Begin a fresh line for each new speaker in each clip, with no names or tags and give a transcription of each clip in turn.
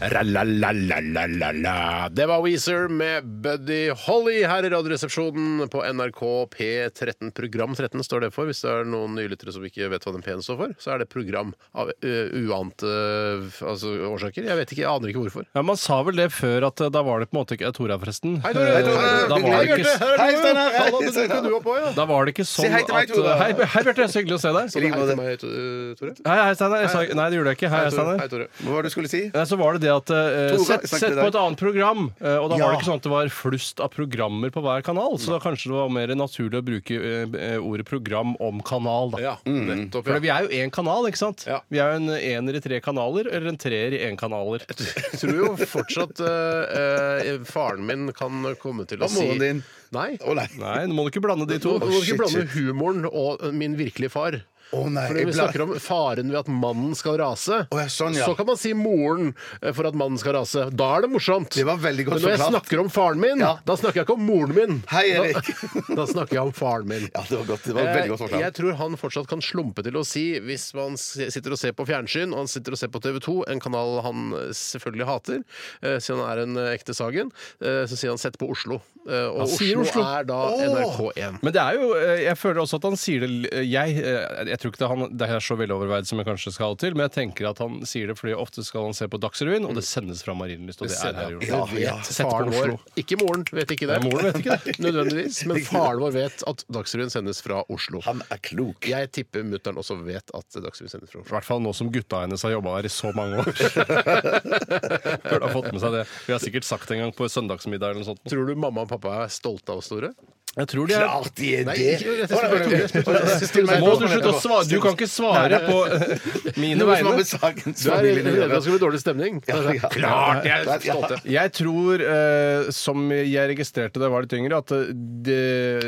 Ra-la-la-la-la-la-la. Det var Weezer med Buddy Holly her i Radioresepsjonen på NRK P13. Program 13 står det for. Hvis det er noen nylyttere som ikke vet hva den P-en står for, så er det program av ø, uante ø, altså, årsaker. Jeg vet ikke, jeg aner ikke hvorfor.
Ja, Man sa vel det før at eh, da var det på en måte ikke Tora, forresten.
Hei, Tore!
Eh, Da var det ikke,
Hei, Steinar! Hei,
Steinar.
Du opp òg, ja?
da var det ikke sånn
hei til meg,
at
Tore.
Hei, hei Bjarte, så hyggelig å se deg.
Hei til meg, T- Tore.
Hei, hei, Steinar. Jeg sa- Nei, det gjorde jeg ikke. Hei,
Hei, Tore.
Steinar.
Hei, Tore.
Hva var det du skulle si?
Nei, så var det det at eh,
Tore,
Sett
snakk til
sett på
deg.
et annet program. eh, og da var
Ja.
det ikke sånn at det var flust av programmer på hver kanal, så da kanskje det var mer naturlig å bruke eh, eh, ordet program om kanal, da.
Ja, nettopp.
For
Ja.
vi er jo én kanal, ikke sant?
Ja.
Vi er jo en ener i tre kanaler, eller en treer i én kanaler.
Jeg tror jo fortsatt ø, ø, faren min kan komme til å
Og
si
moren din.
Nei.
Å nei.
Nei, nå må du ikke blande de to.
Du må ikke blande humoren og øh, min virkelige far.
Oh, Å nei,
For når
jeg
vi
bla-
snakker om faren ved at mannen skal rase,
Å ja, sånn, ja.
så kan man si moren eh, for at mannen skal rase. Da er det morsomt.
Det var veldig godt
Men når jeg
forklart.
snakker om faren min,
Ja.
da snakker jeg ikke om moren min.
Hei, Erik.
Da, da snakker jeg om faren min.
Ja, det var godt. Det var veldig godt
Eh, Jeg
forklart.
tror han fortsatt kan slumpe til å si, hvis man s- sitter og ser på fjernsyn, og han sitter og ser på TV 2, en kanal han eh, selvfølgelig hater, eh, siden han er en eh, ekte Sagen, eh, så sier han 'sett på Oslo'. Eh, Og
Han sier
Oslo,
Oslo.
er da NRK1.
Men det er jo, eh, jeg føler også at han sier det l- Jeg, eh, jeg tror ikke det, er han, det er så veloverveid som jeg kanskje skal ha det til, men jeg tenker at han sier det fordi ofte skal han se på Dagsrevyen, og det sendes fra Marienlyst, og Mm. det er her i
Ja,
Oslo.
ja.
Sett på
Faren vår,
Oslo.
ikke moren, vet ikke det.
Nei, moren vet ikke det.
Nødvendigvis. Men faren vår vet at Dagsrevyen sendes fra Oslo.
Han er klok.
Jeg tipper mutter'n også vet at Dagsrevyen sendes fra
I
Oslo.
hvert fall nå som gutta hennes har jobba her i så mange år. Burde ha fått med seg det. Vi har sikkert sagt det en gang på søndagsmiddag eller noe sånt.
Tror du mamma og pappa er stolte av oss, Tore?
Jeg tror de er
Klart de er
Nei,
det!
ikke- jeg
Å, nei,
spør- jeg spør- jeg spør-
meg-
Må du slutte å svare? Du kan ikke svare på eh, mine
Noe som har
vegne.
med sakens
Du er redd
familie å
for
gjøre.
at det skal bli dårlig stemning?
Ja, ja.
Klart de er
Ja.
stolte!
Jeg tror, eh, som jeg registrerte da jeg var litt yngre, at eh, de,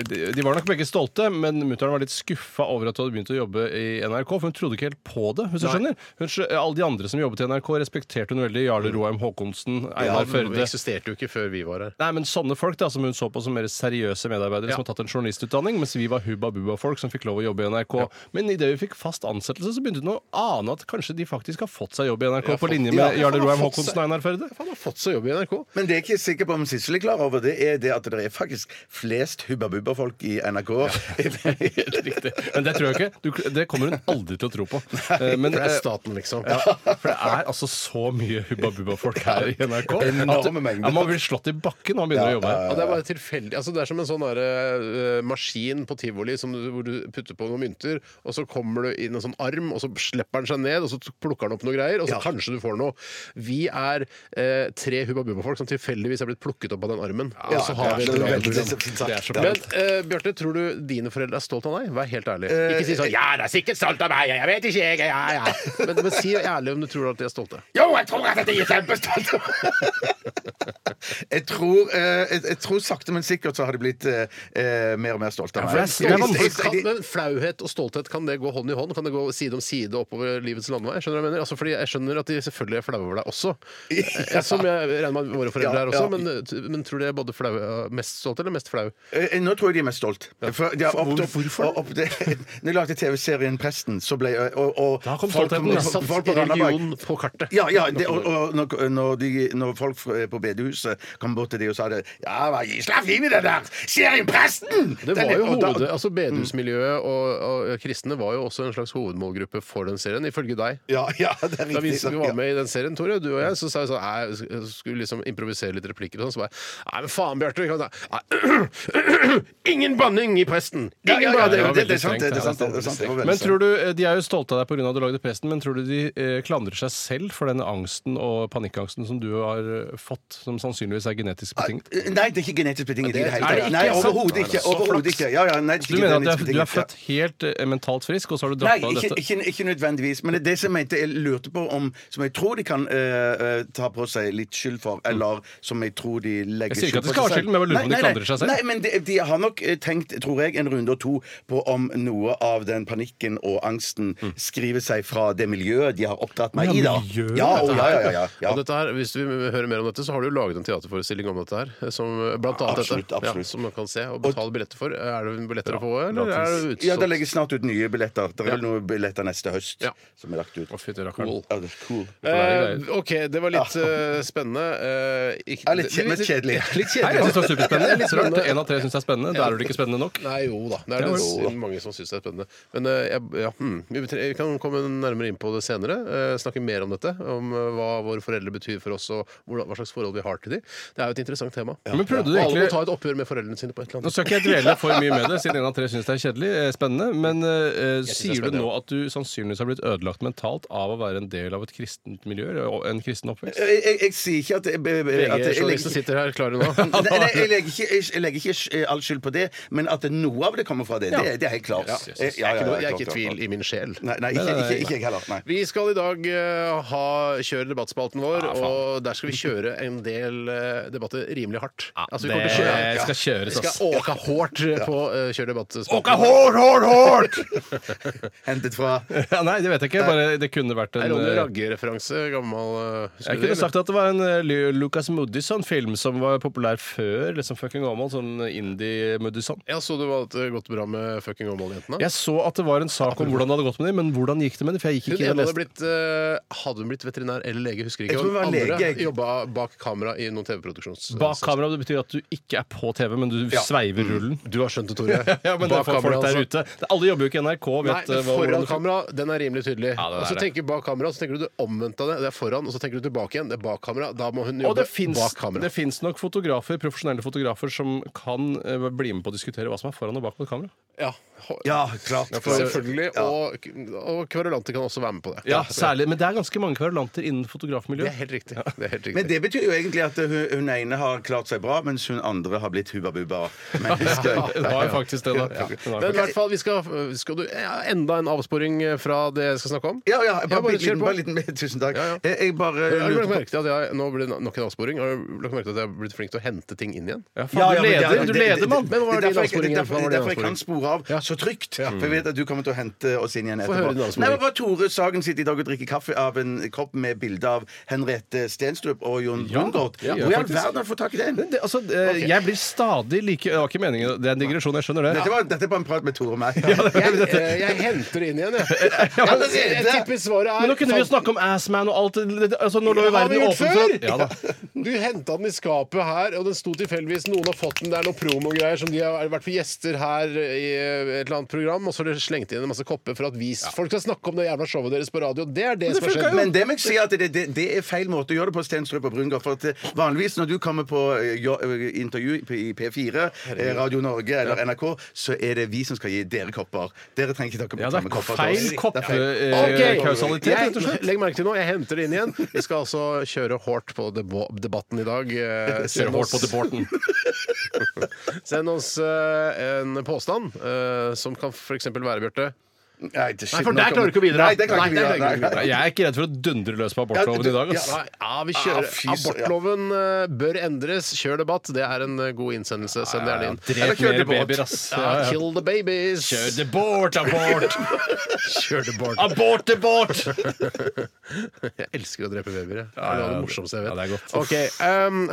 de, de var nok begge stolte, men mutter'n var litt skuffa over at du hadde begynt å jobbe i NRK, for hun trodde ikke helt på det, hvis du skjønner. Hun, skjø- eh, alle de andre som jobbet i NRK, respekterte hun veldig. Jarle Roheim Haakonsen, Einar
Det
Førde.
eksisterte jo Mm. ikke før vi var her.
Nei, men Sånne folk da, som hun så på som mer seriøse medarbeidere som har tatt en journalistutdanning, mens vi var hubba bubba-folk som fikk lov å jobbe i NRK. Men idet vi fikk fast ansettelse, så begynte hun å ane at kanskje de faktisk har fått seg jobb i NRK, på linje med
ja, faen,
Jarle
har
Roheim
fått seg-
Haakonsen og Einar Førde.
Han har fått seg jobb i NRK.
Men det jeg ikke er sikker på om Sissel er klar over, det er det at det er faktisk flest hubba-bubba-folk i NRK.
Riktig. Men det tror jeg ikke. Du, det kommer hun aldri til å tro på. Eh, Men,
For det er
eh,
staten, liksom.
ja, for det er altså så mye Hubba Bubba-folk her i NRK. at-
Enorme mengder.
Ja, man blir slått i bakken når man begynner å jobbe her.
Ja, det er bare tilfeldig. Altså, det er som en sånn der, eh, maskin på tivoli som du, hvor du putter på noen mynter, og så kommer du inn en sånn arm, og så slipper den seg ned, og så plukker den opp noe greier, og så kanskje du får noe. Vi er eh, tre Hubba Bubba-folk som tilfeldigvis er blitt plukket opp av den armen. og så har vi et
det er
radioprogram.
veldig fint sagt.
Det er så
Men eh, Bjarte, tror du dine foreldre er stolt av deg? Vær helt ærlig.
Eh,
Ikke si sånn 'Ja, det er sikkert stolt av meg, jeg vet ikke, jeg, ja, ja'. Men, men si ærlig om du tror at de er stolte.
Jo, jeg tror at jeg er kjempestolt! jeg, tror, eh, jeg, jeg tror sakte, men sikkert så har de blitt eh, eh, mer og mer stolte av meg.
det er vanskelig.
kan, men flauhet og stolthet, kan det gå hånd i hånd? Kan det gå side om side oppover livets landevei? Skjønner du hva jeg mener? Altså, fordi jeg skjønner at de selvfølgelig er flaue over deg også. Eh, Som jeg regner med at våre foreldre
Ja,
er også.
ja.
Men, men tror du jeg er både flau, mest stolt eller mest flau?
Eh, Nå tror jeg de er mest stolt. For de har opptrådt-
hvorfor?
og opp- det- Når jeg lagde TV-serien Presten, så ble jeg og, og,
Da kom
folk-
stoltheten.
folk-
Jeg
folk
satt
på Randaberg-
religion på kartet.
Ja, ja, det, og, og når, når, de, når folk fra- på bedehuset kom bort til de og sa det Ja, hva slapp inn i det der! Serien Presten!
Det
Den
var
er-
jo
og da-
hoved, altså Bedehusmiljøet og, og kristne var jo også en slags hovedmålgruppe for den serien, ifølge deg.
Ja, ja, det er
Da vi,
riktig.
vi var med i den serien, Tore, du og jeg, så sa jeg sånn «Nei, Jeg skulle liksom improvisere litt replikker og sånn, så bare Nei, men faen, Bjarte! vi kan ta- Nei, Ingen banning i presten!
Ja,
Ingen
ja, ja, det,
banning!
var
det, det, det
veldig
er sant, det, det er sant. Det, det er sant, det var veldig
Men
sant.
tror du, eh, De er jo stolte av deg pga. at du lagde Presten, men tror du de eh, klandrer seg selv for den angsten og panikkangsten som du har eh, fått, som sannsynligvis er genetisk betinget?
Nei, det er ikke genetisk betinget i det hele
er det
tatt.
ikke
Nei,
sant?
overhodet ikke. Overhodet ikke. Ja, ja, nei, det er
Du
ikke
mener
genetisk
at du er, du er
betinget, ja.
født helt eh, mentalt frisk, og så har du
Nei,
dratt av
ikke,
dette?
ikke, ikke nødvendigvis. Men det som jeg, mente, jeg lurte på om Som jeg tror de kan eh, eh, ta på seg litt litt skyld for, eller som jeg tror de legger
Jeg sier ikke at de skal
skyld på
ha
seg
skylden, men jeg bare lurer på om de
Nei, nei,
klandrer seg selv.
Nei, men de, de har nok eh, tenkt, tror jeg, en runde og to på om noe av den panikken og angsten skriver seg fra det miljøet de har oppdratt meg
Mm. Ja,
i, da.
miljøet,
Ja,
dette
å, ja, ja, ja, ja.
Og dette her, hvis vi hører mer om dette, så har du jo laget en teaterforestilling om dette her. eh, Som blant annet
Absolutt,
dette,
absolutt.
Ja, som man kan se og betale billetter for. Er det billetter å få, eller
gratis.
er det utsolgt?
Ja, det legges snart ut nye billetter. Det er vel
Ja.
noen billetter neste høst
Ja.
som er lagt ut.
Å, fytti rakkeren.
Ja, det er cool.
Eh, OK, det var litt eh, spennende. Eh, ikke-
Ja, litt kje- litt kjedelig.
Litt
Nei, jeg
kjedelig.
syns det var superspennende. Litt rart. En av tre syns det er spennende. Der er det ikke spennende nok.
Nei, jo da. Det er
Det
det
var
jo-
s- mange som syns det er spennende. Men eh, jeg, ja, hmm. vi, betre- vi kan komme nærmere inn på det senere. eh, snakke mer om dette. Om eh, hva våre foreldre betyr for oss, og hvordan- hva slags forhold vi har til dem. Det er jo et interessant tema.
Men prøvde du
Og Alle må
egentlig-
ta et oppgjør med foreldrene sine på et eller
Nå
annet
skal ikke jeg dvele for mye med det, siden en av tre syns det er kjedelig. eh, Spennende. Men eh,
synes det er
sier du
spennende,
nå at du sannsynligvis har blitt ødelagt mentalt av å være en del av et kristent miljø? eller å- En kristen
Eh,
oppvekst?
Jeg, jeg, jeg sier ikke at, jeg- at jeg- jeg,
VG,
legger ikke-
journalisten sitter her, klarer du nå?
Nei, nei, jeg, legger ikke, jeg, jeg legger ikke sk- all skyld på det, men at noe av det kommer fra det, det, det er helt klart. Eh,
Yes, yes, yes.
Ja, ja, ja,
Jeg er ikke i
klart, klart,
tvil i min sjel.
klart. Nei, nei, ikke,
eh,
ikke, ikke jeg heller. Nei.
Vi skal i dag eh, ha, kjøre debattspalten vår,
Ah, faen.
og der skal vi kjøre en del eh, debatter rimelig hardt. Altså, vi kommer
det
til å kjøre
skal kjøres,
Vi
ass.
skal åka hårt eh, på uh, kjør debattspalten.
hård, hård, hård!
Hentet fra
Ja, nei, det vet jeg ikke. Bare det kunne vært
Det
en
er Ronny
eh,
Ragge-referanse. Gammel eh, husker
Jeg
du det,
kunne sagt at det var en eh, Lu- Lucas Moodysson-film som var populær før. liksom fucking gammel, Sånn indie-Moodysson.
eller? Ja, Så du at det gått bra med fucking Åmål-jentene?
Jeg så at det var en sak om hvordan det hadde gått med dem, men hvordan gikk det med dem? For jeg
Hun
gikk ikke
ene
jeg
hadde,
leste.
blitt, eh, hadde hun blitt veterinær eller lege, husker ikke.
Jeg tror hun var
Og den andre
lege, jeg-
jobba bak kamera i noen TV-produksjons...
Bak kamera det betyr at du ikke er på TV, men du sveiver rullen.
Du har skjønt det, Tore.
Ja, men det er
Bak
for
kamera,
folk der
altså.
ute. Det- Alle jobber jo ikke i NRK. Vet
Nei,
eh,
men
hva- hvordan
foran
det-
kamera, den er rimelig tydelig.
Ja, den
og
er
så
det.
tenker du bak kamera, så tenker du det omvendte av det. Det er foran, og så tenker du tilbake igjen. Det er bak kamera. Da må hun
Og
jobbe
det fins,
bak kamera.
det fins nok fotografer, profesjonelle fotografer som kan eh, bli med på å diskutere hva som er foran og bak på et kamera.
Ja,
Ja, klart.
for, selvfølgelig. Og, og kverulanter kan også være med på det.
Ja, særlig, Men det er ganske mange kverulanter innen
Det er
fotografmiljøet.
helt riktig. Det er helt riktig.
Men det betyr jo egentlig at hun, hun ene har klart seg bra, mens hun andre har blitt hubabubba. mennesker.
Ja, det var jo faktisk det, da. Det var
Men i
faktisk-
hvert fall, vi skal, skal du, ja, enda en avsporing fra det jeg skal snakke om.
Ja, ja,
Ja,
bare,
bare
bitte
kjør
liten,
på.
bare liten, tusen takk.
Ja, ja.
Jeg, jeg bare
Har du
lurte
lagt
på-
merke til at jeg, nå ble det nok en avsporing. Har du lagt merke til at jeg har blitt flink til å hente ting inn igjen?
Ja, faen,
Ja, ja,
du
men det-
leder,
det-
du
det-
leder,
det-
mann!
det-
Men hva var
det er
din
derfor jeg-
avsporing
det er derfor-
igjen? Hva var
Det er
din
derfor jeg kan spore av så trygt. For jeg vet at du kommer til å hente oss inn igjen
Få høre din
etterpå.
avsporing.
Nei, men bare Tore Sagen sitter i dag og drikker kaffe av en kopp med bilde av Henriette Stenstrup og Jon Brungot.
ja,
Hvor i all
faktisk.
verden har du fått tak i den?
Det, altså, eh, Jeg blir stadig like Det var ikke meningen, det er en digresjon, jeg skjønner det.
Dette var, dette var en prat med Tore og meg.
Jeg, eh, jeg henter det inn igjen, jeg. Jeg, jeg tipper svaret er
Men nå kunne vi jo snakke om Assman og alt det- det- altså, Nå lå jo
Det har vi
verden åpen
gjort
for
før!
ja, da.
Du henta den i skapet her, og den sto tilfeldigvis Noen har fått den, det er noen promogreier som de har vært for gjester her i et eller annet program, og så har de slengt inn en masse kopper for at vi folk skal snakke om det jævla showet deres på radio. Det er det, som har
funka
skjedd.
Men det må jeg si at det, det, det er feil måte å gjøre det på, Stenstrup og Brungaard. For at eh, vanligvis når du kommer på eh, jo- eh, intervju på- i P4, eh, Radio Norge eller NRK, så er det vi som skal gi dere kopper. Dere trenger ikke dere
Ja,
på
det
samme
er
kopper.
feil
Ok.
koppekausalitet, Eh, rett og
Jeg,
slett.
legg merke til nå, jeg henter det inn igjen. Vi skal altså kjøre hårdt på debo- debatten i dag. Eh, Send oss,
deporten.
send oss eh, en påstand eh, som kan f.eks. være, Bjarte
Nei, det- shit,
Nei, for der
nå kommer-
klarer du ikke å bidra.
Nei, der klarer
Nei,
jeg
der klarer
ikke å
du ikke å
bidra.
Nei, Jeg er ikke redd for å dundre løs på abortloven i dag. ass.
Ja, ja, vi kjører.
Ah, fy søren.
Abortloven eh, bør endres. Kjør debatt. Det er en eh, god innsendelse. Send
Ja,
gjerne
ja,
inn.
Drep
kjør
mer
det bort.
babyer, ass. Ja,
Ja,
ja.
kill the babies.
Kjør det bort, abort!
Kjør det bort.
Abort, abort!
Jeg elsker å drepe babyer. jeg. Det
Ja,
er noe av
ja,
det
det-
morsomste jeg vet.
ja, det er godt.
Ok, um, em,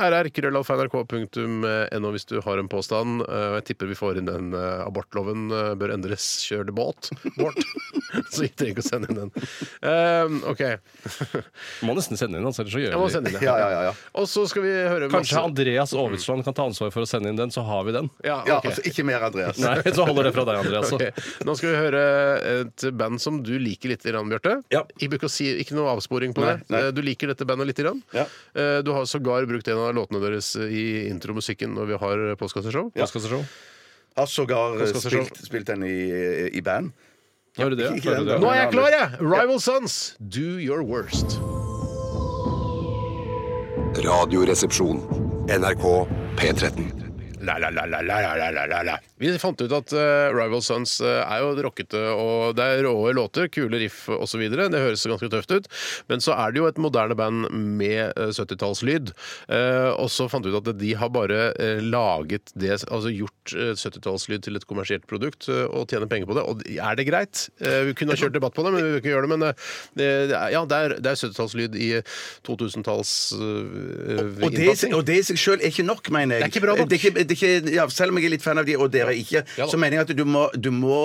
RR, krøllalfa.nrk.no hvis du har en påstand. Eh, Jeg tipper vi får inn den eh, abortloven eh, bør endres, kjør det båt. Bort. Så vi trenger ikke å sende inn den. Em, OK.
Må nesten sende inn, altså, ellers så
Jeg må
gjør vi det.
sende inn
Ja,
den.
ja, ja, ja.
Og så skal vi høre
Kanskje Andreas Aavitsland kan ta ansvar for å sende inn den, så har vi den.
Ja,
Ja,
ok.
altså, ikke mer, Andreas.
Nei, så holder det fra deg, Andreas.
Ok, Nå skal vi høre et band som du liker litt, grann, Bjarte.
Ja.
Jeg bruker å si, ikke noe avsporing på
Nei,
det.
nei.
Eh, Du liker dette bandet litt. Grann.
Ja.
Eh, Du har sågar brukt en av låtene deres i intromusikken når vi har postkasseshow.
Hva skal vi se?
Har sågar eh,
skal se
spilt, spilt den i, i band.
Hører du det?
Ikke
Hører
den,
du det?
da.
Nå er jeg klar, jeg! Rival Sons, Do Your Worst.
Radioresepsjon. NRK P13.
La-la-la-la-la-la-la-la. Vi fant ut at eh, Rival Sons eh, er jo rockete, og det er råe låter, kule riff osv. Det høres ganske tøft ut. Men så er det jo et moderne band med eh, 70-tallslyd. Eh, og så fant vi ut at de har bare eh, laget det, altså gjort eh, 70-tallslyd til et kommersielt produkt eh, og tjener penger på det. Og er det greit? Eh, vi kunne ha kjørt debatt på det, men vi vil ikke gjøre det. Men eh, det, ja, det er, det er 70-tallslyd i 2000-talls eh,
Og det, i seg- og det i seg sjøl er ikke nok, mener jeg.
Det er ikke bra nok.
Det er ikke, det er ikke, ja, selv om jeg er litt fan av de, og dere er ikke,
Ja da.
så mener jeg at du må, du må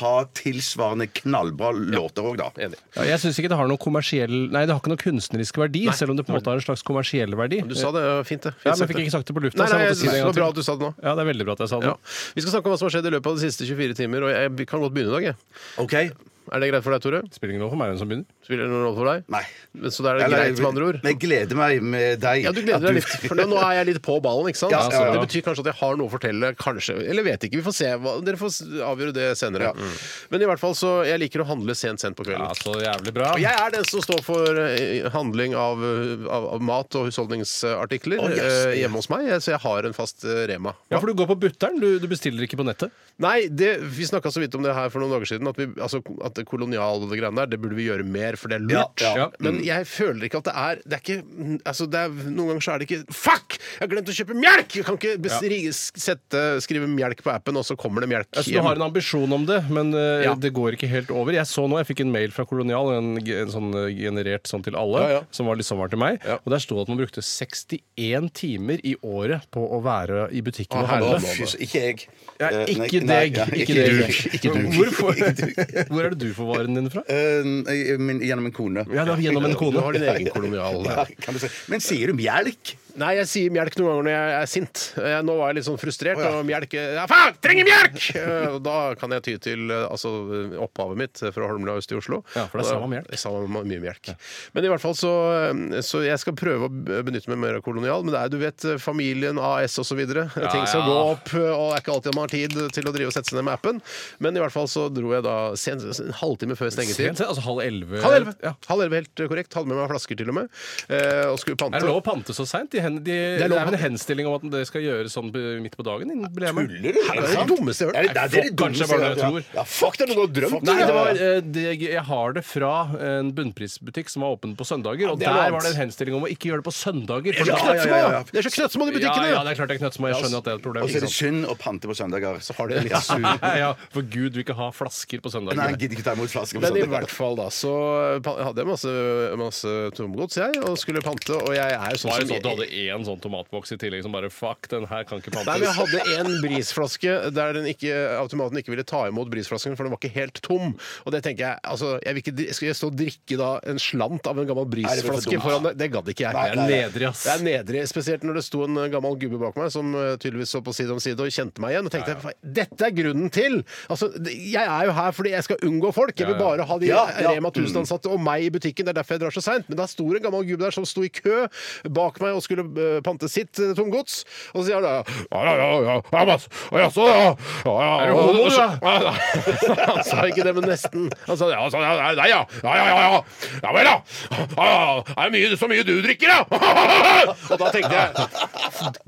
ha tilsvarende knallbra låter òg, da.
Enig.
Ja, jeg syns ikke det har noen kommersiell Nei, det har ikke noen kunstnerisk verdi, selv om det på en måte har en slags kommersiell verdi.
Du sa det ja, fint, det. Fint
Ja, men
sagt,
jeg fikk ikke sagt det på lufta,
Nei,
så jeg
nei, jeg
måtte si
synes det
det en gang
var bra
til.
at du sa det nå.
Ja, det er veldig bra at jeg sa det.
Ja. Vi skal snakke om hva som har skjedd i løpet av de siste 24 timer, og jeg kan godt begynne i dag. Jeg.
OK?
Er det greit for deg, Tore?
Spiller ingen rolle for meg hvem som begynner.
Spiller det noen rolle for deg?
Nei.
Men Så da er det
Eller-
greit, med andre ord?
Men jeg gleder meg med deg.
Ja, du
at
gleder deg litt, for nå er jeg litt på ballen, ikke sant?
Ja, ja, ja.
Det betyr kanskje at jeg har noe å fortelle, kanskje. Eller vet ikke, vi får se. hva- Dere får s- avgjøre det senere.
Mm.
Men i hvert fall så, jeg liker å handle sent, sent på kvelden.
Ja, så jævlig bra.
Og jeg er den som står for eh, handling av, eh, av, av mat og husholdningsartikler
Å, yes,
eh,
yes.
hjemme hos meg, så jeg har en fast eh, Rema.
Ja, for du går på butter'n, du, du bestiller ikke på nettet.
Nei, det, vi snakka så vidt om det her for noen dager siden. At, vi, altså, at det koloniale og det greiene der, det burde vi gjøre mer, for det er lurt.
Ja, ja.
Men jeg føler ikke at det er Det er ikke altså, det er, Noen ganger så er det ikke Fuck! Jeg har glemt å kjøpe melk! Jeg kan ikke bes- ri- sette, skrive melk på appen, og så kommer det melk.
Altså, du har en ambisjon om det, men eh,
Ja.
det går ikke helt over. Jeg så nå, jeg fikk en mail fra Kolonial, en, g- en sånn eh, generert sånn til alle,
Ja, ja.
som var litt sånn var til meg.
Ja.
Og der sto det at man brukte 61 timer i året på å være i butikken
Å,
og
Å,
handle.
herre.
fy, så- ikke jeg.
Ja,
Eh, nei,
ikke
nei,
deg.
ja,
ikke deg.
Ikke du.
Hvorfor? Hvor er det du får varen din fra?
Eh, nei, min- Gjennom en kone.
Ja, det var gjennom en
Du
kone.
har din egen kolonial.
Ja, kan du si. Men sier du melk?
Nei, jeg sier melk noen ganger når jeg er sint. Jeg, nå var jeg litt sånn frustrert. Og melk eh, ja, Faen! Trenger melk! Eh, Og da kan jeg ty til eh, altså, opphavet mitt eh, fra Holmlia øst i Oslo.
Ja, for
Og
det er
da-
samme melk.
det er Samme mye melk. Men i hvert fall så, eh, så jeg skal prøve å b- benytte meg mer av kolonial. Men det er du vet, eh, familien, AS osv. videre Ting som
ja.
går opp, eh, og det er ikke alltid man har tid til å drive og sette seg ned med appen. Men i hvert fall så dro jeg da sen, en halvtime før stengetid.
Sent, altså halv elleve.
Halv elleve,
Ja.
halv elleve helt eh, korrekt. Hadde med meg flasker til og med. eh, Og skulle pante.
Er det lov å pante så seint? De, hen- de, det
er
er
lov å
vel en
pante.
henstilling om at det skal gjøres sånn på- midt på dagen? innen- ble jeg med.
Tuller du?
det er det dummeste jeg har hørt.
Er det- det er det
Fuck, kanskje
dummeste
bare
jeg
det
har
jeg
hørt, ja. Ja, Fuck, det er noe du har drømt!
Nei,
ja.
det var, eh, det, jeg har det fra en bunnprisbutikk som var åpen på søndager. Og
det er noe
der
annet.
var det en henstilling om å ikke gjøre det på søndager. For
Det er
det var
så knøttsmå!
Ja, ja, ja.
Det er så knøttsmå de
ja,
butikkene!
ja, det er klart det er knøttsmå. Jeg skjønner at det er et problem.
Og så er
Ikke
det
sant?
synd å pante på søndager. Så
Har de litt sur
Nei, ja, for gud vil ikke ha flasker på søndager.
Nei, jeg gidder ikke ta imot flasker på
Men i
sånn.
søndager.
hvert fall da, så pa- hadde jeg masse, masse tomgods, jeg, og skulle pante, og jeg er jo
Det
sånn
var jo
som
sånn at Du hadde én sånn tomatboks i tillegg som bare Fuck, den her kan ikke
Nei, men Jeg
pantes.
hadde en brisflaske der den ikke, automaten ikke ville ta imot brisflasken, for den var ikke helt tom. Og det tenker Jeg altså, jeg vil ikke, dri- Skal jeg stå og drikke da en slant av en gammel
det blir for
brisflaske
dumt.
foran deg? Det gadd ikke jeg.
Nei,
Det er nedrig, ass.
Det er nedrig, Spesielt når det sto en gammel gubbe bak meg som eh, tydeligvis så på side om side og kjente meg igjen. Og tenkte "Fa- dette er grunnen til! Altså, det- Jeg er jo her fordi jeg skal unngå folk. Jeg vil
Ja, ja.
bare ha de
Ja, ja.
Rema 1000-ansatte og meg i butikken. Det er derfor jeg drar så seint. Men da sto det en gammel gubbe der som sto i kø bak meg og skulle eh, pante sitt eh, tomgods. Og så sier han da Ja, ja, ja, ja, ja, Mats. ja, så, ja, ja, ja,
Er du homo, du, da?
ja, ja. Han sa ikke det, men nesten. Han sa ja, så, ja, ja, nei, ja, ja, ja, ja, ja. ja vel, da. Ja, ja, ja. Er det mye, så mye du drikker, da? Og da tenkte jeg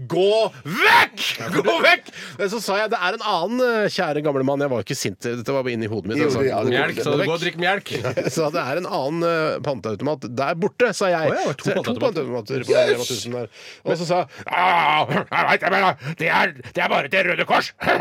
gå vekk! Gå vekk! Men så sa jeg det er en annen eh, kjære gamle mann. Jeg var ikke sint, dette var bare inni hodet mitt.
Jo,
altså.
ja, det-
Mjelk, sa du. Gå og drikk mjelk.
Så det er en annen eh, panteautomat der borte, sa jeg.
Å ja, det var to
Så det er
panteautomater.
panteautomater på Rema 1000 der. Og så sa jeg, «Ja, jeg vet det, men ah, det er, det er bare til Røde Kors!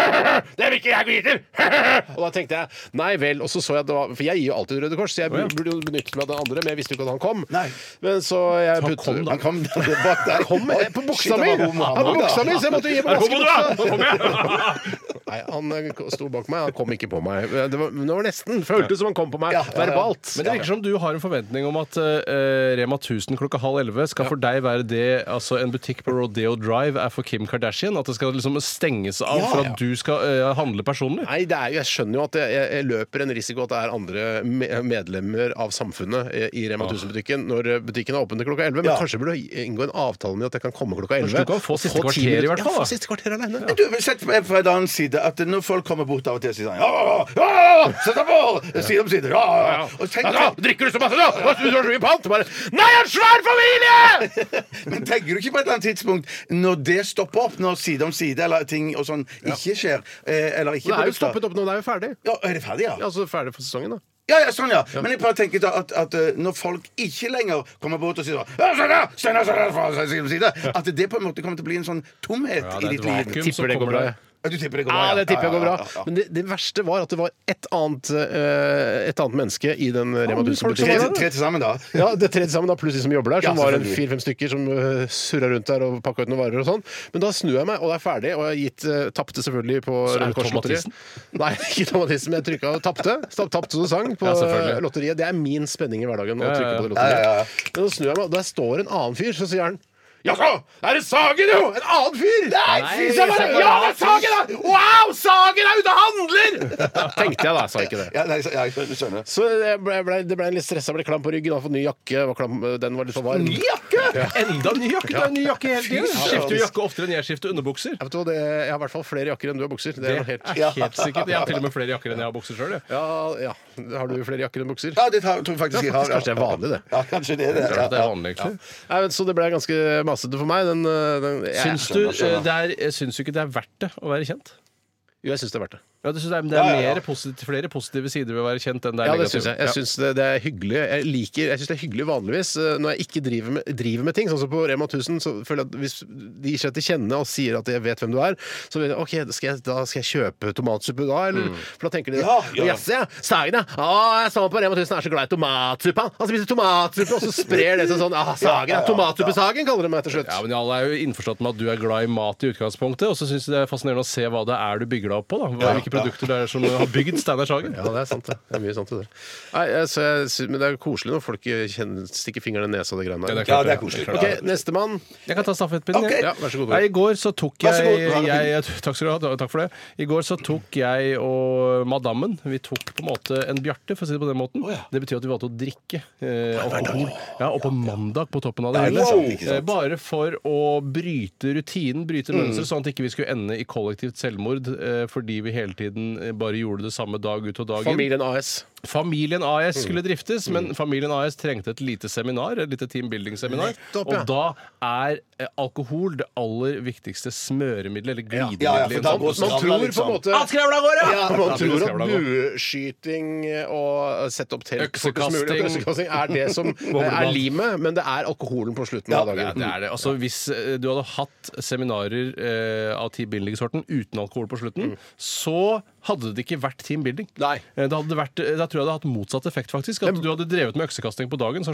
Det vil ikke jeg vite! Og da tenkte jeg nei vel. Og så så jeg at det var For jeg gir jo alltid Røde Kors, så jeg burde jo benyttet meg av den andre, men jeg visste jo ikke at han kom.
Nei.
Men så jeg
Han kom da.
Han kom bak der.
Kom eh, på buksa mi! Han på buksa mi, så jeg måtte gi på
Er du homo, du, da?
vaskebuksa.
Nå kommer jeg!
Nei, han eh, sto bak meg, han kom ikke på meg. Det var, det var nesten. Føltes som han kom på meg
Ja, ja, ja.
verbalt.
Men det virker som du har en forventning om at eh, Rema 1000 klokka halv elleve skal for deg være det altså en butikk på Rodeo Drive er for Kim Kardashian. At det skal liksom stenges av for at du skal eh, handle personlig.
Nei, det er jo, jeg skjønner jo at jeg, jeg, jeg løper en risiko at det er andre me- medlemmer av samfunnet eh, i Rema 1000-butikken når eh, butikken er åpen til klokka 11. Men
Ja.
kanskje jeg burde inngå en avtale med at jeg kan komme klokka 11.
du kan få
og
siste
10
kvarter i
minutter-
hvert fall,
Ja,
da.
få siste kvarter alene.
Du, sett fra en annen side at når folk kommer bort av og til og sier sånn «Ja, ja, ja, Sett deg på! Side om side! Ja, ja, ja. Og tenk,
Ja, da, drikker du så masse, da? Hva synes du har så mye pant? Bare, Nei, jeg har en svær familie!
Men tenker du ikke på et eller annet tidspunkt når det stopper opp, når side om side eller ting og sånn ikke skjer? eh, Eller ikke
Det er jo
produkter?
stoppet opp nå, det er jo ferdig.
Ja, er det ferdig, ja?
Ja, Altså ferdig for sesongen, da.
Ja, ja, sånn, ja. Men jeg bare tenker da at, at eh, når folk ikke lenger kommer bort og sier sånn «Ja, sånn, ja, sånn, ja, sånn, ja, fra side om side, At det på en måte kommer til å bli en sånn tomhet
Ja, det er et
i ditt liv.
vakuum.
Tipp-
så
Tipper det går
kommer
bra.
det-
jeg.
Ja, du tipper det går bra?
Ja, det tipper jeg går bra.
Ja, ja, ja.
Men det, det verste var at det var et annet, eh, et annet menneske i den Rema
folk som var der,
1000-butikken.
da.
Tre, tre til sammen, da.
Ja, det tredje sammen da, Pluss de som jobber der, som
Ja,
var en
selvfølgelig.
fire-fem stykker som uh, surra rundt der og pakka ut noen varer og sånn. Men da snur jeg meg, og det er ferdig, og jeg har gitt uh, tapte selvfølgelig på
Så er det
Røde Kors
Tom
Lotteri.
Mathisen?
Nei, ikke Tom Mathisen, men jeg trykka og tapte. Tapt- Tapte som du sang på
Ja, selvfølgelig.
eh, lotteriet. Det er min spenning i hverdagen. å
Ja, ja,
trykke
ja.
på det
Ja,
lotteriet.
ja, ja.
Men så snur jeg meg, og der står en annen fyr, så sier han Jaså, er det Sagen, jo? En annen fyr! Nei,
fy
så jeg bare,
søren.
ja, det er Sagen! da! Wow, Sagen er ute og handler! Tenkte jeg da, sa ikke det.
Ja, nei, så- ja, jeg skjønner. skjønner.
Så jeg ble, jeg ble, det ble en litt stressa, ble klam på ryggen, har fått ny jakke. Var klam, den var litt for varm.
Ny jakke!
Enda ny jakke! Det er ny jakke hele tiden.
søren.
Skifter jo jakke oftere enn jeg skifter underbukser.
Jeg, vet hva, det, jeg har i hvert fall flere jakker enn du har bukser. Det
Det
er
er
noe helt,
helt sikkert. Jeg har til og med flere jakker enn jeg har bukser sjøl.
ja, ja. Har du flere jakker enn bukser?
Ja, det tar- tror jeg faktisk jeg har. ja.
Kanskje det er vanlig, det.
Ja, kanskje det er det. Ja, ja.
Nei, men, så det ble ganske masete for meg. Den, den, jeg
Syns du eh, det er, eh, syns du ikke det er verdt det å være kjent?
jo, jeg syns det er verdt det.
Ja, det, syns jeg, men det er
Ja, ja, ja.
mer posit- flere positive sider ved å være kjent enn det er
Ja, det
negative.
syns jeg. Jeg syns det, det er hyggelig. Jeg liker, jeg syns det er hyggelig vanligvis eh, når jeg ikke driver med, driver med ting. Sånn som på Rema 1000, så føler jeg at hvis de gir seg til kjenne og sier at jeg vet hvem du er, så vet jeg, ok, da skal jeg, da skal jeg kjøpe tomatsuppe da, eller? For da tenker de
Ja, ja.
Jaså, ja. Sagen, ja. Å, jeg så han på Rema 1000 er så glad i tomatsuppe. Han Han spiser tomatsuppe, og så sprer det seg sånn. Ah, Sagen, ja. Tomatsuppesagen kaller de meg til slutt.
Ja, men Alle er jo innforstått med at du er glad i mat i utgangspunktet, og så syns jeg det er fascinerende å se hva det er du bygger deg opp på. da hva, Hvilke produkter det er som har bygd Steinar Sagen.
Ja, det er sant. Det Det er mye sant i det. Nei, jeg- så jeg, sy- men det er koselig når folk kjenner, stikker fingeren i nesa og det greiene der.
Ja, det er koselig.
Ok, Nestemann.
Jeg kan ta stafettpinnen.
Ok.
jeg.
Ja, vær så god, Tore.
Nei, I går så tok
Vær så god,
jeg,
Tore.
jeg, jeg Takk skal du ha. da- Takk for det. I går så tok jeg og madammen Vi tok på en måte en Bjarte, for å si det på den måten. Det betyr at vi valgte å drikke eh, alkohol. Ja, og på mandag på toppen av det hele.
ikke sant, ikke sant.
Eh, Bare for å bryte rutinen, bryte mønsteret, sånn at ikke vi skulle ende i kollektivt selvmord eh, fordi vi hele tiden eh, bare gjorde det samme dag ut og dag inn.
Familien AS.
Familien AS
Mm.
skulle driftes, men Familien AS trengte et lite seminar. Et lite teambuilding-seminar.
Nettopp,
Og
ja.
da er eh, alkohol det aller viktigste smøremiddelet, eller glidemiddelet.
Ja, ja, for
i en
da
sånn- Ah,
går
Man tror på en måte Ja, man
Ja,
tror at
skravla går.
bueskyting og sette opp telt fortest mulig, og
Øksekasting.
øksekasting er det som er
Boblebath.
limet, men det er alkoholen på slutten av
Ja,
dagen. Mm.
det er det. Altså, hvis eh, du hadde hatt seminarer eh, av Team Building-sorten uten alkohol på slutten, så hadde det ikke vært Team Building.
Nei.
Eh, Da, hadde det vært, eh, da tror jeg det hadde hatt motsatt effekt, faktisk. At du hadde drevet med øksekasting på dagen, så,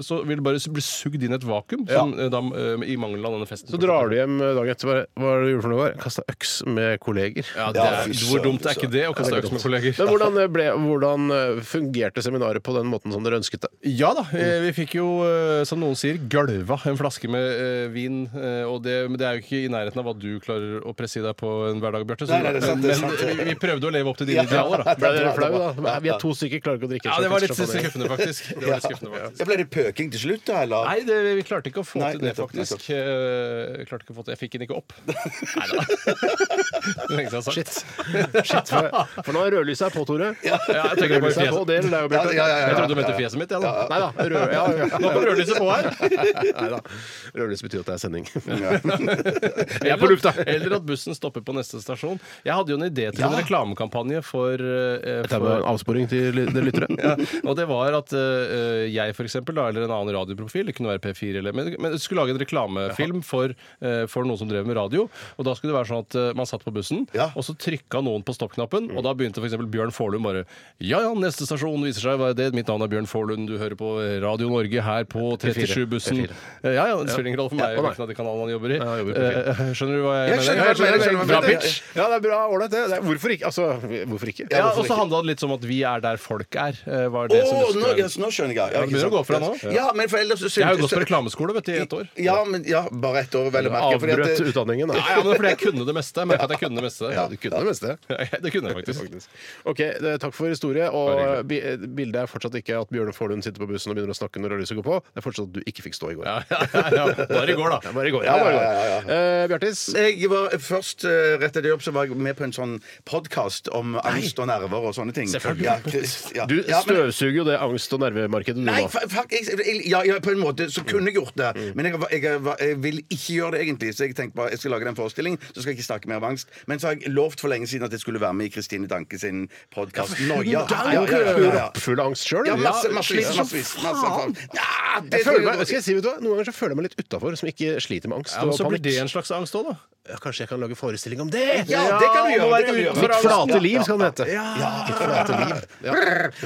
så ville det bare bli sugd inn i et vakuum som, eh, da, eh, i mangel av denne festen.
Så drar du hjem dagen etter bare Hva er det du gjorde for noe? Kasta øks med kolleger.
Ja, det
Ja,
er,
fy søren,
hvor dumt
fy
er ikke det å kaste øks med kolleger?
Men hvordan, eh, ble, hvordan eh, fungerte seminaret på den måten som dere ønsket det?
Ja da,
Mm.
eh, vi fikk jo, eh, som noen sier, gølva en flaske med eh, vin. eh, Og det, men det er jo ikke i nærheten av hva du klarer å presse i deg på en hverdag, Bjarte. så-
Nei, nei, det er sant, det er
Men
sant.
vi- vi prøvde å leve opp til dine idealer, da.
Ble dere flau, da? Nei, Vi er to stykker, klarer ikke å drikke.
Ja,
så
det var litt
champagne.
skuffende, faktisk. Det var litt skuffende, faktisk.
Ja, Ble det pøking til slutt, da? Eller?
Nei, det, vi klarte ikke å få
Nei,
til det,
nettopp,
faktisk.
nettopp.
Eh, klarte ikke å få til. Jeg fikk den ikke opp. Nei da. Det lenge siden jeg har sagt.
Shit. Shit for, for nå er rødlyset her på, Tore.
Ja, jeg tenker bare
Rødlyset er på,
fjeset.
det gjelder deg og Bjarte.
Ja, ja, ja, ja.
Jeg trodde du mente fjeset mitt, jeg, da.
Nei da. Rød, ja, ja.
Nå kom rødlyset på her.
Nei da. Rødlys betyr at det er sending.
Eller,
på lufta.
Eller at bussen stopper på neste stasjon. Jeg hadde jo en idé til en
Ja.
reklamekampanje for, eh,
Det
for
var en avsporing til ly- dere lyttere.
ja, og det var at eh, jeg for eksempel, da, eller en annen radioprofil, det kunne være P4 eller men, men skulle lage en reklamefilm for, eh, for noen som drev med radio. Og da skulle det være sånn at eh, man satt på bussen,
Ja.
og så trykka noen på stoppknappen, og da begynte f.eks. Bjørn Forlund bare Ja ja, neste stasjon viser seg å være det. Mitt navn er Bjørn Forlund, du hører på Radio Norge her på 37-bussen.
P4.
Ja ja, sånn det spiller ingen rolle for meg
Ja, å, nei.
hvilken av de kanalene han jobber i.
Ja, jeg jobber i P4.
Eh, skjønner du hva jeg,
Jeg skjønner hva
mener?
du mener, jeg skjønner hva du
Bra
mener.
pitch.
Ja, det er bra. Ålreit, det. Det er- Hvorfor ikke? Altså, hvorfor ikke?
Ja,
hvorfor
og så
ikke?
handla det litt om at vi er der der folk er. eh, Var
Å,
det som skulle
nå,
være-
yes, nå skjønner jeg. Ja,
det begynner
ikke
å gå fra
sant.
nå.
Ja, men for ellers så
Jeg har jo gått på reklameskole vet du, i et år.
Ja, men, ja, bare ett år, vel å merke. fordi at
Avbrøt
det-
utdanningen,
Ja,
da.
ja, men fordi jeg kunne det meste. Jeg merket at jeg kunne det meste.
Ja, du kunne det meste.
Ja, det kunne jeg faktisk.
Faktisk. OK, det, takk for historie.
Bare
Og bi- eh, bildet er fortsatt ikke at Bjørne Forlund sitter på bussen og begynner å snakke når det er lyset går på. Det er fortsatt at du ikke fikk stå i går.
Ja, ja, ja. Bare i går, da.
Ja, bare i går.
Ja,
Ja, bare i går.
ja, ja,
Eh, Bjartis?
Jeg var først eh, rett etter jobb så var jeg med på en sånn podkast om angst og nerver og sånne ting.
Selvfølgelig.
Ja, Chris, ja.
Du
ja, men-
støvsuger jo det angst- og nervemarkedet du
Nei,
nå.
fa- fuck, jeg, jeg, ja, ja, på en måte så kunne jeg gjort det.
Mm.
Men jeg, var- jeg, var- jeg vil ikke gjøre det egentlig. Så jeg tenkte bare, jeg skal lage den forestillingen, så skal jeg ikke snakke mer om angst. Men så har jeg lovt for lenge siden at jeg skulle være med i Kristine Danke sin podkast Noia.
er jo proppfull av angst sjøl.
Ja, masse,
jeg
massevis. massevis, masse, Ja, det
føler meg, skal jeg si, vet du hva? Noen ganger så føler jeg meg litt utafor, som ikke sliter med angst.
Ja, men
og
så blir
panikk.
det en slags angst òg, da.
ja, kanskje jeg kan lage forestilling om det?
Ja, det kan du
må
gjøre.
være
Det kan du gjøre.
utenfor
Mitt flate liv, skal den hete.
Mitt flate liv.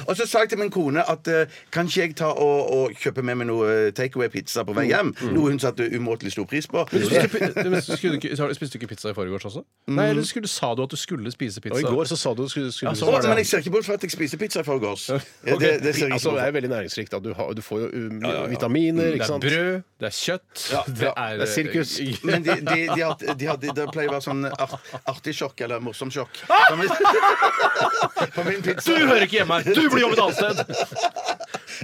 Og så sa jeg til min kone at eh, kan ikke jeg ta og, og kjøpe med meg noe takeaway-pizza på vei hjem? Noe hun satte umåtelig stor pris på.
Men spiste, pi- men skulle du ikke, har- spiste du ikke pizza i forgårs også? Nei, eller skulle, sa du at du skulle spise pizza?
Mm. Og i går så sa du skulle, skulle
Ja, så
Å,
var det.
men jeg ser ikke bort fra at jeg spiser pizza i forgårs. Ja, det, det ser jeg ikke
Altså,
bort
det
fra.
er veldig næringsrikt. Da. Du, har, du får jo um, vitaminer,
Mm, Det
ikke
er
sant?
brød, det er kjøtt, det er eh,
det er sirkus.
Men de, de, de, hadde, de hadde, det pleier å være sånn art, artig sjokk eller morsom sjokk. På min pizza.
Du hører ikke hjemme her! Du blir jobbet et annet sted!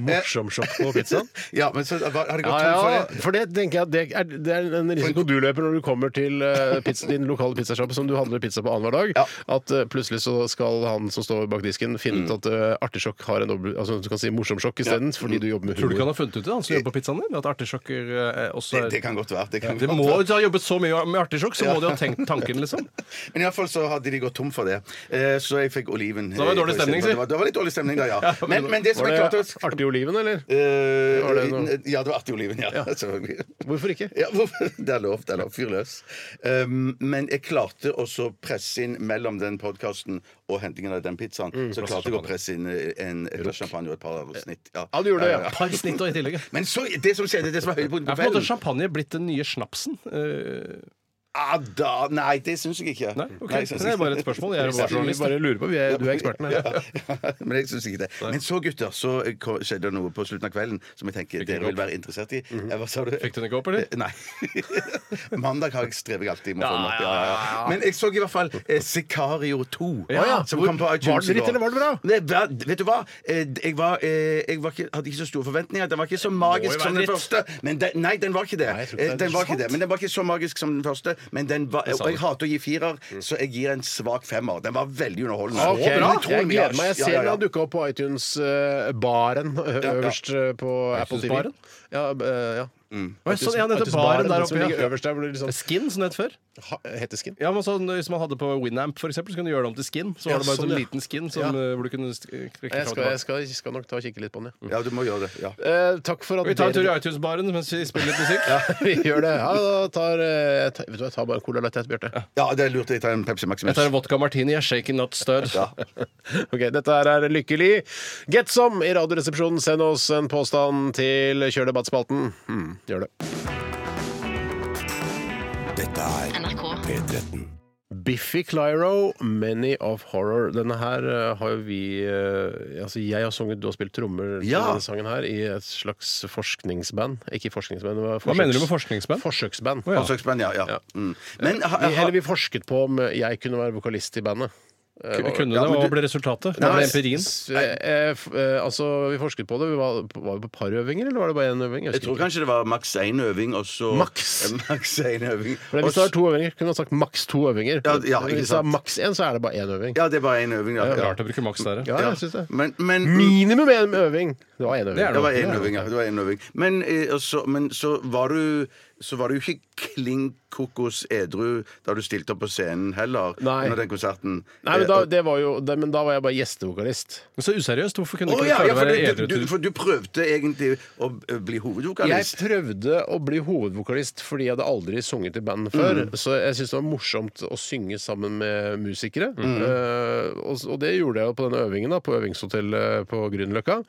Morsom sjokk på pizzaen.
Ja, men så var- har det
Ja,
gått tom for
ja,
det.
for det tenker jeg at det er, det er en risiko du løper når du kommer til eh, pizza, din lokale pizzasjappe som du handler pizza på annenhver dag.
Ja.
At eh, plutselig så skal han som står bak disken, finne ut at uh, artigsjokk har en dobbel Altså du kan si morsomsjokk isteden, fordi du jobber med
Tror du ikke
humor.
han har funnet ut det, han som jobber på pizzaen din? At artisjokker eh, også
Det,
er
det kan godt være. Det kan
De
godt
må
være.
jo ha jobbet så mye med artisjokk, så må de ha tenkt tanken, liksom.
Men i hvert fall så hadde de gått tom for det. Eh, Så jeg fikk oliven.
Da var det dårlig
eh,
stemning,
det var- Det var litt dårlig stemning da, ja. Men, men det som
Var
er klart
det
at,
artig oliven, eller?
eh,
Var det noe?
Ja, det var artig oliven, ja. Selvfølgelig.
Hvorfor ikke?
Ja, hvorfor- det er lov. det er lov, Fyr løs. Um, men jeg klarte også å presse inn mellom den podkasten og hentingen av den pizzaen.
Mm,
så klarte jeg å presse inn eh, en, et glass champagne og et par
Eh,
snitt. Ja.
Ja, du gjorde det, ja.
Par snitt og i tillegg. ja.
Men så, det som skjedde, det som var høydepunktet
Er på en
på
måte
kvelden
champagne blitt den nye snapsen? Eh,
ah, da, Nei, det syns jeg ikke.
Nei, ok.
jeg syns
det er bare et
ikke.
spørsmål. Jeg er
Vi
bare journalist.
bare lurer på. Vi er, du er eksperten her.
Men jeg synes ikke det. Men så, gutter, så eh, ko- skjedde det noe på slutten av kvelden som jeg tenker dere vil være interessert i. Eh, Hva sa du?
Fikk du den ikke opp, eller?
Nei. Eh, Mandag har jeg strever jeg alltid med å få den opp.
Ja,
Ja,
ja,
ja, ja. Men jeg så i hvert fall eh, Sicario 2.
Ja.
Som kom på iTunes
Var det
i
dritt,
går.
eller var det bra?
Nei, hva- vet du hva? Eh, Jeg, var, eh, jeg var ikke, hadde ikke så store forventninger. Den var ikke så
jo
magisk
være
som den
dritt.
første. Men den, nei, den var ikke det.
Nei, jeg tror ikke det
Eh,
er
Den var ikke
sant.
det. Men den var ikke så magisk som den første. Men den var, og jeg hater å gi firer, så jeg gir en svak femmer. Den var veldig underholdende.
Mm. Ok,
Men
Jeg
utrolig
gleder
mye
meg. Jeg
ass.
ser den
Ja, ja, ja.
har dukka opp på iTunes-baren øverst eh, på Apple TV.
iTunes-baren?
Ja, eh, ja.
Å, jeg så- sånn, ja, den heter
iTunes-baren,
baren der
den som
oppe, ja. Eh,
ligger øverst der, hvor det liksom
Skin, som det het før.
ha- heter Skin.
Ja, men sånn, Hvis man hadde på Winamp, for eksempel, så kunne du gjøre det om til skin. Så
Ja,
var det bare
sånn,
sånn
ja.
liten skin som, eh, hvor du kunne st-
Jeg
klikke fram og
skal, jeg
tilbake.
skal, skal nok ta og kikke litt på den, ja.
Ja, du må gjøre det. Ja.
Eh, takk for at
Vi tar en tur i
dere-
iTunes-baren mens vi spiller litt musikk.
Vi gjør det. Ja, da tar, eh, jeg tar, vet du, hva, jeg tar bare en Cola Light, jeg, Bjarte.
ja, det er lurt. Jeg tar en Pepsi Maximus.
Jeg tar en vodka martini. Jeg shaken not stirred.
Ok, dette her er Lykkelig. Get some i Radioresepsjonen. Send oss en påstand til Kjør debattspalten. Hmm, gjør det.
Dette er
NRK.
P13.
Biffy Clyro, 'Many of Horror'. Denne her eh, har jo vi eh, Altså, jeg har sunget, du har spilt trommer til
Ja.
denne sangen her, i et slags forskningsband. Ikke forskningsband, det var
Hva mener du med
forsøks-
forskningsband?
forsøksband?
ja.
Forsøksband, ja. ja. Mm. Men ha,
Vi,
ha,
eller vi forsket på om jeg kunne være vokalist i bandet.
Kunne det,
Ja, men
Eh, og hva
du-
ble resultatet? Hva
Nei,
ble empirien?
S- eh, f- eh, altså, vi forsket på det. Vi var, var vi på parøvinger, eller var det bare én øving?
jeg tror kanskje det var maks én øving, og så
Maks?
Eh, maks én øving.
Men
Og
hvis det var
så-
to øvinger, kunne man sagt maks to øvinger.
Ja, ja, ikke
hvis det er
sant.
maks én, så er det bare én øving.
Ja, det er bare én øving. Ja. Ja.
Rart å bruke maks der, ja.
Ja,
Ja.
jeg synes det.
Men, men
Minimum én øving! Det var én øving.
Det er
det var én øving, ja. Det var en øving. Men, eh, og så, men så var du så var du ikke klin kokos edru da du stilte opp på scenen heller,
Nei.
under den konserten.
Nei, men da,
Eh, og-
det var jo, det, men da var jeg bare gjestevokalist.
Men Så useriøst. Hvorfor kunne
Å,
ikke du
ja,
klare
ja,
å
for,
være
du,
edru
du, du,
til
for du prøvde egentlig å eh, bli
Jeg
hovedvokalist.
prøvde å bli hovedvokalist fordi jeg hadde aldri sunget i band før. Så jeg syntes det var morsomt å synge sammen med musikere. Eh, og, og det gjorde jeg jo på den øvingen, da, på øvingshotellet på Grünerløkka.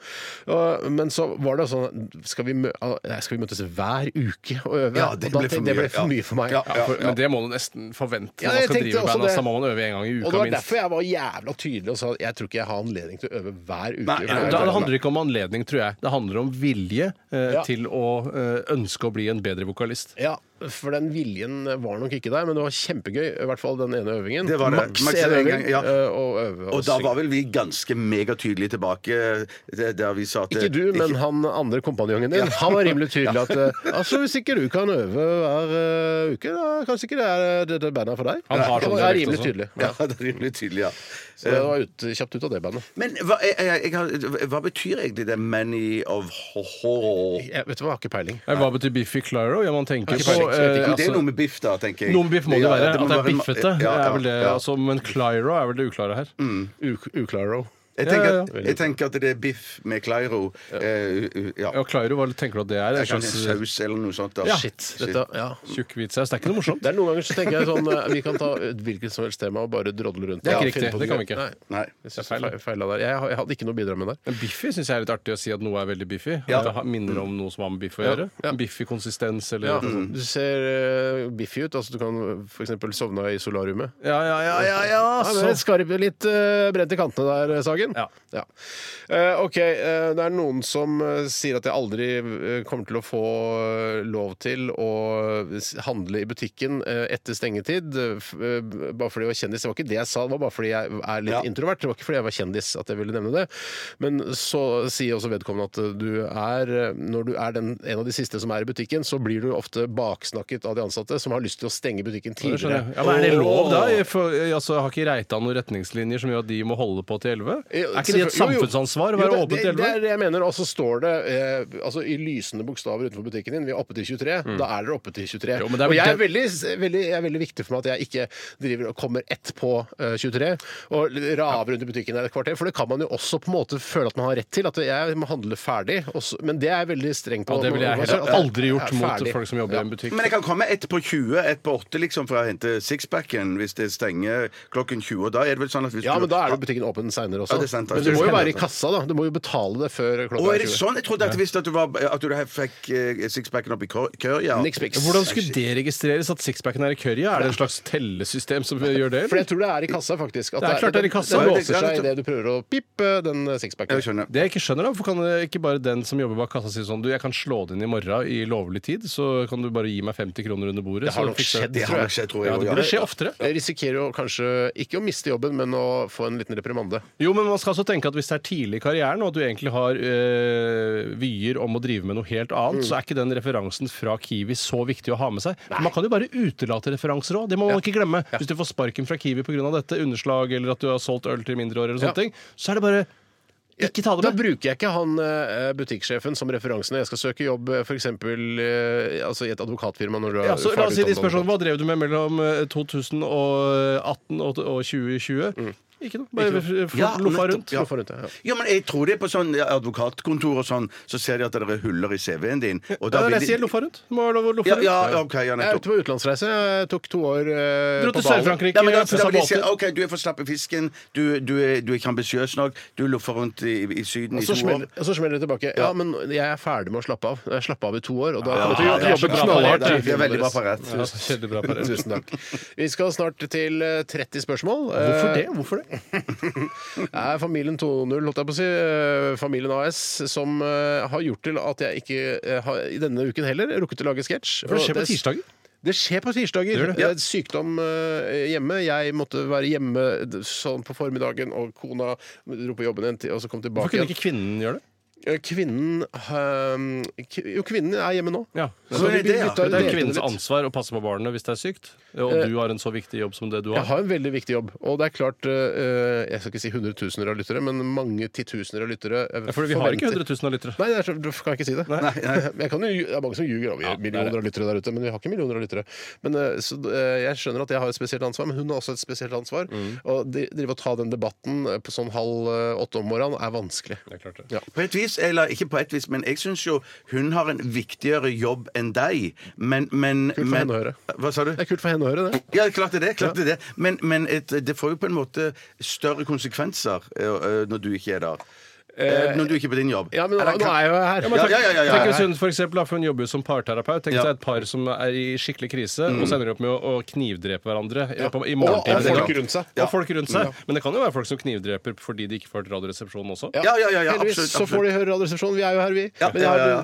Og- Men så var det sånn Skal vi, mø ah, nei, skal vi møtes hver uke og øve?
Ja, det
og da
ble for
tenkte jeg, det
mye,
ble for
ja.
mye for meg.
Ja,
Ja, for, Men det må du nesten forvente
Ja,
når man
jeg
skal
tenkte
drive
også
band.
det.
altså, Da må man øve en gang i
Og det
uka
var
minst.
derfor jeg var jævla tydelig og sa at jeg tror ikke jeg har anledning til å øve hver uke.
Nei,
for
nei,
jeg-
Da, det handler ikke om anledning, tror jeg. Det handler om vilje eh,
Ja.
til å eh, ønske å bli en bedre vokalist.
Ja, for den viljen var nok ikke der, men det var kjempegøy. I hvert fall den ene øvingen.
Det var det.
Maks
Maks
én
en
øving.
gang, ja.
eh, Og øve og,
Og da
synge.
var vel vi ganske megatydelige tilbake det- der vi sa at
Ikke du, men han andre kompanjongen din. Han var rimelig tydelig at eh, altså, hvis ikke du kan øve hver eh, uke, da kanskje ikke det er eh, det, det bandet er for deg.
Han har
det
sånn
var
dialekt
rimelig
også.
tydelig.
Ja, det er rimelig tydelig, ja.
Så det var ut, kjapt ut av det bandet.
Men hva, jeg, jeg, jeg, har- hva betyr egentlig det 'many of ho-ho'?
Jeg, vet du hva, jeg har ikke peiling.
Nei, Eh, Hva betyr Biffy Clyro? Ja, man tenker
Ikke
på
perfekt, så jeg
eh,
Jo, det er
altså,
noe med biff, da, tenker jeg.
Noe med biff må det
Ja,
være.
må
At det er
være-
biffete.
Ja,
er vel det,
ja.
altså, men Clyro er vel det uklare her.
U- Uklaro.
Jeg
Ja,
tenker,
ja,
at, jeg tenker at det er biff med Clairo. eh, u- ja.
Ja, Clyro, hva tenker du at det er? En slags
Kanskje
eh,
en saus eller noe sånt. Da.
Shit. Dette, ja.
tjukk hvitsaus? Det er ikke noe morsomt.
Det er Noen ganger så tenker jeg sånn eh, Vi kan ta et hvilket som helst tema og bare drodle rundt.
Det er
Ja,
ikke
finne
riktig.
på
Det kan vi
noe.
ikke.
Nei,
Nei.
jeg, synes jeg, feil, feila der. jeg, har- jeg hadde ikke noe å bidra med der.
Men Biffy syns jeg er litt artig å si at noe er veldig biffy.
Ja.
At det har- minner om noe som har med biff å
Ja,
gjøre.
ja.
Biffy konsistens eller
Ja, Du ser eh, biffy ut. altså Du kan f.eks. sovne i solariumet.
Ja, ja, ja, ja, ja,
Ja, det er
så-
litt skarp, litt eh, brent i kantene der, Sagen.
Ja.
Eh, OK, eh, det er noen som eh, sier at jeg aldri eh, kommer til å få eh, lov til å eh, s- handle i butikken eh, etter stengetid. eh, f- eh, bare fordi jeg var kjendis. Det var ikke det jeg sa, det var bare fordi jeg er litt
Ja.
introvert. Det var ikke fordi jeg var kjendis at jeg ville nevne det. Men så sier også vedkommende at eh, du er eh, Når du er den, en av de siste som er i butikken, så blir du ofte baksnakket av de ansatte som har lyst til å stenge butikken
Det
tidligere.
skjønner jeg. Ja, men er det lov, da? Jeg får- jeg- altså, har ikke Reitan noen retningslinjer som gjør at de må holde på til 11?
Jo,
Er ikke det et
Eh, selvfølgelig- jo, jo.
samfunnsansvar å
Jo,
være
det-
åpen til
det- Det er
11?
det jeg mener. Og så står det eh, altså, i lysende bokstaver utenfor butikken din Vi er oppe til 23. Da er dere oppe til 23.
Mm. Jo, men det er
og
vel
jeg er, veldig, veldig, jeg er veldig viktig for meg at jeg ikke driver og kommer ett på eh, 23 og raver rundt i butikken der et kvarter. For det kan man jo også på en måte føle at man har rett til. At jeg må handle ferdig. og så- men det er jeg veldig streng på.
Ja, det ville jeg
Altså,
heller
at jeg
aldri gjort
er
mot
ferdig.
folk som jobber i en butikk.
Men jeg kan komme ett på 20, ett på 8, liksom, for å hente sixpacken hvis det stenger klokken 20. Og da er det vel sånn at hvis
Ja,
du
men da er jo butikken åpen seinere også.
Ja, det er sant,
men
altså.
du må jo være i kassa, da. Du må jo betale det før
Å,
klokka
er
er
det
20.
sånn? Jeg trodde at hvis at du, var, at du fikk eh, sixpacken opp i kør, kør, ja.
Niks piks.
Hvordan skulle det registreres at sixpacken er i curry? Er det en slags tellesystem som gjør det?
For
Eller?
jeg tror det er i kassa, faktisk. At
Det er klart det er i kassa.
Den
Ja, det-
låser
ja, det-
seg idet du prøver å pippe den
Jeg
sixpacken.
skjønner.
Det jeg ikke skjønner da, Hvorfor kan det ikke bare den som jobber bak kassa si sånn Du, jeg kan slå det inn i morgen i lovlig tid, så kan du bare gi meg 50 kroner under bordet.
Det har
så
nok
fikser jeg
skjedd,
det.»
Det har nok skjedd, tror jeg.
Ja, det
også,
burde skje oftere.
Jeg risikerer jo kanskje ikke å miste jobben, men å få en liten reprimande.
Jo, men man skal også tenke at hvis det er tidlig i karrieren, og at du egentlig har øh, vyer om å drive med noe helt
Mm.
annet, så er ikke den referansen fra Kiwi så viktig å ha med seg. For Man kan jo bare utelate referanser òg. Det må man ikke glemme. Hvis du får sparken fra Kiwi pga. dette, underslag eller at du har solgt øl til mindreårige eller
Ja.
sånne ting, så er det bare ikke ta
Da
det med.
bruker jeg ikke han eh, butikksjefen som referanse når jeg skal søke jobb eh, f.eks. Altså i et advokatfirma når du er
Ja, så la oss si de sånn,
ferdig
spørsmålene,
utdannet.
Hva drev du med mellom eh, 2018 og og 2020? Ikke noe. Bare f-
Mm. Ja,
f- loffa
nettopp,
rundt.
ja.
Hvorfor rundt det? Ja.
Ja, men jeg tror det er på sånn advokatkontor og sånn, så ser de at det er huller i CV-en din. Og
Ja, det er
da vil
det jeg sier,
de...
loffa rundt. Du må ha lov å loffe
Ja,
rundt.
ja, ok, ja,
Jeg er
nettopp.
ute på utenlandsreise. Jeg tok to år eh,
Dro
på Bali.
til Sør-Frankrike.
Ja, men da, da
pusset
vil de si
båter.
OK, du er for slapp i fisken, du, du, er, du er ikke ambisiøs nok, du loffer rundt i, i
Og
Syden i
så
to år.
smeller, og så smeller det tilbake. Ja, men jeg er ferdig med å slappe av. Jeg slapp av i to år, og da kommer
Ja,
jeg til å
det er så
jobbe
bra
knallhardt.
parert,
i
det.
Vi er veldig bra
firmaet deres.
parert.
Ja, kjedelig bra parert.
Tusen takk. Vi skal snart til eh, 30 spørsmål.
Hvorfor det?
Hvorfor det? er familien 2.0, holdt jeg på å si. eh, Familien AS, som eh, har gjort til at jeg ikke eh, har i denne uken heller rukket å lage sketsj.
For det skjer
Og
på tirsdager.
Det skjer på tirsdager.
Gjør det?
Det er sykdom eh, hjemme. Jeg måtte være hjemme d- sånn på formiddagen, og kona dro på jobben en tid, og så kom
Hvorfor
tilbake
kunne
igjen.
ikke kvinnen gjøre det?
Eh, Kvinnen eh, k- Jo, kvinnen er hjemme nå.
Ja.
Så
Sånn
vi
er det, ja.
bytta
Det er
ut
kvinnens
litt. Eh,
ansvar å passe på barnet hvis det er sykt, og du har en så viktig jobb som det du
Jeg
har.
har en veldig viktig jobb, og det er klart eh, Jeg skal ikke si hundretusener av lyttere, men mange titusener av lyttere eh,
Ja, Fordi vi har ikke
forventer-
100 000 av lyttere.
Nei, det er, så- du kan ikke si det. Men Jeg kan jo, det er mange som ljuger. og Vi
Ja,
har
det er
millioner
det.
av lyttere der ute, men vi har ikke millioner av lyttere. Men, eh, så eh, jeg skjønner at jeg har et spesielt ansvar, men hun har også et spesielt ansvar. Og de, drive og ta den debatten eh, på sånn halv eh, åtte om morgenen er vanskelig.
På et vis, eller ikke på et vis, men jeg syns jo hun har en viktigere jobb enn deg. Men, men,
Kult for
men
henne å høre.
Hva sa du?
Det er kult for henne å høre det.
Ja, klart det er det. Klart det, er det. eh, Men, men et, det får jo på en måte større konsekvenser ø, ø, når du ikke er der. Eh, når du ikke er på din jobb.
Ja, men nå,
Eller
nå
kan-
er jeg jo her.
Ja, men
Ja,
tenk,
ja, ja, ja, ja.
tenk hvis hun for eksempel, da, for hun jobber jo som parterapeut. Tenk
Ja.
seg et par som er i skikkelig krise, og så ender de opp med å, å knivdrepe hverandre i, løpet av- i
Mm. Og, og
morgentimen.
folk rundt seg.
Og folk rundt seg. Men det kan jo være folk som knivdreper fordi de ikke får til Radioresepsjonen også.
Ja, ja, ja, ja
Heldigvis
absolutt.
så får
absolutt.
de høre Radioresepsjonen. Vi er jo her, vi.
Ja,
Men jeg har
ja, ja, ja.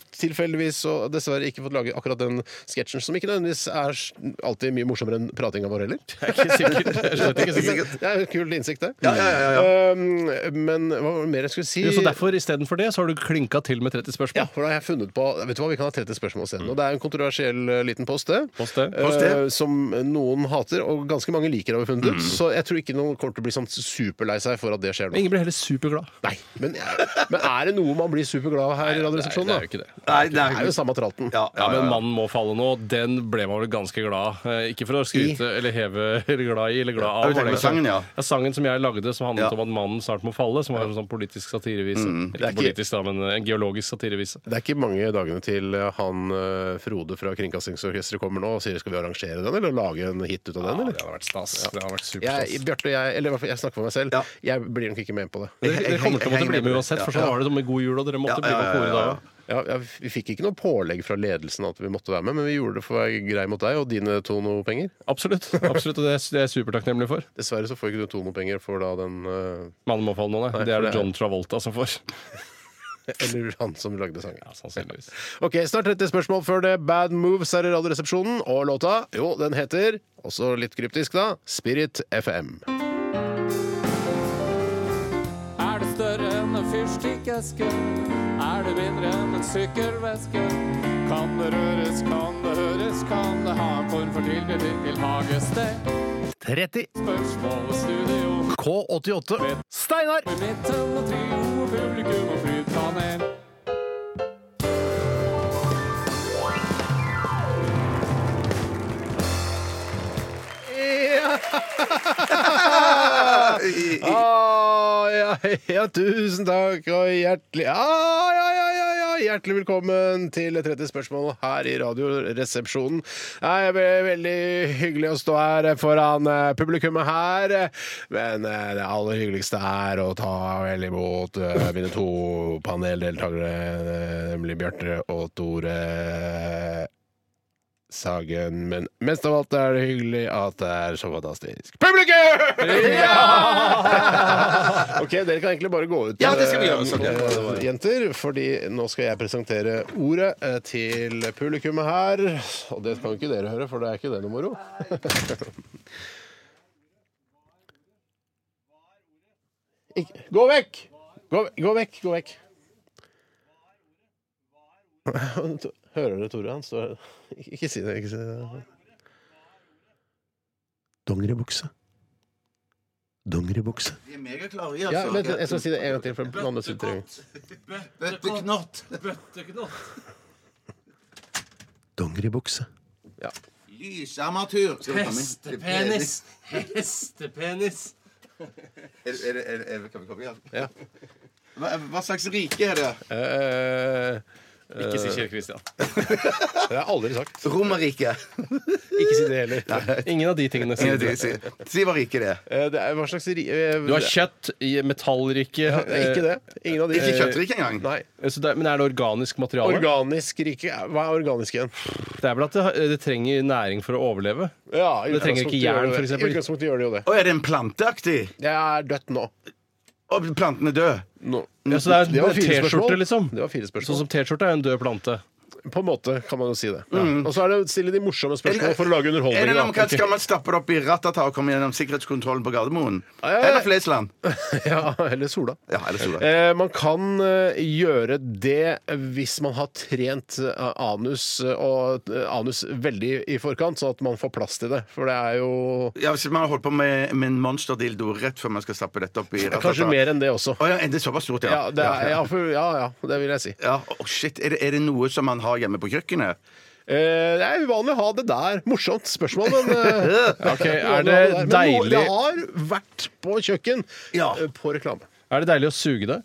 da tilfeldigvis og dessverre ikke fått lage akkurat den sketsjen, som ikke nødvendigvis er s- alltid mye morsommere enn pratinga vår heller.
Jeg er ikke sikker. Jeg er slett ikke sikker.
Det er jo en kul innsikt, det.
Ja, ja, ja, ja.
Um, men hva var det mer jeg skulle si?
Jo, så derfor, istedenfor det, så har du klinka til med 30 spørsmål.
Ja, for da har jeg funnet på Vet du hva, vi kan ha 30 spørsmål senere. Og det er en kontroversiell eh, liten post, det.
Post det.
Eh,
Mm. Post det. Mm.
som noen hater, og ganske mange liker, har vi funnet ut. Så jeg tror ikke noen kommer til å bli sånn superlei seg for at det skjer nå.
Ingen blir heller superglad.
Nei, men, men er det noe man blir superglad av her i Radioresepsjonen? da?
Nei, det er jo ikke det.
Nei,
Det er jo samme tralten.
Ja,
Ja, men 'Mannen må falle nå', den ble man vel ganske glad eh, Ikke for å skryte eller heve eller glad i eller glad av.
Ja, du tenker
var det sånn-
på sangen, ja.
Sangen som jeg lagde som handlet
Ja.
om at mannen snart må falle, som var en sånn politisk satirevise. Ikke,
er ikke-
politisk, da, men en geologisk satirevise.
Det er ikke mange dagene til han eh, Frode fra Kringkastingsorkesteret kommer nå og sier skal vi arrangere den, eller lage en hit ut av den, eller?
hadde vært stas. Det hadde vært
Jeg, Bjarte og jeg, eller i hvert fall jeg snakker for meg selv,
Ja.
jeg blir nok ikke med på det.
Dere, dere
Jeg- jeg-
kommer til å
jeg-
måtte bli med
jeg-
uansett, for
ja.
sånn var det som med God jul, og dere måtte
Ja,
bli
ja,
med
ja,
på koret da
ja, ja.
òg.
Ja, ja, vi fikk ikke noe pålegg fra ledelsen at vi måtte være med, men vi gjorde det for å være grei mot deg og dine Tono-penger.
Absolutt. absolutt, Og det er, det er jeg supertakknemlig for.
Dessverre så får ikke du Tono-penger for da den eh,
Mannen må falle nå, nei. Det
for
er det
det er-
John Travolta som får.
Eller han som lagde sangen.
Ja, sannsynligvis.
Ok, snart 30 spørsmål før det. Bad Moves her i Radioresepsjonen, og låta, jo, den heter, også litt kryptisk da, Spirit FM.
Er det større enn en fyrstikkeske? Er det mindre enn en sykkelveske? Kan det røres, kan det høres, kan det ha en form for tilknytning til hagested?
30.
Spørsmål og studio
K88. Steinar!
i midten og trio og publikum og flypanel.
Ja,
Eh, I- i-
ah, ja, ja, tusen takk og hjertelig ah, ja, ja, ja, ja, Hjertelig velkommen til 30 spørsmål her i Radioresepsjonen. Det er ve- veldig hyggelig å stå her foran eh, publikummet her, men eh, det aller hyggeligste er å ta vel imot eh, mine to paneldeltakere, eh, nemlig Bjarte og Tore. Sagen, men mest av alt er det hyggelig at det er så fantastisk. Publikum! ok, dere kan egentlig bare gå ut,
Ja, det skal vi
eh,
gjøre, Sagen.
eh, jenter. Fordi nå skal jeg presentere ordet eh, til publikummet her. Og det kan jo ikke dere høre, for det er ikke det noe moro. Ikke- Gå vekk! Gå, gå vekk, gå vekk. Hører dere Tore? Han står Ik- Ikke si det. ikke si det. Dongeribukse. Dongeribukse.
De er megaklare, i,
Ja,
altså.
vent, jeg skal si det en gang til. For den andre sitter i
Bøtteknott.
Dongeribukse.
Lysarmatur. Skal vi komme inn?
Hestepenis!
Er, er, er, er, er, kan vi komme igjen?
Ja.
Hva, hva slags rike er det?
Eh,
Ikke si Kjell Kristian.
det har jeg aldri sagt.
Romerriket.
Ikke si det heller.
Eh, Ingen av de tingene.
Si,
sier du.
si, si hva riket det er.
Eh, Det er, hva slags ri... eh,
Du har kjøtt, i- metallrike
det er Ikke det. Ingen av de.
Ikke kjøttriket engang.
Nei.
eh, så det er- Men er det organisk materiale?
Organisk rike Hva er organisk igjen?
Det er vel at det, har- det trenger næring for å overleve.
Ja, i
Det trenger ikke
utgangspunktet gjør det det.
jern, for eksempel.
I utgangspunktet gjør det jo det.
Og er det en planteaktig?
Jeg er dødt nå.
Og planten er død?
Nå.
Ja, så det er
Det var
en
fire spørsmål.
T-skjorte, liksom.
Det var fire spørsmål.
Sånn som T-skjorte er en død plante.
På en måte kan man jo si det. Og så er det å stille de morsomme spørsmålene for å lage
Er det
underholdning.
noe man kan,
da.
skal man stappe det opp i Ratata og komme gjennom sikkerhetskontrollen på Gardermoen?
ja, ja.
Eller Flesland?
Ja, eller sola.
Ja, eller Sola.
Eh, man kan eh, gjøre det hvis man har trent eh, anus, eh, og eh, anus veldig i forkant, sånn at man får plass til det. For det er jo
Ja, hvis man har holdt på med, med en monsterdildo rett før man skal stappe dette opp i Ratata.
kanskje mer enn det også.
Å ja, er det såpass stort, ja.
Ja, det er, ja, for, ja, ja, det vil jeg si.
Ja, å, shit, er det, er det noe som man har hjemme på kjøkkenet?
Eh, det er uvanlig å ha det der. Morsomt spørsmål, men eh,
Ok, Er
uvanlig å ha der.
det
Men noe-
deilig,
Det har vært på kjøkken
Ja.
eh, på reklame.
er det deilig å suge det?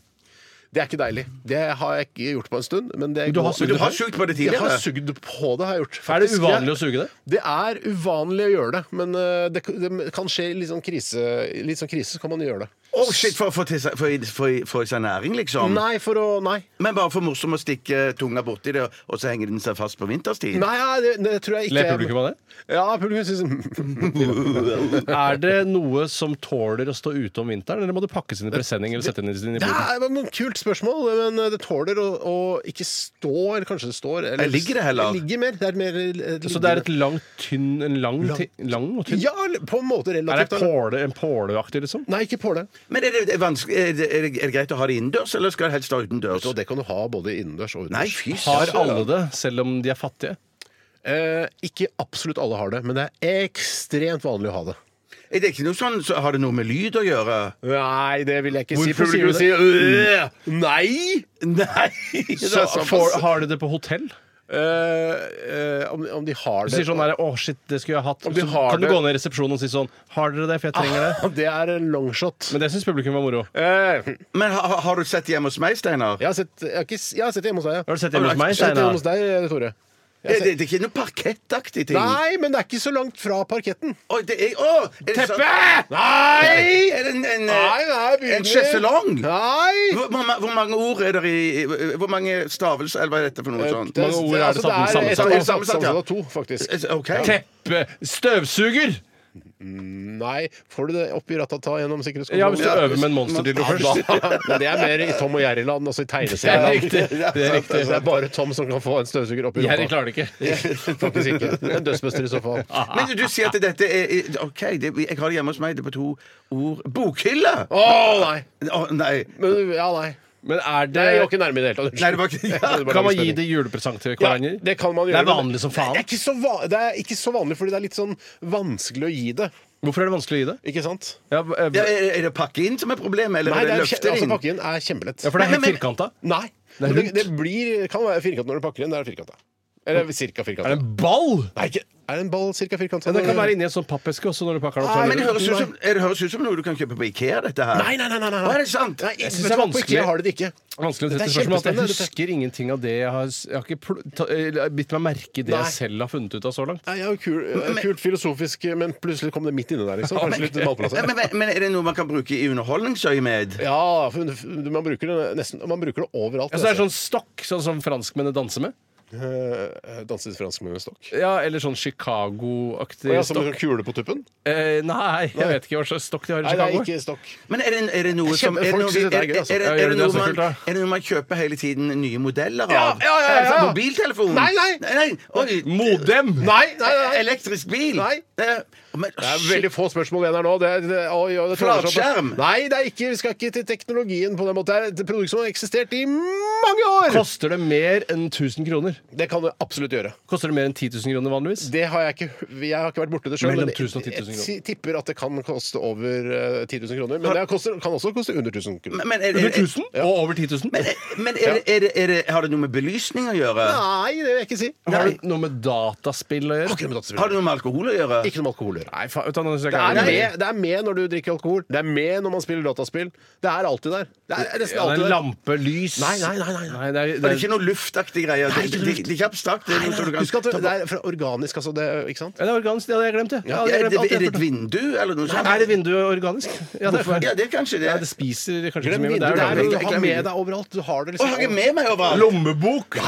Det er ikke deilig. Det har jeg ikke gjort på en stund. Men det
du har
Men du har sugd på det
Jeg har
tidligere.
sugd på det, har jeg gjort.
Er det
Faktisk,
uvanlig å
jeg-
suge det?
Det er uvanlig å gjøre det, men eh, det, det kan skje i litt sånn krise. I litt sånn krise så kan man gjøre det.
Å, shit, for å få til seg- for i- for i- for i seg næring, liksom?
Nei, for å Nei.
Men bare for morsom å stikke tunga borti det, og så henger den seg fast på vinterstid?
Nei, ja, det, det tror jeg ikke.
Ler publikum av det?
Ja, publikum syns
Er det noe som tåler å stå ute om vinteren, eller må det pakkes inn i presenning eller sette inn i inn i
Ja,
boden?
det var noen kult spørsmål, men eh, det tåler å, å ikke stå, eller kanskje det står eller,
Jeg ligger det heller.
Jeg ligger mer. Det er mer eh,
Så det er et langt, tynn En lang, ti- lang og tynn?
Ja, på en måte
Er det
relativt. da.
påle, en påleaktig, liksom?
Nei, ikke påle.
Men er det, er, vanskelig- er, det, er det er det greit å ha det innendørs, eller skal det helst være utendørs?
Så det kan du ha både innendørs og
Nei,
utendørs.
fy
Har
søren.
alle det, selv om de er fattige?
Eh, ikke absolutt alle har det, men det er ekstremt vanlig å ha det.
Er det ikke noe sånn, så Har det noe med lyd å gjøre?
Nei, det vil jeg ikke
si, for
Hvorfor sier du det? Mm. Nei!
Nei!
Så, får, har de det på hotell?
Eh, eh, om, om de har
Du
det
sier sånn der, å shit, det skulle jeg hatt.
Om de
Så
har
kan du
det- Ah.
gå ned i resepsjonen og si sånn Har dere det, for jeg trenger det?
Det er en longshot.
Men det syns publikum var moro.
Eh,
Men har, har du sett det hjemme hos meg, Steinar?
jeg, har sett, jeg, har ikke, jeg har sett det hjemme hos deg, ja.
Har du sett det hjemme hos
Jeg har
meg,
sett det hjemme
Steinar?
hos deg, eh, Tore.
Er det, det er ikke noe parkettaktig ting?
Nei, men det er ikke så langt fra parketten.
Oi, det er, å, er det sånn- Nei! Er det en, en,
nei, begynner-
en sjeselong?
Nei!
Hvor, hvor ma- hvor mange ord er det i i- Hvor mange stavelser eller hva er dette
Eh,
for noe sånt?
mange ord er det
Altså,
sammen-
er-
sammensatt?
er sammensatt,
Sammensatt, ja.
av to, faktisk.
OK.
Teppe! Støvsuger!
Nei, får du det opp i ratata gjennom sikkerhetskontrollen?
Ja, hvis du øver med en monsterdildo
Ja,
først.
da- Men det er mer i Tom og Jerry-land, altså i
Det er
tegneserieland.
riktig, det
Så-
er riktig.
så Det er bare Tom som kan få en støvsuger opp i
Jerry
rumpa.
klarer det ikke.
Faktisk ikke. En dødsbuster i så fall.
Men du sier at dette er er- OK, det, jeg har det hjemme hos meg. Det er på to ord. Bokhylle!
Å, nei!
Å, nei.
Men, ja, nei.
Men er det
Nei, Jeg var ikke nærme i det hele tatt.
Nei, det var ikke ja.
bare
Kan man
langspenning.
gi det julepresang til
Ja,
hverandre?
det kan man
Det
gjøre.
er
men
vanlig som
Det
faen.
er, ikke så va- det er ikke så vanlig, fordi det er litt sånn vanskelig å gi det.
Hvorfor er det vanskelig å gi det?
Ikke sant?
Ja, eh,
Ja, er, er det pakke inn som er problemet, eller
Nei, det
er
er,
det løfte
kje- altså,
inn?
pakken er kjempelett.
ja, for det er helt
men-
firkanta.
Nei.
Det
Men
er
Det,
rundt.
det blir, kan være firkant når du pakker inn. Det er firkanta. Eller cirka
Er det
firkanta.
en ball?
Nei, ikke Er det en ball cirka firkant?
Ja, det kan være inni en sånn pappeske også når du pakker den opp.
Nei,
så er
men det
det-
høres, ut som, er det høres ut som noe du kan kjøpe på Ikea, dette her.
Nei, nei, nei. nei, nei.
Å, er det sant?
jeg
synes
synes
det
det
er
er vanskelig. Jeg har det ikke.
Vanskelig å
Det er
tette spørsmål. at Jeg
kjempespennende, dette.
husker ingenting av det jeg har Jeg har ikke pl- ta- eller bitt meg merke i det
Nei.
jeg selv har funnet ut av så langt.
Nei, jeg har jo kul, eh, kult filosofisk, men plutselig kom det midt inne der. Liksom. Kanskje litt
Nei,
malplassert.
Men, men, men er det noe man kan bruke i underholdningsøyemed?
Ja, for man bruker det nesten Man bruker det overalt. altså.
Ja, så er det sånn stokk, sånn som franskmennene danser med.
Eh, Danset fransk med en stokk.
Ja, Eller sånn Chicago-aktig
Å, ja, som en
stokk.
sånn kule på tuppen?
Eh, nei, jeg vet ikke hva slags stokk de har i
Nei, det er
Chicago.
ikke stokk.
Men er det, er det noe
Jeg
som
kjemper-
er det
folk
noe,
synes
er,
dette er
er,
gøy, altså.
er,
Ja, gjør
er, det
det,
noe
det er så
man,
kult, da.
er det noe man kjøper hele tiden nye modeller
Ja,
av?
ja, ja, ja,
Fra
ja.
mobiltelefon?
Nei, nei.
Oi, E-
Modem!
Nei, nei, nei.
Elektrisk bil?
Nei.
Det er, men,
Det er
shit.
veldig få spørsmål igjen her nå. Det er, det, å, ja, det tåler seg opp.
Flatskjerm?
Nei, det er ikke, vi skal ikke til teknologien på den måten. Det er et produkt som har eksistert i mange år!
Koster det mer enn 1000 kroner?
Det kan du absolutt gjøre.
Koster det mer enn 10 000 kroner vanligvis?
Det har jeg, ikke, jeg har ikke vært borti det sjøl.
Mellom
men
1000 og 10 000
Jeg tipper at det kan koste over eh, 10 000 kroner. Men det koster, kan også koste under 1000 kroner.
Men, men, er,
Under
er,
1000? Og over 10 000?
er, men er, det- er, det- er, det- har det noe med belysning å gjøre?
Nei, det vil jeg ikke si.
Har det noe med dataspill å gjøre?
Ikke noe med dataspill.
Har det noe med alkohol å gjøre?
Ikke noe med alkohol å gjøre.
Nei, faen, vet du hva, nå synes jeg
Det
ikke
er,
jeg
med, det er med når du drikker alkohol. Det er med når man spiller dataspill. Det er alltid der. Det er nesten
Ja, det
alltid
er
der.
lampe, lys
Nei, nei, nei, nei, nei.
Nei, det er,
Det
det
er ikke
er,
noe luftaktig greier.
Nei,
Det,
ikke
det, det, det er ikke abstrakt. Det er noe som du kan
Husk at
ta
det
på.
er fra organisk, altså. Det, ikke sant?
ja, det er organisk. Det hadde jeg glemt, jeg. Ja, det
Ja, er,
hadde jeg
det,
glemt alt
er det
jeg
et
hørte.
vindu eller noe sånt?
Er det vinduet organisk? Ja, det er,
Ja, det er kanskje det.
ja, det spiser kanskje ikke så
Glem
mye, men
vinduet.
det er
Det er jo
jo organisk.
du har med deg overalt. Du har det
Å, har jeg
liksom.
med meg overalt?
Lommebok!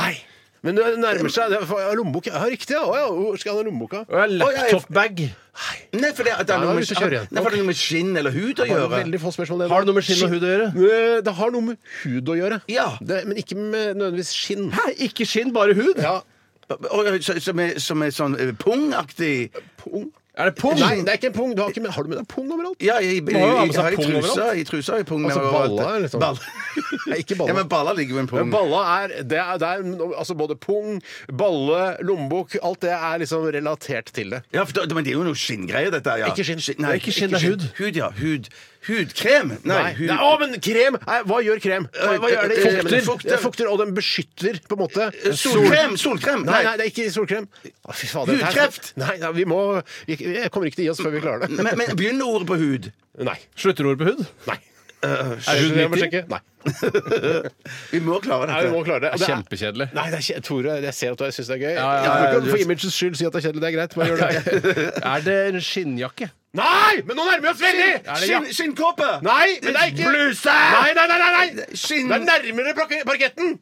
Men det nærmer seg det er for- ja, lommeboka. Ja, riktig, ja. Å, ja. Hvor skal jeg ha lommeboka?
Og jeg har laptopbag.
Nei, for det, at det
Nei, da
er noe
er
med,
vi ute og kjører igjen.
nei, for det er noe med skinn eller hud å
Det er
gjøre.
Veldig få spørsmål.
Har det noe med skinn og hud å gjøre?
Eh, Det har noe med hud å gjøre.
Ja.
Det, men ikke med nødvendigvis skinn.
Hæ, ikke skinn, bare hud?
Ja.
Og, så- som, er, som er sånn eh, pungaktig.
Pung.
Er det pung?
Nei, det er ikke en pung. Du har, ikke med, har du med deg pung overalt?
Ja, i, i, i,
Må jo ha med seg
har jeg
pung
trusa,
overalt.
i trusa har jeg pung
Altså,
med
baller, liksom.
Baller.
Nei, ikke
Ja,
baller.
men baller ligger jo i en
Men
pung.
Balla er, det er, det er altså både pung, balle, lommebok Alt det er liksom relatert til det.
Ja, for da, men det er jo noe skinngreier, dette. her, Ja.
Ikke skinn.
nei,
Det er ikke skinn, det er hud.
Hud, ja. Hud. Hudkrem. Nei, hud.
Nei, Å, men krem! Nei, hva gjør krem? Hva, hva gjør det? i
Fukter.
kremen? Fukter. Det fukter, og den beskytter, på en måte.
Eh, Solkrem! Solkrem!
Nei, nei, det er ikke solkrem. Å, fy fader, det her-
Hudkreft!
Nei, nei, vi må vi, Jeg kommer ikke til å gi oss før vi klarer det.
Men, men begynn med ordet på hud.
Nei.
Slutterord på hud?
Nei.
Er hud
Jeg må
nyttig?
sjekke. Nei.
Vi må klare
nei, vi må klare det. Og
Det
dette.
er
det er-
kjempekjedelig.
Nei, det er kje- Tore, jeg ser at du syns det er gøy.
ja, ja,
Jeg kan
du-
For imagets skyld si at det er kjedelig. Det er greit. Bare gjør det.
Er det en skinnjakke?
Nei! Men nå nærmer vi oss veldig!
Er det
Skinn,
jakk-
skinnkåpe!
Nei, men det er ikke
Bluse!
Nei, nei, nei! nei, nei.
Skinn-
Det er nærmere parke- parketten!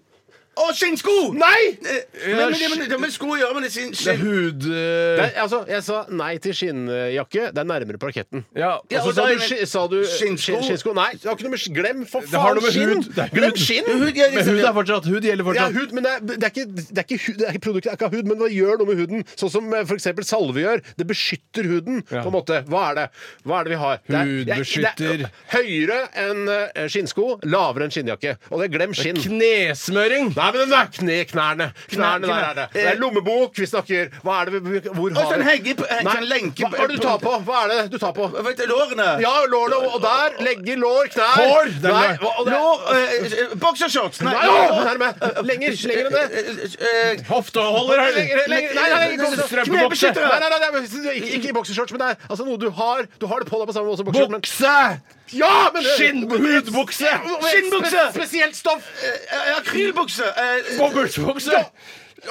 Og skinnsko!
Nei!
Eh, Men, men, men, det med sko å gjøre, men det er skinn...
Det er
skinn-
hud... eh,
Nei, altså, jeg sa nei til skinnjakke. Det er nærmere parketten.
Ja, altså,
Og så
og
sa
da-
du, ski- sa du
Skinnsko.
skinnsko. skinnsko. Nei, det har ikke noe med Glem for
har
faen
noe med
skinn!
hud. Det er hud.
Glem skinn!
Hud, ja,
Men
liksom,
hud
ja.
er fortsatt Hud gjelder
Ja,
fortsatt.
hud, men det er, det, er ikke, det, er ikke, hu- det er ikke produktet, det er ikke huden, men hva gjør noe med huden? Sånn som eh, for eksempel salve gjør. Det beskytter huden,
Ja.
på en måte. Hva er det? Hva er det vi har? Det er,
Hud
det er- Det
beskytter.
er høyere enn eh, skinnsko, lavere enn skinnjakke. Og det er glem skinn.
Knesmøring!
Nei, men den er kne, knærne. Knærne der
knær.
er det. Det er lommebok vi snakker. Hva er det vi Hvor
Og
har
sånn
vi
hegge på- eh,
Nei,
sånn lenke
Hva er det du tar på? Hva er det du tar på?
Hva vet du, lårene?
Ja, lårene og- og der. Legger, lår, knær.
Hår, det er
Nei,
lår.
hva- og det-
Lår... Eh, eh, boksershorts!
Nei, å, nærme. Lenger, lenger enn det.
det.
Hofteholder! er det.
Lenger, lenger, nei, nei, nei,
Strømpebokse.
Knebeskyttere! Nei, nei, nei, nei, men ikke- ikke bokseshorts, men det er altså noe du har. Du har det på deg på samme måte som bokseshorts. men-
Bukse!
Ja, men
Skinn- hudbukse!
Skinnbukse! Spesielt stoff.
Eh, Akrylbukse! Eh,
Bobbelsbukse!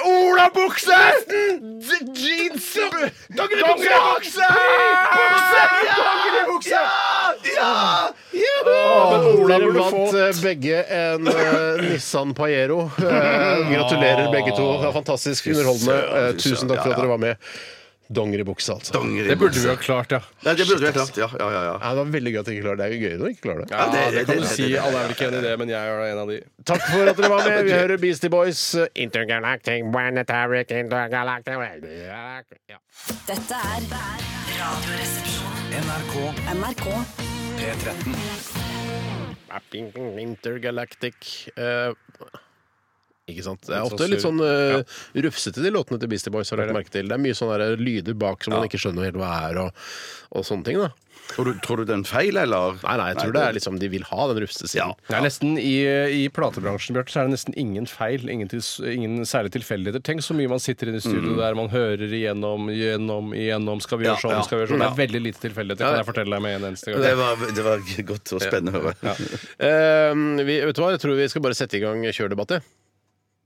Olabukse! Jeans! Dongeribukse!
Dongeribukse!
Ja!
Men Olav
blir du
vant
fått?
eh, begge en eh, Nissan Pajero. Eh, gratulerer, begge to. Det var fantastisk underholdende. Eh, tusen takk for at dere var med. Dongeribukse, altså.
Det burde vi ha klart, ja.
Ja, det burde vi ha klart. Ja, ja, ja. ja.
Ja, det var veldig gøy at dere ikke klarer det. Det er jo gøy når dere ikke klarer det.
Ja,
det-
det kan
det-
du
det-
si. Alle er vel ikke enig i det, men jeg er en av de.
Takk for at dere var med. Vi hører Beastie Boys. eh,
Intergalactic, planetary, intergalactic ja.
Dette er Radioresepsjonen.
NRK
NRK.
P13.
Intergalactic eh, Ikke sant? Det er
Litt sånn
ofte litt
surr.
sånn eh, rufsete de låtene til Beastie Boys. har jeg lagt merke til Det er mye sånne der lyder bak som man ikke skjønner helt hva er, og, og sånne ting. da
Tror, du, tror du det er en feil, eller?
Nei, nei, jeg tror det er liksom de vil ha den rufsete siden.
Det er nesten I, eh, i platebransjen Bjørte, så er det nesten ingen feil. Ingen, tils- ingen særlige tilfeldigheter. Tenk så mye man sitter inne i studio der man hører igjennom, igjennom, igjennom. Skal vi
Ja,
gjøre sånn?
ja.
Skal vi gjøre sånn? Det er veldig lite tilfeldigheter, kan jeg fortelle deg med en eneste gang.
Det var, det var godt og spennende å høre.
Eh, vi, vet du hva, jeg tror vi skal bare sette i gang kjørdebatt, jeg.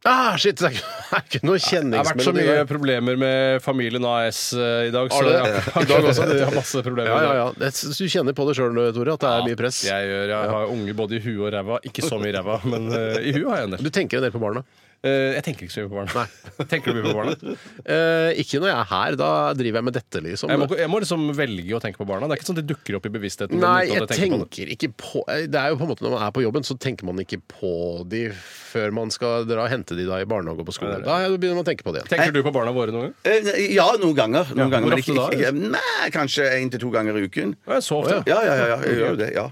Ah, shit! Det er ikke, det er ikke noe
Det har vært så
kjenningsmelodi.
mye
der.
problemer med familien AS eh, i dag.
Har
Så
det?
jeg har-
I dag også?
Jeg har masse problemer.
Ja,
i
ja,
dag.
ja. Jeg synes Du kjenner på det sjøl, Tore, at det er mye press.
Jeg, gjør, jeg har unger både i huet og ræva. Ikke så mye i ræva, men eh, i huet har jeg en del.
Du tenker en del på barna.
Eh, jeg tenker ikke så mye på barna. Tenker du mye på barna?
Eh, ikke når jeg er her. Da driver jeg med dette, liksom.
Jeg må, jeg må liksom velge å tenke på barna. Det er ikke sånn at de dukker opp i bevisstheten. min
Nei,
uten
jeg
at på det.
tenker ikke på eh, Det er jo på en måte Når man er på jobben, så tenker man ikke på de før man skal dra og hente de da i barnehage og på skole. Da begynner man å tenke på det igjen.
Tenker du på barna våre noen gang?
Eh, Ja, noen ganger. Noen
Ja,
ganger
hvor
men
ofte
ikke-
da,
ikke- Nei, kanskje én til to ganger i uken.
Å, Jeg så ofte.
Å,
Ja, ja, ja. ja jeg gjør jo det. ja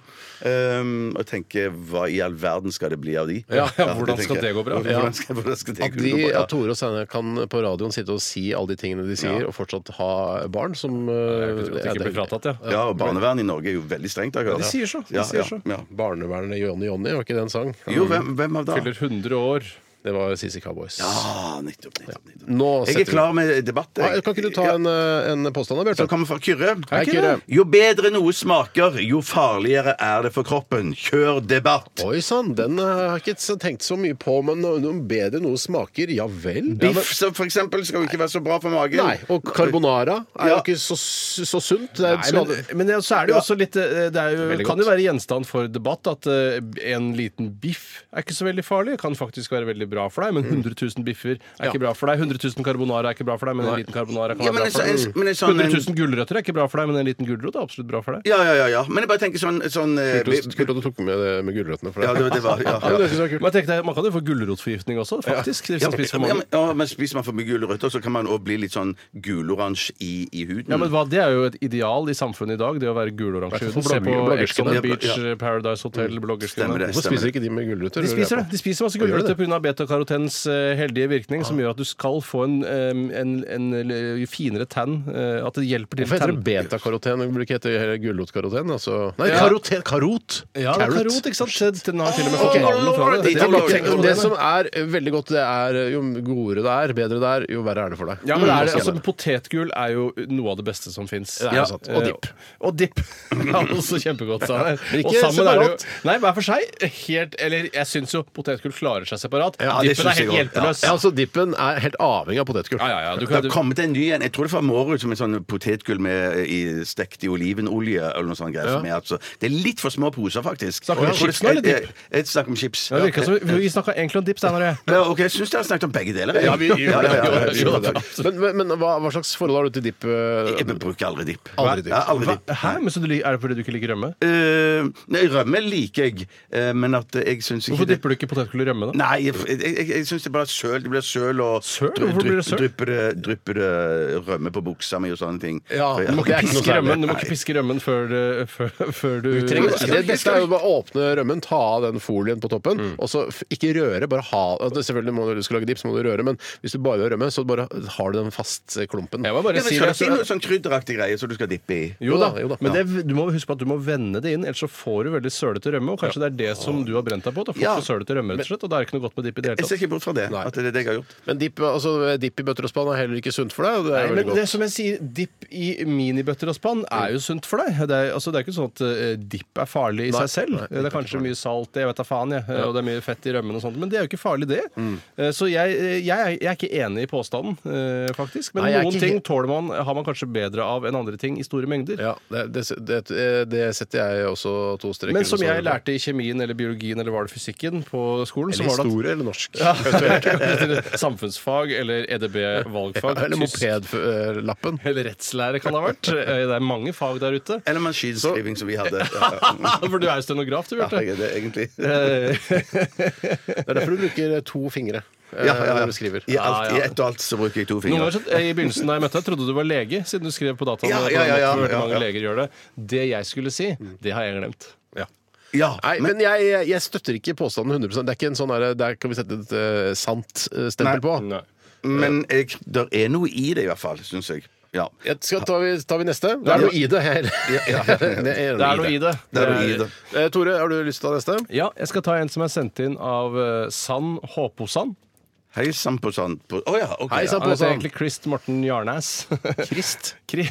um, Og tenker hva i all verden skal det bli av de?
Ja, ja, hvordan
det tenker
skal
jeg.
det gå bra?
Hvordan skal, hvordan skal det
At,
gå
de,
bra? Ja.
at Tore og Steinar kan på radioen sitte og si alle de tingene de sier, og fortsatt ha barn som eh,
Jeg vet ikke,
ja,
Ikke
det-
blir fratatt, ja.
Ja, og Barnevernet i Norge er jo veldig strengt. har jeg hørt.
de sier så, de
Ja,
sier så.
Ja, ja.
Barnevernet Jonny Jonny, var ikke det en sang? Mm.
Jo, hvem, hvem av da?
Fyller 100 år.
Det var CC Cowboys.
Ah, nettopp, nettopp, nettopp.
Nå
Jeg er
setter vi
klar med debatt. jeg.
Ah,
Ja, Kan ikke du ta
Ja,
en, eh, en påstand da,
Som
Bjarte?
kommer fra Kyrre.
Hei, Kyrre.
Jo bedre noe smaker, jo farligere er det for kroppen. Kjør debatt!
Oi sann, den eh, har jeg ikke så- tenkt så mye på, men no- noe bedre noe smaker, ja vel?
Biff som for eksempel skal jo ikke være så bra for magen.
Nei, og carbonara er jo
Ja.
ikke så, så sunt. Det er
Nei, men,
skade-
men det- så er det jo
Ja.
også litt eh, Det er jo,
Veldig
kan jo
godt.
være gjenstand for debatt at eh, en liten biff er ikke så veldig farlig. Kan faktisk være veldig bra for deg, men 100 000 biffer er ikke bra for deg. 100 000 carbonara er ikke bra for deg, men en liten carbonara kan
Ja,
være bra
men en
for
sånn-
deg.
en- men en sånn-
100 000 gulrøtter er ikke bra for deg, men en liten gulrot er absolutt bra for deg.
Ja, ja, ja, ja. Men jeg bare tenker sånn, sånn eh,
Kult at- Kult at du tok med det med gulrøttene. For
Ja, det, det var, ja, ja.
Men tenk deg, Man kan jo få gulrotforgiftning også, faktisk. hvis
Ja,
man spiser for
men- ja,
mange.
men, ja, men spiser man for mye gulrøtter, så kan man òg bli litt sånn guloransje i, i huden.
Ja, men hva, Det er jo et ideal i samfunnet i dag, det å være guloransje. i
Hvertfall
huden. Se på
blogger-
Ex on
bloggerskene.
the Beach,
Ja.
Paradise Hotel,
Stemmer
bloggerskene.
det.
Hvorfor spiser ikke de med gulrøtter? lurer
De
jeg
spiser det.
på?
De spiser masse
gjør Ah.
gulrøtter
det?
pga. betakarotens eh, heldige virkning, som gjør at du skal få en, eh, en, en, l- finere tann. eh, At det hjelper til
Hvorfor
med
heter
tann.
det betakaroten? Det burde ikke hete hele gulrotkaroten. Altså. Nei,
Ja.
karoten, karot!
Ja, det er
Carrot. Oh,
karot, ikke sant? Den har til og med
Ok.
fått navnet fra det.
Jeg bare tenker,
Karot.
det som er eh, veldig godt, det er eh, jo godere det er, bedre det er, jo verre er det for deg.
Ja, men det er,
Mm.
altså, Potetgull er jo noe av det beste som fins.
Det er jo sant. Og dipp.
Og dipp. Ja, også kjempegodt. Steinar.
Men ikke
Og sammen er det
separat.
jo Nei, hver for seg. Helt Eller jeg syns jo potetgull klarer seg separat,
Ja, det
Dippen
synes
er helt
jeg også.
hjelpeløs.
Ja, altså Dippen er helt avhengig av potetgull.
Ja, ja, ja, du
Det
kan,
har kommet en ny en. Jeg tror det var Mårud som en sånn potetgull med i, stekt i olivenolje eller noe sånt. greier som er, altså. Det er litt for små poser, faktisk.
Snakker vi om
Jeg tror
chips nå, eller
det-
dipp?
Jeg, jeg snakker om chips.
Ja, det virker som Vi snakka egentlig om dipp, Steinar og jeg.
Ja, ok, Jeg syns dere har snakket om begge deler. jeg.
Ja, vi gjorde det.
ja, ja, ja,
Vi gjorde
ja.
det. Men, men, men hva, hva slags forhold har du til dipp? eh,
Jeg bruker aldri dipp.
Aldri dipp.
Ja, aldri
Hva?
dipp.
Hæ? Men så du, lik- er det fordi du ikke liker rømme?
Eh, nei, rømme liker jeg, eh, men at jeg syns ikke
Hvorfor dipper du ikke potetgull i rømme, da?
Nei, jeg, jeg, jeg, jeg syns det bare er søl. Det blir søl og
Søl?
dry-
Hvorfor blir det
drypp-
søl?
Drypper det, drypper det rømme på buksa mi og sånne ting.
Ja,
For jeg-
du må ikke
Det er
piske
noe særlig.
Rømmen, du må
Nei.
ikke piske rømmen før, det- før, før du
trenger-
skal-
Det beste er jo bare å åpne rømmen, ta av den folien på toppen,
Mm.
og så f- ikke røre. bare ha, altså Selvfølgelig må du, du skal lage dipp, så må du røre, men hvis du bare gjør rømme, så bare har du den fast eh, klumpen.
Jeg må bare
Ja, men
si
skal
det.
det ikke inn noe sånn krydderaktig greie som du skal dippe i?
Jo da,
Jo da, jo da.
men det, du må huske på at du må vende det inn, ellers så får du veldig sølete rømme. Og kanskje det er det som du har brent deg på. Da får
Ja.
du sølete rømme, rett og slett, og det er ikke noe godt med dipp i det hele
Jeg
tatt.
ser ikke bort fra det.
Nei.
At det er det jeg har gjort.
Men dipp altså, dipp i bøtter og spann er heller ikke sunt for deg. og Det er
Nei,
veldig
men det
godt.
som jeg sier, dipp i minibøtter og spann er jo sunt for deg. Det er, altså, det er ikke sånn at eh, dipp er farlig i
Nei,
seg selv.
nei, dipp
det er kanskje mye salt, jeg vet da faen, jeg. Og det er mye fett i rømmen og sånt. Men det er jo ikke farlig, det.
Mm.
Eh, Så jeg, eh, jeg, er- jeg er ikke enig i påstanden, eh, faktisk. Men
Nei, jeg er
noen
ikke
ting
helt-
tåler man, har man kanskje bedre av enn andre ting i store mengder.
Ja, det, det, det, det setter jeg også to streker
Men som
under. sånn
jeg lærte i kjemien eller biologien eller var det fysikken på skolen,
Eller
så var det at
historie eller norsk.
Eventuelt. Samfunnsfag eller E EDB-valgfag.
Eller mopedlappen.
Eller rettslære kan det ha vært. Eh, Det er mange fag der ute.
Eller maskinskriving som vi hadde. Ja, Mm.
For du er jo stenograf, du, Bjarte.
jeg er det, egentlig.
Eh,
Det er derfor du bruker to fingre eh,
Ja, ja,
når du
ja.
skriver.
I, alt,
Ja, ja.
I ett og alt så bruker jeg to
Noen ganger
fingre.
så, eh, I begynnelsen da jeg møtte deg, trodde du var lege, siden du skrev på dataen.
Ja,
på den
ja, ja,
måten
ja,
veldig
ja,
mange
ja.
leger gjør det. Det jeg skulle si, det har jeg glemt.
Ja,
Nei,
men
men jeg, jeg støtter ikke påstanden 100 Det er ikke en sånn der, der kan vi sette et eh, sant eh, stempel
Nei.
på.
Nei.
men jeg, der er noe i det, i hvert fall, syns jeg. Ja.
Jeg skal, tar, vi, tar vi neste? Det er noe i det her.
ja.
Det
Det er noe i det.
Det er noe i det.
Eh, Tore, har du lyst til å ta neste?
Ja, jeg skal ta en som er sendt inn av eh, Sann Håposan.
Hei sann på sann på Å ja, OK.
Hei,
ja.
sann.
Han heter
Håposan.
egentlig Christ Morten Jarnæs.
Krist.
Kri-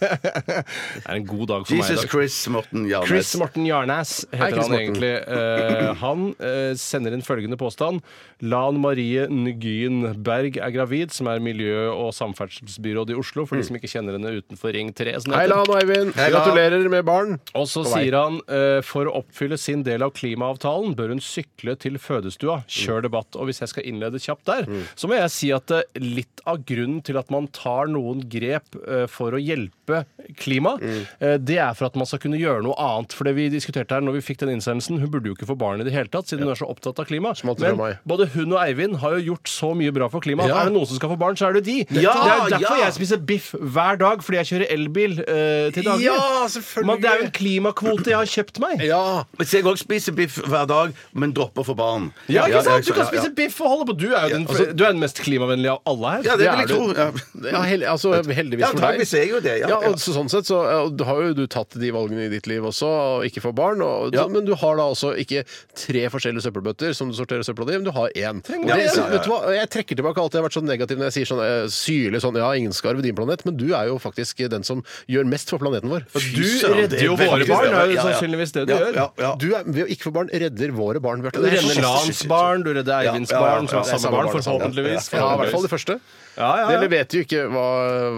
det er en god dag for meg i
Jesus
dag.
Chris Morten Jarnes.
Chris Morten Jarnæs
Hei,
heter
Chris
han
Morten.
egentlig. Eh, han eh, sender inn følgende påstand. Lan Marie Nguyen Berg er gravid, som er miljø- og samferdselsbyråd i Oslo, for de som ikke kjenner henne utenfor Ring 3. som det
Mm. Hei,
heter.
Lan og Eivind.
Hei, Lan.
Gratulerer med barn.
Og så
På vei.
sier han eh, for å oppfylle sin del av klimaavtalen bør hun sykle til fødestua. Kjør debatt. Og hvis jeg skal innlede kjapt der,
Mm.
så må jeg si at eh, litt av grunnen til at man tar noen grep eh, for å hjelpe klimaet,
Mm.
eh, det er for at man skal kunne gjøre noe annet. For det vi diskuterte her når vi fikk den innsendelsen, hun burde jo ikke få barn i det hele tatt, siden hun er så opptatt av klima.
Smalt fra
Men
meg.
både hun og Eivind har jo gjort så mye bra for klimaet.
Ja.
Er det noen som skal få barn, så er det de. det er jo derfor
ja.
jeg spiser biff hver dag, fordi jeg kjører elbil eh, til daglig.
Ja, selvfølgelig.
Men det er jo en klimakvote jeg har kjøpt meg.
Ja.
Mens jeg òg spiser biff hver dag, men dropper for barn.
Ja, ikke sant? Du
ja,
kan
ja.
spise biff og holde på. Du er jo den,
altså-
du er den mest klimavennlige av alle her.
Ja, det vil
Det
jeg
er
tro. Ja.
Ja, hel, altså, heldigvis
Ja,
for deg.
antageligvis er jeg jo det, ja.
og så, sånn sett så ja, og har jo du tatt de valgene i ditt liv også, og ikke får barn. Og,
Ja.
men du har da også ikke tre forskjellige søppelbøtter som du sorterer søpla di i, men du har én. Og
du
det-
én?
så- Vet du hva, jeg trekker tilbake alt jeg har vært sånn negativ når jeg sier sånn eh, syrlig sånn ja, ingen skarv i din planet, men du er jo faktisk den som gjør mest for planeten vår.
Du redder jo våre barn. Det er jo sannsynligvis det du
ja,
gjør.
ja, ja.
Du er, ved å ikke få barn redder våre barn, Bjarte.
Du
Det er
redder
så-
Lans barn, du redder Eivinds
Ja, ja, ja,
barn, som
ja,
er
det er
samme
samme
barn,
barn, samme barn.
forhåpentligvis.
Ja, i hvert fall det første.
Ja, ja, ja.
Dere vet jo ikke hva,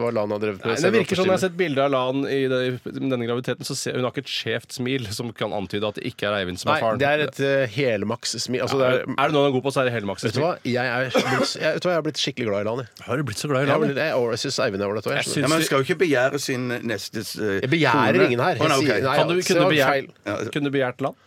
hva Lan har drevet med.
Nei, det
siden
virker som når jeg har
åttetiden.
sett bilde av Lan i det- i denne graviditeten, så ser hun har ikke et skjevt smil som kan antyde at det ikke er Eivind som er
Nei,
faren.
det er et eh, helmaks smil. Altså, det
er,
er,
er det noe han er god på, så er det helmaks.
Vet du hva? Jeg er, blitt, jeg, vet du hva? jeg er blitt skikkelig glad i Lan. Jeg,
Har du blitt så glad i
jeg,
Lan?
jeg, jeg, jeg syns Eivind er ålreit òg. Jeg,
Ja, men man skal jo ikke begjære sin nestes eh,
jeg begjærer
kone.
ingen her.
Å,
Jeg
nei, ok.
sier- nei,
Kan du,
det
kunne,
var
begjært,
feil.
kunne du begjært Lan?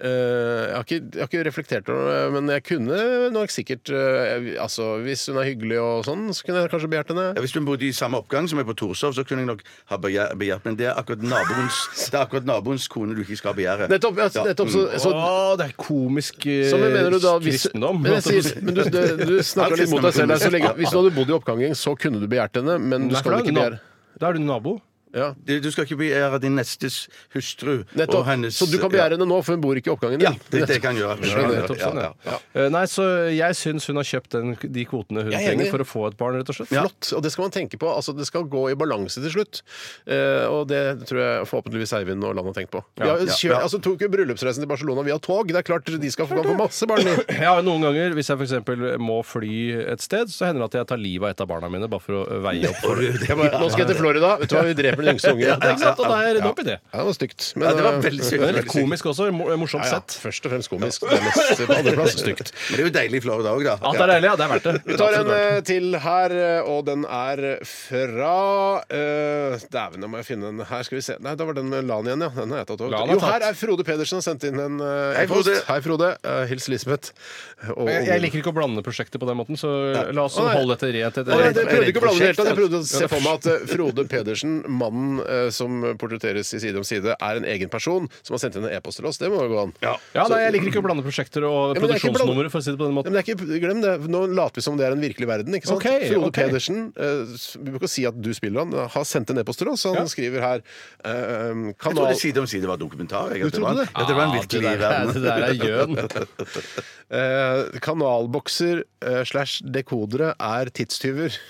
Eh, jeg, har ikke, jeg har ikke reflektert over det, men jeg kunne nok sikkert eh, altså, Hvis hun er hyggelig og sånn, så kunne jeg kanskje begjært
Ja,
henne.
hvis hun bodde i samme oppgang som jeg på Torshov, så kunne jeg nok ha begjæ- begjært Men det er akkurat naboens, det er akkurat naboens kone du ikke skal begjære. mm.
Nettopp! Ja, nettopp så, så,
Åh, det er komisk eh,
så, men mener du da hvis,
kristendom.
men, jeg sier, men du, du, du snakker litt mot deg selv. her, Så lenge, hvis du hadde bodd i oppgangen, så kunne du begjært henne, men du
Nei, for
skal
da er
ikke
du na-
begjære
Da er du nabo.
Ja.
Du du skal ikke begjære din nestes hustru og
Nettopp.
hennes
Så du kan begjære henne nå, for hun bor ikke i oppgangen
Ja,
din.
ja det, det kan jeg gjøre.
Ja, nettopp sånn, ja.
Ja, ja.
Eh, Nei, så jeg syns hun har kjøpt den, de kvotene hun
Jeg er enig.
trenger for å få et barn, rett og slett.
Flott. Og det skal man tenke på. Altså, det skal gå i balanse til slutt. Eh, og det tror jeg forhåpentligvis Eivind og Land har tenkt på. Vi har,
ja,
kjør,
ja.
Altså, tok jo bryllupsreisen til Barcelona via tog. Det er klart de skal få, kan få masse barn. de.
Ja, noen ganger, Hvis jeg f.eks. må fly et sted, så hender det at jeg tar livet av et av barna mine bare for å veie opp. for det.
Nå skal jeg til Florida. Vet du hva, vi dreper den yngste ungen.
Ja, ikke sant? Og da
Ja,
er jeg redd opp i det.
det var stygt. Men,
Ja, det var
eh,
veldig
Det
sykt.
er litt
veldig sykt.
komiskt også. mo- eh, Morsomt
ja, ja.
sett.
Først og fremst komisk. Det er mest på andreplass stygt.
Men det er jo deilig i Florida òg, da.
At det er deilig, ja. Det er verdt det.
Vi tar en
Absolutt verdt det.
eh, til her, eh, og den er fra eh, Dæven, nå må jeg finne en her. Skal vi se. Nei, da var den med Lan igjen, ja. Den har jeg tatt
Lan
over.
er
Jo,
tatt.
her er Frode Pedersen har sendt inn en eh,
Hei,
e-post.
Frode.
Hei, Frode. Eh, hils Lisbeth. Og,
Jeg, jeg liker ikke å blande prosjekter på den måten, så la oss
eh, Å, nei.
holde dette
Å,
rent.
nei, det
etter-
prøvde ikke å blande det helt, jeg prøvde å
Ja,
se
det-
for meg at eh, Frode Pedersen, mannen eh, som portretteres i Side om side, er en egen person som har sendt inn en e-post til oss. Det må jo gå an.
Ja, nei, Jeg liker ikke å blande prosjekter og
Ja, men det er ikke
produksjonsnumre, for å si det på den
Ja,
måten.
Men det er ikke, glem det. Nå later vi som det er en virkelig verden. ikke sant?
Ok,
Frode
ok.
Pedersen, eh, s- vi må ikke si at du spiller han, har sendt en e-post til oss. Han
Ja.
skriver her eh, um,
Jeg
kanal...
trodde Side om side var dokumentar. Jeg,
Du
at
trodde
det var,
det?
At det var en
Ah,
virkelig
det der-
verden.
Det der er gjøn.
eh, kanalbokser eh, slash dekodere er tidstyver.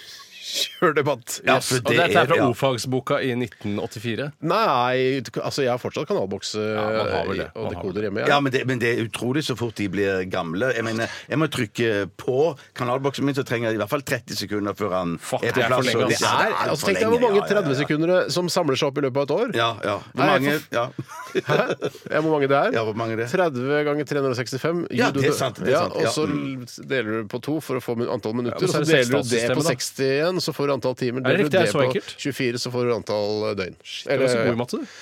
Kjør debatt!
Ja,
Yes.
for
Og dette er fra
ja.
Ofagsboka i 1984.
Nei, altså jeg har fortsatt kanalboks eh,
man har vel det.
og
Man har vel
dekoder hjemme. jeg.
Ja, men det, men det er utrolig så fort de blir gamle. Jeg mener, jeg må trykke på kanalboksen min, så trenger jeg i hvert fall 30 sekunder før han
Fuck,
er
det er
på
for
plass.
lenge,
og-
ass.
Det
Ja,
er,
det er
altså, tenk
for
deg
lenge,
hvor mange
ja, ja, ja.
30-sekundere som samler seg opp i løpet av et år.
Ja, ja. Hvor
Nei,
mange ja.
Ja, hvor mange det er?
Ja, hvor mange det er.
30 ganger 365.
Ja,
Jo, du-
det er sant, det er
ja,
sant, ja.
Og så l- deler du på to for å få min- antall minutter.
Ja, men
så
så er det
deler du det
seksdallssystemet,
på
da.
60 igjen, så får du antall timer.
det
Deler du
riktig?
det
Er det så
på
enkelt?
24, så får du antall eh, døgn.
Du er så god i matte, du.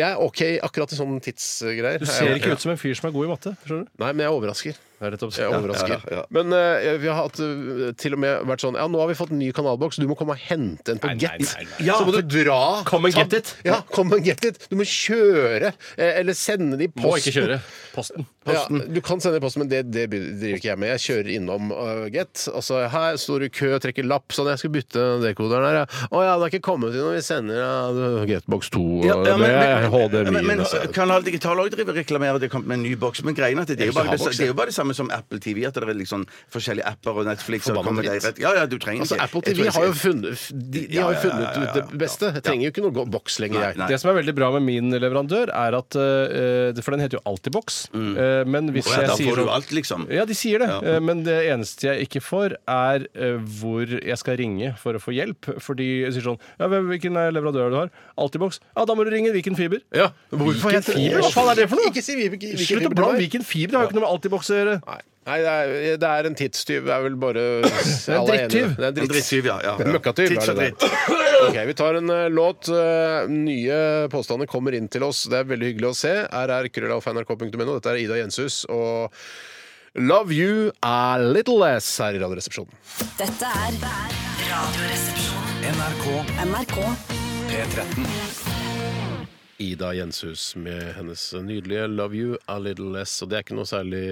jeg er OK akkurat i sånn sånne tidsgreier.
Du ser ikke ut som en fyr som er god i matte. skjønner du?
Nei, men jeg overrasker.
Det er rett opp-
Jeg overrasker.
ja, ja.
Men eh, vi har hatt, eh, til og med vært sånn Ja, nå har vi fått en ny kanalboks, du må komme og hente en på
Nei, nei,
Get.
nei, nei.
Så må du dra.
Come and
Ta-
get it.
Ja, come and get it. Du må kjøre, eh, eller sende det i posten.
Må ikke kjøre. Posten.
Ja, du kan sende i posten, men det, det driver ikke jeg med. Jeg kjører innom øh, Get. Altså, her står det i kø, trekker lapp. Sånn, jeg skal bytte den dekoderen her. ja. Å ja, det er ikke kommet inn når vi sender ja, Getbox 2.
Ja,
og
ja, men-
det er altså. HDMI.
men, altså, men så Kanal Digital òg driver og reklamerer. Det er kommet med en ny boks. Men greien er at det er, jo
hvis du
bare,
har
det,
boks,
det er jo bare det samme som Apple TV. At det er liksom forskjellige apper og Netflix. og
Forbanna
kommer
dritt.
deg rett- Ja, ja, du trenger
altså,
ikke
Apple TV
Jeg tror jeg
har jo
skal-
funnet, de, de har jo
Ja, ja, ja,
funnet
ja, ja,
ut det
ja.
beste. Jeg trenger jo ikke noe go- boks lenger, jeg.
Nei.
Det som er veldig bra med min leverandør, er at eh, det- For den heter jo Altibox. eh, men hvis
Å, ja,
jeg
Da
sier
får du
sånn-
alt, liksom.
Ja, de sier det. Eh, Men det eneste jeg ikke får, er eh, hvor jeg skal ringe for å få hjelp. Fordi jeg sier sånn ja, hvem- Hvilken eh, leverandør du har? Altibox. Ja, da må du ringe Viken Fiber.
Ja. Hvorfor
Viken Fiber? Hva faen er det for noe?
Ikke si Viken Viken Fiber
Slutt å
til
blande
meg.
Viken Fiber. Det har jo ikke noe med Altibox å gjøre.
Nei, Nei det, er, det er en tidstyv. Det er vel bare Alle er enige.
drittyv.
Det er en
En Drittsyv, ja. ja.
En Møkkatyv.
Tids
er
og
det
dritt.
der. Ok, Vi tar en eh, låt. Eh, nye påstander kommer inn til oss. Det er veldig hyggelig å se. rrkrøllalfa.nrk.no. Dette er Ida Jenshus og Love You A Little Less her i Radioresepsjonen.
Dette er Radioresepsjonen.
NRK
NRK
P13.
Ida Jenshus med hennes nydelige 'Love You A Little Less'. Og det er ikke noe særlig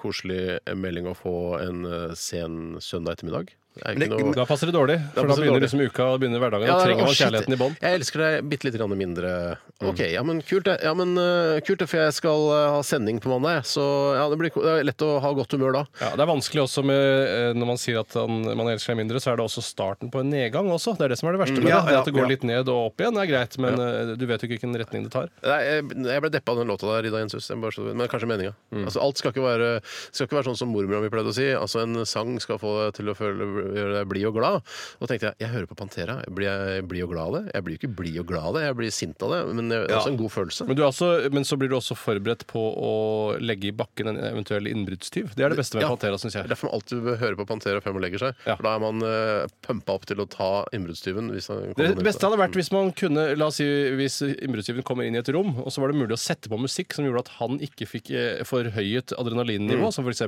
koselig melding å få en eh, sen søndag ettermiddag. Det er ikke noe
Da passer det dårlig.
passer
For da
det
begynner
dårlig.
liksom uka og begynner hverdagen.
Ja,
da
det er-
trenger
å,
man
shit,
kjærligheten i Mm. bånn.
Jeg elsker deg bitte litt grann mindre. OK, ja, men kult det. Ja, men øh, kult det, for jeg skal øh, ha sending på mandag, jeg. så ja, det blir ko- det er lett å ha godt humør da.
Ja, det er vanskelig også med, eh, Når man sier at han, man elsker seg mindre, så er det også starten på en nedgang. også. Det er det som er det verste med
Ja,
det. det.
ja,
At det går
ja.
litt ned og opp igjen er greit, men eh, du vet jo ikke hvilken retning det tar.
Nei, jeg, jeg ble deppa av den låta der, Ida Jenshus. Jeg bare så- Men kanskje meninga.
Mm.
Altså, alt skal ikke, være, skal ikke være sånn som mormora mi pleide å si. Altså, en sang skal få deg til å føle, gjøre deg blid og glad. Og da tenkte jeg jeg hører på Pantera. Blir jeg blid og glad av det? Jeg blir jo ikke blid og glad av det, jeg blir sint av det. Men det er også en god følelse.
Men, du er også, men så blir du også forberedt på å legge i bakken en eventuell innbruddstyv. Det er det beste med
Ja.
Pantera, syns
Det
jeg.
er derfor man alltid bør høre på Pantera før man legger seg.
Ja.
For da er man uh, pumpa opp til å ta innbruddstyven. hvis han kommer
Det
ned.
beste hadde vært hvis man kunne La oss si hvis innbruddstyven kommer inn i et rom, og så var det mulig å sette på musikk som gjorde at han ikke fikk eh, forhøyet adrenalinnivå, som f.eks.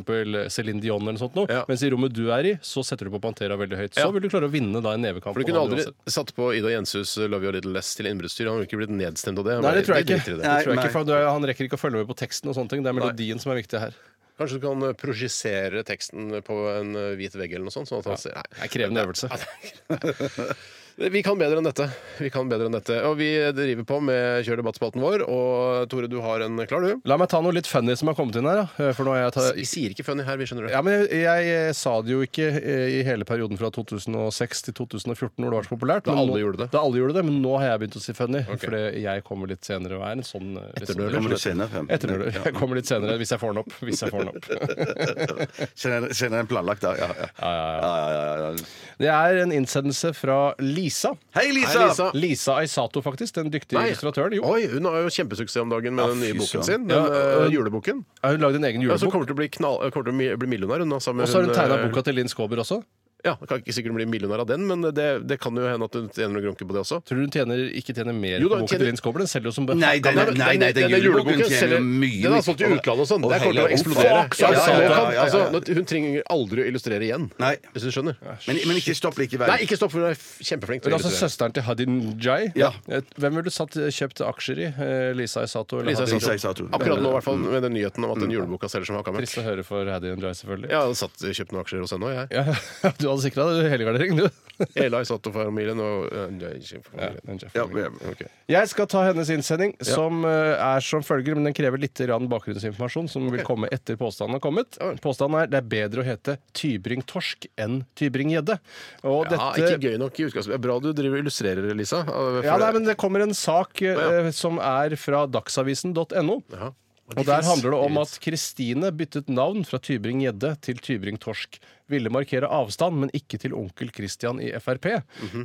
Céline Dion eller noe sånt noe.
Mm. Ja.
Mens i rommet du er i, så setter du på Pantera veldig høyt. Så
Ja.
vil du klare å vinne da en nevekamp.
For Du
om
kunne
han
aldri
uansett.
satt på Ida Jenshus uh, 'Love You A Little Less' til innbruddsstyr. Han ville ikke blitt nedstemt av det. Han
Nei,
bare,
det tror jeg ikke.
driter i
Det
det.
tror jeg
Nei,
ikke for du er- han rekker ikke å følge med på teksten. og sånne ting Det er melodien som er viktig her.
Kanskje du kan uh, projisere eh, teksten på en uh, hvit vegg eller noe sånt, sånn at han ser Nei.
Det er krevende øvelse.
Vi kan bedre enn dette. Vi kan bedre enn dette. Og vi driver på med Kjør debattspalten vår, og Tore, du har en klar, du?
La meg ta noe litt funny som har kommet inn her. da. Eh, For nå har jeg tatt...
Vi sier ikke funny her, vi skjønner det.
Ja, men jeg, jeg, eh, sa det jo ikke eh, i hele perioden fra 2006 til 2014, når det var så populært.
Da
men
alle
nå-
gjorde det.
Da alle gjorde det, Men nå har jeg begynt å si funny. Fordi jeg kommer litt senere og er en sånn eh, litt
Etternøler.
sånn-
Kommer litt senere frem.
Etternøler. Jeg kommer litt senere hvis jeg får den opp. Hvis jeg får den opp.
Senere senere enn planlagt, da. Ja, ja. Ja, ja, ja, ja.
Det er en innsendelse fra Lisa.
Hei, Lisa!
Hei, Lisa.
Lisa Aisato, faktisk. Den dyktige
Nei.
illustratøren. Jo.
Oi, hun har jo kjempesuksess om dagen med
Ja,
den nye
fy
boken
søren.
sin. Den,
Ja,
eh,
øh,
juleboken.
Har Hun lagd en egen
Ja, så
julebok.
kommer hun til å bli, knall, eh, kommer til å mi- bli millionær, hun da. sammen med
Og så har hun tegna
eh,
boka til Linn Skåber også.
Ja, det kan ikke sikkert bli millionær av den, men det, det kan jo hende at hun tjener noen grunker på det også.
Tror du hun tjener, ikke tjener mer
Jo da,
på boka
tjener-
til Linn Skåber? Den selger jo som
Nei, den, nei,
men
nei, nei, den
denne
juleboken
juleboken
tjener
selger-
mye
Den har
mye-
solgt i utlandet og sånn.
Og
Det kommer til å
hele-
eksplodere.
Fuck, så
Ja, ja, ja,
solgt. Ja, ja, ja.
Altså, nå- hun trenger aldri å illustrere igjen.
Nei.
Hvis du skjønner.
Men, men ikke stopp likevel.
Nei, ikke stopp, for hun er f- kjempeflink
Men
til å
altså
illustrere.
søsteren til Hadin Jai.
Ja.
Hvem ville du satt kjøpt aksjer i? Eh, Lisa Isato eller
Lisa
Hadin?
Lisa Mm.
Isato.
Isato.
Akkurat nå, i hvert fall, med den nyheten om at den juleboka selger som hakka møkk.
Trist å høre for Hadin Jai, selvfølgelig.
Jeg hadde satt, kjøpt noen aksjer hos henne òg, jeg.
Ja, du hadde sikra deg helgardering, du.
Ela i Sato-familien og eh, jeg er ikke
Ja,
familien.
den kjeften.
Ja, ja.
Ok.
Jeg skal ta hennes innsending, som eh, er som følger, men den krever litt grann bakgrunnsinformasjon, som vil komme etter påstanden har kommet. Påstanden er det er bedre å hete Tybring-torsk enn Tybring-gjedde. Og
Ja,
dette
ikke gøy nok i utgangspunktet. Det er Bra du driver og illustrerer, Lisa. For
Ja, nei,
det-
men det kommer en sak eh, som er fra dagsavisen.no.
Ja.
Og der handler det om at Kristine byttet navn fra Tybring-Gjedde til Tybring-Torsk. Ville markere avstand, men ikke til onkel Christian i Frp.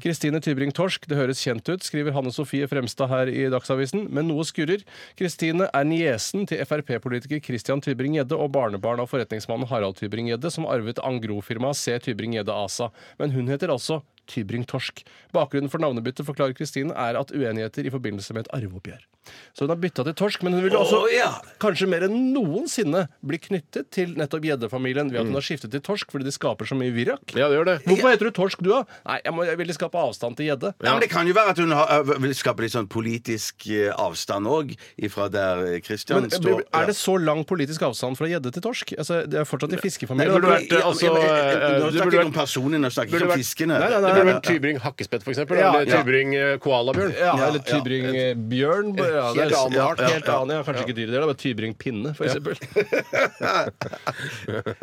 Kristine Tybring-Torsk, det høres kjent ut, skriver Hanne Sofie Fremstad her i Dagsavisen, men noe skurrer. Kristine er niesen til Frp-politiker Christian Tybring-Gjedde og barnebarn av forretningsmannen Harald Tybring-Gjedde, som arvet Angro-firmaet C. Tybring-Gjedde ASA. Men hun heter altså Tybring-Torsk. Bakgrunnen for navnebyttet, forklarer Kristine, er at uenigheter i forbindelse med et arveoppgjør. Så hun har bytta til torsk, men hun vil altså også kanskje mer enn noensinne bli knyttet til nettopp gjeddefamilien ved at hun har skiftet til torsk fordi det skaper så mye virak.
Ja, det gjør det.
Hvorfor heter du torsk, du, da? Nei, jeg, må, jeg ville skape avstand til gjedde.
Ja, men Det kan jo være at hun har, ø, vil skape litt sånn politisk eh, avstand òg, ifra der eh, Christian
Men
står.
er det så lang politisk avstand fra gjedde til torsk? Altså, det er fortsatt i
Det
fiskefamilien.
burde vært,
Ja, men-
altså,
ja, men, eh,
eh,
Nå
det
snakker
burde
jeg
vært-
om personene, nå snakker jeg ikke om fiskene.
Nei, nei, nei,
Det burde
nei,
vært Tybring hakkespett, for eksempel.
Ja,
eller
ja.
Tybring eh, koalabjørn.
Ja,
Ja,
eller
ja.
tybringbjørn. Ja, det er
Helt annen
ja,
art.
Helt annen, ja, kanskje ikke dyredel, men tybringpinne, for eksempel.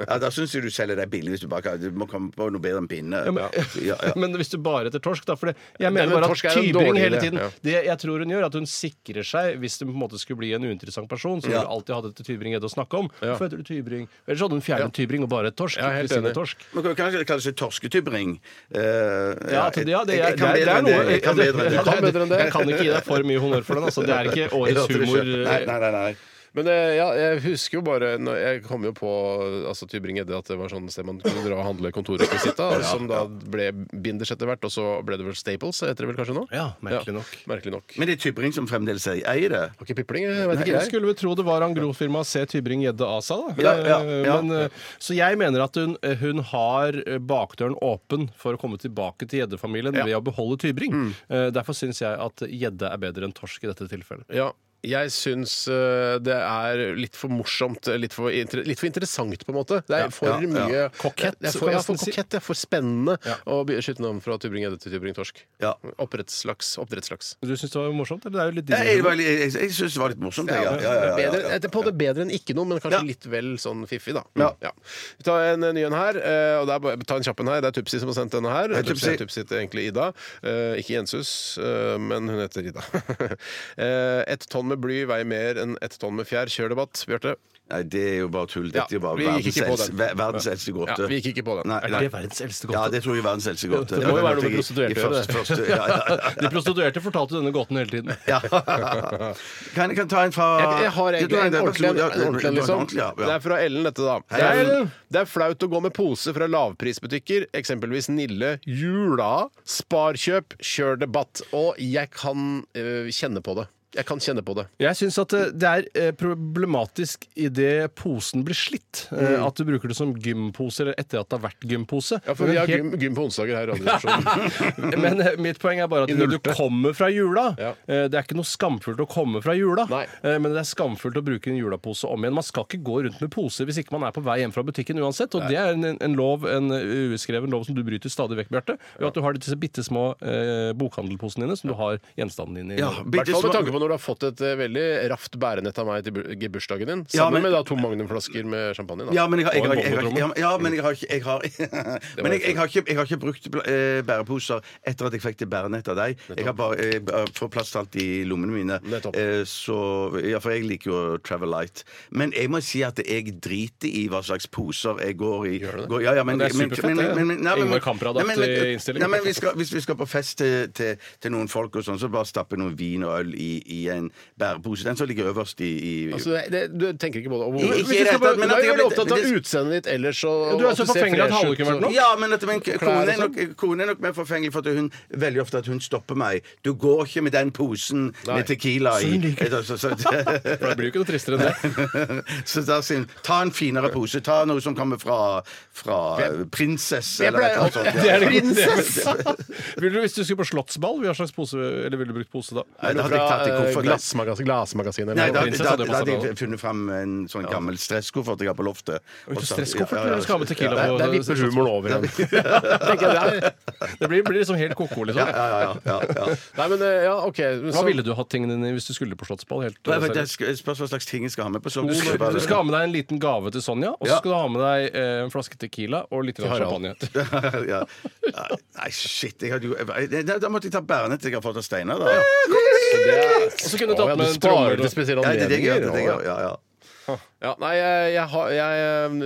Ja, da syns jeg du selger deg billig hvis du bare kan Du må komme på noe bedre enn pinne.
Ja, men,
Ja, ja.
men hvis du bare heter torsk, da for det, Jeg mener
men
bare
torsk er
at
en
Tybring
dårlig
hele
idé,
tiden
ja.
Det jeg tror hun gjør, er at hun sikrer seg hvis det på en måte skulle bli en uinteressant person. Så
Ja.
ville hun alltid hatt et Tybring-Gjedde å snakke om. Hvorfor heter du Tybring? Ellers hadde hun fjernet Tybring og bare et torsk.
Ja, helt
ved siden av
enig.
torsk.
Man kan jo kanskje kalle det seg torsketybring. Eh,
Ja, at- ja, det,
jeg- jeg kan
det,
bedre
det er
enn
noe
det. Jeg kan bedre enn det.
Ja,
kan bedre enn det.
Jeg kan ikke gi deg for mye honnør for den. Altså. Det er ikke
Jeg
årets
hørte det
humor. eh.
selv. Nei, nei, nei, nei.
Men eh, ja, jeg husker jo bare når Jeg kom jo på altså, Tybring-Gjedde at det var sånn sted man kunne dra og handle kontorrekvisitt av, som da ble binders etter hvert, og så ble det vel Staples, heter det vel kanskje nå?
Ja, merkelig nok.
merkelig nok.
Men det er Tybring som fremdeles eier- eier det.
Har ikke pipling, jeg vet
Jeg
ikke.
skulle vel tro det var Angro-firmaet C. Tybring-Gjedde ASA. da
Ja, ja, ja.
Men, eh, så jeg mener at hun, eh, hun har eh, bakdøren åpen for å komme tilbake til gjeddefamilien ved å beholde Tybring. Eh, Derfor syns jeg at gjedde er bedre enn torsk i dette tilfellet.
Ja, jeg syns eh, det er litt for morsomt, eh, litt for, inter litt for interessant, på en måte. Det er for
ja, ja.
mye
Kokett,
Det er
så
for,
kan
ja,
man
for
si.
kokett, det er for spennende å by- skifte navn fra Tybring-Gjedde til Tybring-Torsk.
Ja.
Oppdrettslaks. Oppdrettslaks.
Du syns det var morsomt? Eller det er jo litt
Jeg, jeg,
din humor.
var- jeg, jeg, jeg syns det var litt morsomt, jeg. Ja, ja, ja, ja,
Bedre,
ja.
jeg er på det bedre enn ikke noe, men kanskje
Ja.
litt vel sånn fiffig, da. Ja. Vi tar en eh, ny en her. eh, Og det er, bare- ta en kjapp en her. Det er Tupsi som har sendt denne her.
Hei,
Tupsi.
Tupsi.
Tupsi heter egentlig Ida. Eh, Ikke Jensus, eh, men hun heter Ida. Eh, Et tonn med bly veier mer enn et tonn med fjær. Kjør debatt, Bjarte.
Nei, det er jo bare tull.
Ja,
Dette er jo bare
vi gikk
verdens,
ikke på
eldste-
den.
ver- verdens eldste gåte.
Ja, vi gikk ikke på den.
Nei,
Er
nei.
det verdens eldste
Ja,
gåte?
det tror jeg er verdens eldste gåte.
det må jo
Ja,
være noe med
i-
prostituerte
i
å gjøre.
første- første- ja, ja, ja.
De prostituerte fortalte denne gåten hele tiden.
Ja. Kan jeg kan ta en fra
Jeg, jeg har egentlig en ordentlig en,
Ja,
en, ordentlig en, liksom.
ordentlig, ja,
Det
ja.
er fra Ellen, dette, da. Det
Hei,
er,
Ellen.
det er flaut å gå med pose fra lavprisbutikker, eksempelvis Nille, Jula, Sparkjøp, Kjør debatt. Og jeg kan øh, kjenne på det. Jeg kan kjenne på det.
Jeg syns at eh, det er eh, problematisk idet posen blir slitt. eh, At du bruker det som gympose eller etter at det har vært gympose.
Ja, for
Men
vi har gym,
helt-
gym på onsdager her i Radioresepsjonen.
Men eh, mitt poeng er bare at
I
når du
nulte.
kommer fra jula
Ja.
eh, Det er ikke noe skamfullt å komme fra jula,
Nei.
eh, men det er skamfullt å bruke en julapose om igjen. Man skal ikke gå rundt med pose hvis ikke man er på vei hjem fra butikken uansett. Og det er en, en lov, en eh, uskreven lov som du bryter stadig vekk, Bjarte. Ved at du har disse bitte små eh, bokhandelposene dine som du har gjenstandene dine i.
Ja,
I hvert
bitte
fall med
små-
tanke på når du har fått et eh, veldig raft bærenett av meg til bu- i bursdagen din. Sammen
Ja, men-
med da to Magnum-flasker med champagne. Da.
Ja, men jeg har, jeg,
Og
har,
en
jeg, har,
boblebromme.
ja, men jeg har ikke jeg har, Men jeg, jeg, har ikke, jeg har ikke brukt eh, bæreposer etter at jeg fikk det bærenettet av deg. Jeg har bare eh, bare fått plass til alt i lommene mine.
Nettopp.
Eh, så, ja, for jeg liker jo Travel Light. Men jeg må si at jeg driter i hva slags poser jeg går i. Går, ja, ja, men,
Men det er superfett, det.
nei, men-
Ingvar Kamprad-aktig
nei, men- men-
innstilling.
Nei, men vi skal, hvis vi skal på fest til, til, til noen folk, og sånn, så bare stappe noe vin og øl i, i en bærepose. Den som ligger øverst i, i
Altså, det, det, du tenker ikke på det. Og
Ikke i
Hvis
det
du
hele
skal bare-
tatt, men
du
at
er
jeg
jo veldig
har blitt-
opptatt av
men
utseendet ditt ellers og
Ja, du er
at
så
ser
forfengelig at
fresh
halve
ut,
kunne
så-
vært nok. sånn.
Ja, men at min
klær
kone
og
er, nok, kone er nok mer forfengelig for at hun veldig ofte at hun stopper meg. Du går ikke med den posen
Nei.
med Tequila i.
hun liker-
Så, så,
For det blir jo ikke noe tristere enn det.
så, så da sier hun ta en finere pose. Ta noe som kommer fra, fra prinsesse
Jeg
eller
pleier
et eller annet sånt.
Det er det gode.
Prinsesse!
Vil du, hvis du skulle på slottsball, hva slags pose, eller ville du brukt pose da?
Nei, da hadde jeg tatt i
Fra eh,
koffert.
glassmagasin, glassmagasin
Nei,
eller
da,
noe.
prinsesse
da,
hadde
da,
passet
hadde jeg
bra.
funnet fram en sånn gammel stresskoffert jeg har på loftet.
Oi,
Og så-
stresskoffert,
Ja, ja,
du skal ha med tequila
Det
på.
er- Der vipper humoren over igjen. Tenker jeg det er.
Det blir, blir liksom helt koko, liksom.
Ja, ja, ja, ja, ja.
Nei, men eh, ja, OK. men
Hva
så-
ville du hatt tingene dine i hvis du skulle på slottsball? Helt,
Nei, men
seriøst?
Det er- spørs hva slags ting jeg skal ha med på
du, skal,
slottet.
du skal ha med deg en liten gave til Sonja, og så
Ja.
skal du ha med deg eh, en flaske Tequila og litt grann
Harald.
champagne.
ja. Nei, shit. Jeg hadde jo, jeg, da, da måtte jeg ta bærenett jeg har fått av Steinar, da.
Og
så kunne du tatt med en trommer,
sparer
da.
til spesielle
Ja, det er det jeg gjør. Det er det
anledninger.
jeg gjør. Ja, ja.
Ja, nei, jeg, jeg, har- jeg,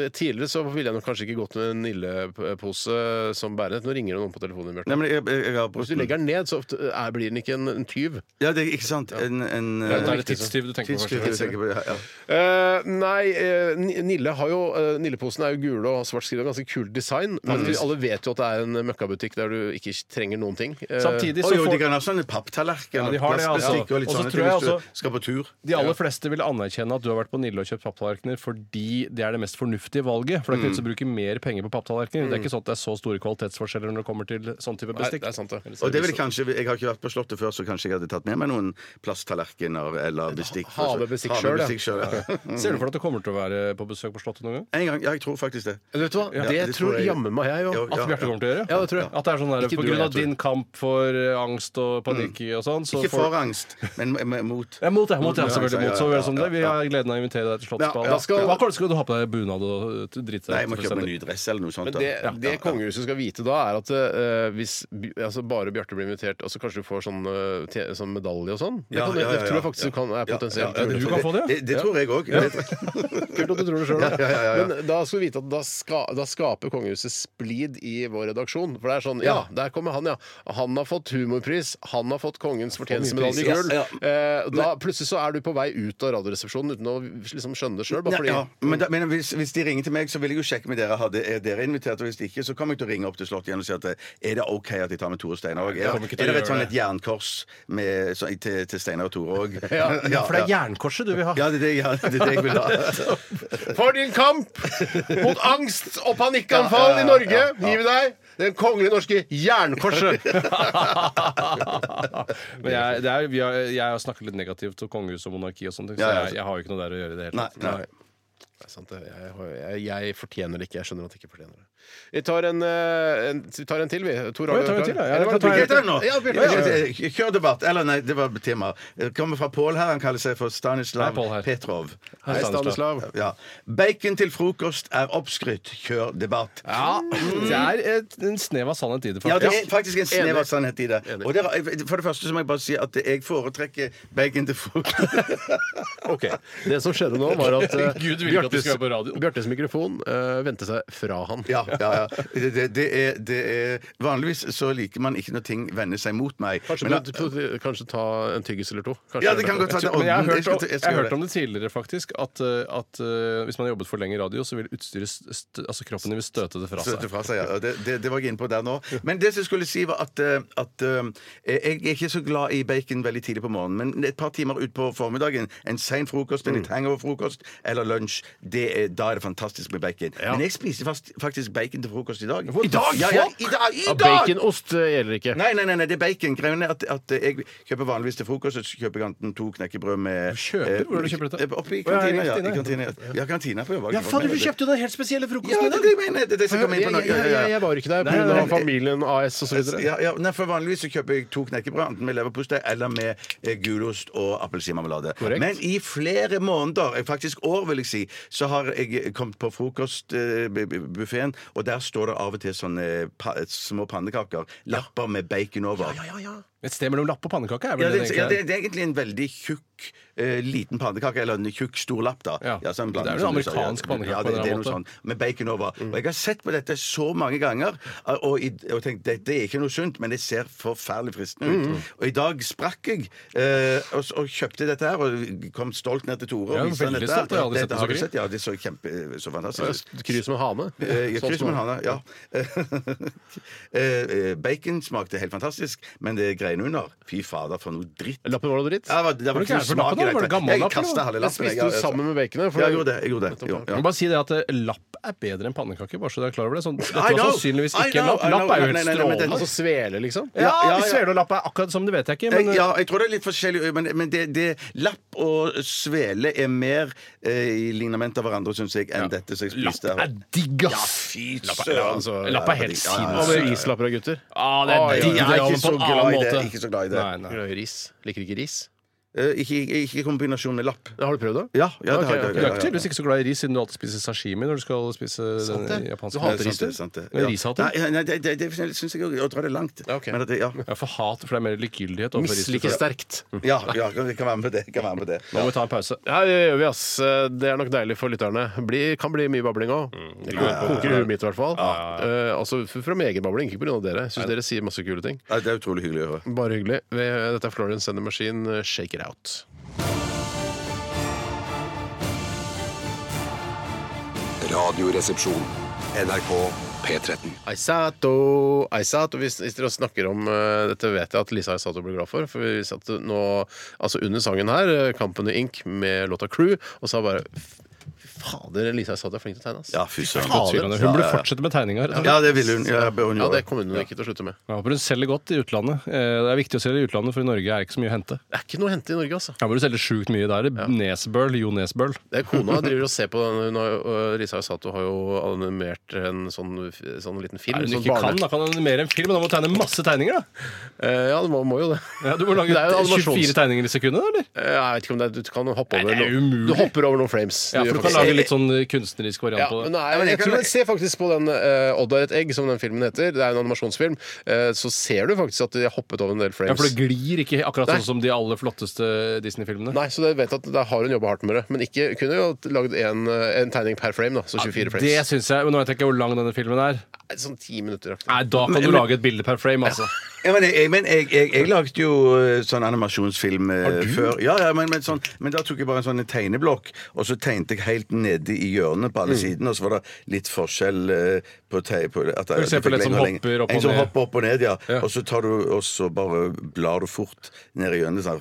eh, tidligere så ville jeg nok kanskje ikke gått med en Nille-pose som bærenett. Nå ringer det noen på telefonen. Bjørte.
Nei, men jeg, jeg, jeg har
Hvis du legger den ned, så ofte eh, er, blir den ikke en, en tyv.
Ja, det er ikke sant. En, en
Det er
eh,
det tidstyv du tenker på
tidstyv,
først.
tenker jeg på, ja, ja.
Eh, nei, eh, Ni- Nille har jo eh, Nilleposen er jo gule og har svart skriv og ganske kul design.
Mm.
Men vi alle vet jo at det er en møkkabutikk der du ikke trenger noen ting. Eh,
Samtidig
Å
så
jo, de
får
kan ha sånne papptallerkener.
Ja, de har det, altså.
plastbestikk Og
Og
litt
så
sånne
tror
ting
jeg
hvis du
altså-
skal på tur.
de aller fleste vil anerkjenne at du har vært på Nille og kjøpt papptallerkener fordi det er det mest fornuftige valget. For det er
Mm.
ikke vits å bruke mer penger på papptallerkener. Det er ikke sånn at det er så store kvalitetsforskjeller når det kommer til sånn type
Nei,
bestikk.
det er sant, det.
Og Mm. det vil jeg kanskje, Jeg har ikke vært på Slottet før, så kanskje jeg hadde tatt med meg noen plasttallerkener eller bestikk.
havebestikk selv, ja.
sjøl, ja.
Ser du for deg at du kommer til å være på besøk på Slottet noen gang?
En gang. Ja, jeg tror faktisk det.
Vet du hva?
Ja,
det,
det
tror
tror jeg.
jammen meg jeg
Jo,
òg.
ja,
At Bjarte
ja.
kommer til å gjøre?
Ja, det tror jeg.
At det er sånn der,
Ikke
på
du,
grunn
jeg
av
tror
din kamp for eh, angst og panikk og sånn. Så
Mm. Ikke
får-
for angst, men men mot.
Ja, mot det. Mot det,
Mot-
selvfølgelig.
ja,
Mot, så
ja,
gjør det
ja,
som
ja,
det. Vi har gleden av å invitere deg til Slottsballen.
Ja, ja,
skal-
Hva skal du ha på deg bunad og drite deg
Nei, jeg må kjøpe en ny dress eller noe sånt.
Men
da.
det,
Ja, ja,
det
ja.
kongehuset skal vite da, er at eh, hvis Bj- altså bare Bjarte blir invitert, altså kanskje du får sånn, eh, te- sånn medalje og sånn? Det,
Ja,
kan, du-
ja, ja,
det tror jeg
ja.
faktisk du kan er
Ja,
potensielt
ja, ja,
mulig.
Du kan få det, ja.
Det, det tror jeg òg.
Kult at du tror det sjøl, da.
Ja, ja, ja, ja.
Men da skal du vite at da, ska, da skaper kongehuset splid i vår redaksjon. For det er sånn Ja, der kommer han, ja. Han har fått humorpris. Han har fått kongens fortjenestemedalje i gull.
Kongens pris, ja,
Eh, da plutselig så er du på vei ut av Radioresepsjonen uten å liksom skjønne det sjøl. Bare fordi
Ja, men da, men hvis, hvis de ringer til meg, så vil jeg jo sjekke med dere. Hadde, er dere invitert? Og hvis ikke, så kommer jeg til å ringe opp til Slottet igjen og si at eh, er det OK at jeg tar med Tore og Steinar òg? Er,
kommer ikke til
er
å
det et
gjøre
sånn
det.
et jernkors med, så, til, til Steinar og Tore òg?
Ja, for det er jernkorset du vil ha.
Ja, det er det, ja, det er det jeg vil ha.
For din kamp mot angst og panikkanfall i Norge gir vi deg den kongelige norske jernkorset.
Men jeg, det er, vi har, jeg har snakket litt negativt om kongehus og monarki og sånne ting, så
Ja, ja,
jeg, jeg har jo ikke noe der å gjøre i det hele
Nei,
tatt.
nei.
Det er sant, det. Jeg, har- jeg, jeg fortjener det ikke. Jeg skjønner at jeg ikke fortjener det. Vi tar en, eh, en, vi tar en til, vi. Tor
Ja,
har
vi tar en til, ja.
Eller var det Bjørte?
Jeg kan ta en
Heter den nå?
Ja, Bjørte.
Ja, Kjør debatt. Eller nei, det var tema. Det Kommer fra Pål her. Han kaller seg for
Hei,
Stanislav
Pål her.
Petrov.
Hei, Stanislav.
Ja. Bacon til frokost er oppskrytt. Kjør debatt.
Ja, det er et, en snev av sannhet i det,
Ja, det
faktisk.
er faktisk en snev av
Enig.
sannhet i det. Og det er- for det første så må jeg bare si at jeg foretrekker bacon til frokost.
Ok, Det som skjedde nå, var at eh,
Gud vil ikke at vi skal være på radio.
Bjartes mikrofon eh, vendte seg fra han.
Ja, ja, ja. Det, det, det, er, det er Vanligvis så liker man ikke når ting vender seg mot meg.
Kanskje,
Men,
burde- burde- kanskje ta en tyggis eller to? Kanskje
ja, det kan godt være.
Men jeg har
Jeg
hørt
skal-
om,
jeg
jeg
skal
har
gjøre
hørt om det tidligere, faktisk. At, eh, at eh, hvis man har jobbet for lenge i radio, så vil utstyret st st- altså kroppen din vil støte det fra
Støtte
seg.
fra seg, ja. Det, det, det var jeg inne på der nå. Men det som jeg skulle si, var at, eh, at eh, jeg er ikke så glad i bacon veldig tidlig på morgenen. Men et par timer utpå formiddagen, en sein frokost, en litt
Mm.
hangover-frokost eller lunsj, det er, da er det fantastisk med bacon. Men jeg spiser fast, faktisk bacon til frokost i dag.
What
I dag!
the
Ja, ja,
fuck?
i dag! I
Ja,
dag!
Baconost eh, gjelder ikke.
Nei, nei, nei, nei, det er bacon. Greien er at, at jeg kjøper vanligvis til frokost så kjøper jeg enten to knekkebrød med
Kjøper? Hvor er det du kjøper dette?
Eh, Oppe i
Å, ja, i
kantina, ja. I
kantina,
kantina. Ja, kantina på jobb.
jo den helt spesielle
Ja, det er det jeg mener. Det er det som kommer inn på
Jeg,
noe.
jeg, jeg, jeg var ikke der
Nei, nei,
pga.
nei.
familien AS osv.
Ja, ja, nei, for Vanligvis så kjøper jeg to knekkebrød, enten med leverpostei eller med eh, gulost og appelsinmarmelade.
Korrekt.
Men i flere måneder, eh, faktisk år, vil jeg si, så har jeg kommet på eh, frokostbuffeen, og der står det av og til sånne pa små pannekaker. Lapper med bacon over.
Et sted mellom lapp og pannekake er
Ja,
vel
det,
det,
ja, det,
egentlig.
det er egentlig en veldig tjukk, eh, liten pannekake. Eller en tjukk, stor lapp, da.
Ja.
så en
Det er jo en
blanding, som du sa, ja.
amerikansk pannekake
Ja,
på
det,
en
det er
eller
noe
annen Mm.
sånn, med bacon over. Og jeg har sett på dette så mange ganger eh, og, i, og tenkt det, det er ikke noe sunt, men det ser forferdelig fristende
Mm.
ut. Og i dag sprakk jeg eh, og, s- og kjøpte dette her og kom stolt ned til Tore.
Ja,
og viste han
veldig
dette.
stolt, jeg har aldri
Dette
sett det så
har du
gøy.
sett, Ja, det så kjempe, så fantastisk ut.
Kryss med hane.
Eh,
Sånn
kryss
som-
med hana, ja. Eh, eh, Bacon smakte helt fantastisk, men det greiene under Fy fader, for noe dritt.
Lappen var noe dritt.
Ja, det var, det var
Var det
ikke
gæren
noe
for
smak
lappen,
i
da? Var det
dette.
gammel
Jeg
lapp,
kastet
eller?
halve
Jeg
lappen.
spiste det sammen med baconet. for
Ja, jeg gjorde det. Jeg gjorde det. Jo,
Jeg
ja.
må bare si det at eh, Lapp er bedre enn pannekake, bare så du er klar over det. Sånn, dette
I
var
know,
sannsynligvis
I
ikke en
know,
lapp.
I know.
Lapp er jo
Nei, nei,
helt
nei, men den-
strålende.
Altså svele, liksom.
Ja,
Ja, ja, ja.
Svele og lapp er akkurat som det vet jeg ikke,
Jeg,
men eh,
ja, jeg tror det er litt forskjellig, men, men det, det lapp og svele er mer eh, i lignament av hverandre, syns jeg, enn dette som jeg spiste.
Lapp
her.
er digg,
Ja,
ass!
fy
Lapp er-
søren.
altså, Lapp er helt
Ja, ja, ja.
Hva med rislapper av gutter?
Ah, det
Oi,
er
jeg er
digg, det,
ikke
men på
så
en
glad
annen
i det,
måte.
ikke så glad i det.
Nei, nei.
Glad i Ris. Liker ikke ris.
Eh, Ikke, ikke i kombinasjon med lapp.
Har du prøvd det?
Ja, ja, det har
Ok,
jeg.
ok.
Du er
ja, ja,
ikke
ja.
tydeligvis ikke så glad i ris siden du alltid spiser sashimi når du skal spise
Sant
den
det.
japanske.
Du hater
Sant
ris,
det,
du?
sant det.
Men rishater?
Nei, nei, det, det, det syns jeg å dra det langt.
Ja, ok.
Men at det, ja.
Ja, for hat, for det er mer likegyldighet overfor ris.
Misliker sterkt.
Ja, ja, jeg kan være med på det. jeg Kan være med på det.
Nå må vi ta en pause.
Ja, det gjør vi, ass. Det er nok deilig for lytterne. Bli, kan bli mye babling òg. Det koker i huet mitt, i hvert fall. Eh, altså f- fra min egen babling, ikke pga. dere. Jeg syns dere sier masse kule ting.
Ja, det er utrolig hyggelig å høre.
Bare hyggelig. Vi- Dette er Florian Sender Machine, Shake It Out.
Radioresepsjon. NRK P13.
Aisato, Aisato Hvis, hvis dere snakker om eh, Dette vet jeg at Lisa Aisato ble glad for. For vi satt nå altså under sangen her, eh, Company Inc. med låta Crew, og sa bare Fy fader, Lisa Aisato er flink til å tegne, ass.
Ja, fy søren.
Fader.
Hun
Ja,
burde
ja, ja.
fortsette med tegninga. rett og slett.
Ja, det ville hun. Ja, det bør hun
Ja,
gjøre.
det kommer hun ikke til å slutte med.
Jeg håper hun selger godt i utlandet. Eh, Det er viktig å selge i utlandet, for i Norge er det ikke så mye å hente.
Det er ikke noe å hente i Norge, altså.
Jeg burde selge sjukt mye der. Nesbøl, Jo Nesbøl.
Det er Kona driver og ser på den. Hun har, og Risa Sato har jo animert en sånn, sånn liten film.
Er hun
sånn
ikke
barne-
kan, da kan hun animere en film, men da må du tegne masse tegninger, da.
Eh, ja, du må, må jo det.
Ja, du må
Det
lage
er jo animasjons-
24 tegninger i sekundet, eller?
Eh, Jeg vet ikke om det er, du kan hoppe over
Nei, det er
noe-
umulig.
Du hopper over noen frames.
Ja,
gjør
for du kan
faktisk det.
lage litt sånn eh, kunstnerisk variant
ja,
på
men
det.
nei,
men
jeg,
jeg kan-
tror jeg ser faktisk på den eh, Odd er et egg, som den filmen heter. Det er en animasjonsfilm. Eh, så ser du faktisk at de har hoppet over en del
Ja,
frames.
for det glir ikke akkurat
Nei.
sånn som de aller flotteste Disney-filmene.
Nei, så jeg vet at Der har hun jobba hardt med det. Men ikke kunne jo lagd en, eh, en tegning per frame, da. Så 24
Det
frames.
syns jeg. Men nå vet jeg ikke hvor lang denne filmen er.
Nei, Sånn ti minutter. aktig.
Nei, Da kan du lage et bilde per frame, altså.
Ja, men jeg, jeg, men jeg, jeg, jeg lagde jo eh, sånn animasjonsfilm eh, før. Ja, ja, men, men, sånn, men da tok jeg bare en sånn tegneblokk, og så tegnet jeg helt nede i hjørnet på alle
Mm.
sidene, og så var det litt forskjell eh, på, teg, på at
For eksempel en som hopper opp og
En som
ned.
hopper opp og ned, ja.
Ja.
Og så tar du, og så bare blar du fort ned i hjørnet. Sånn.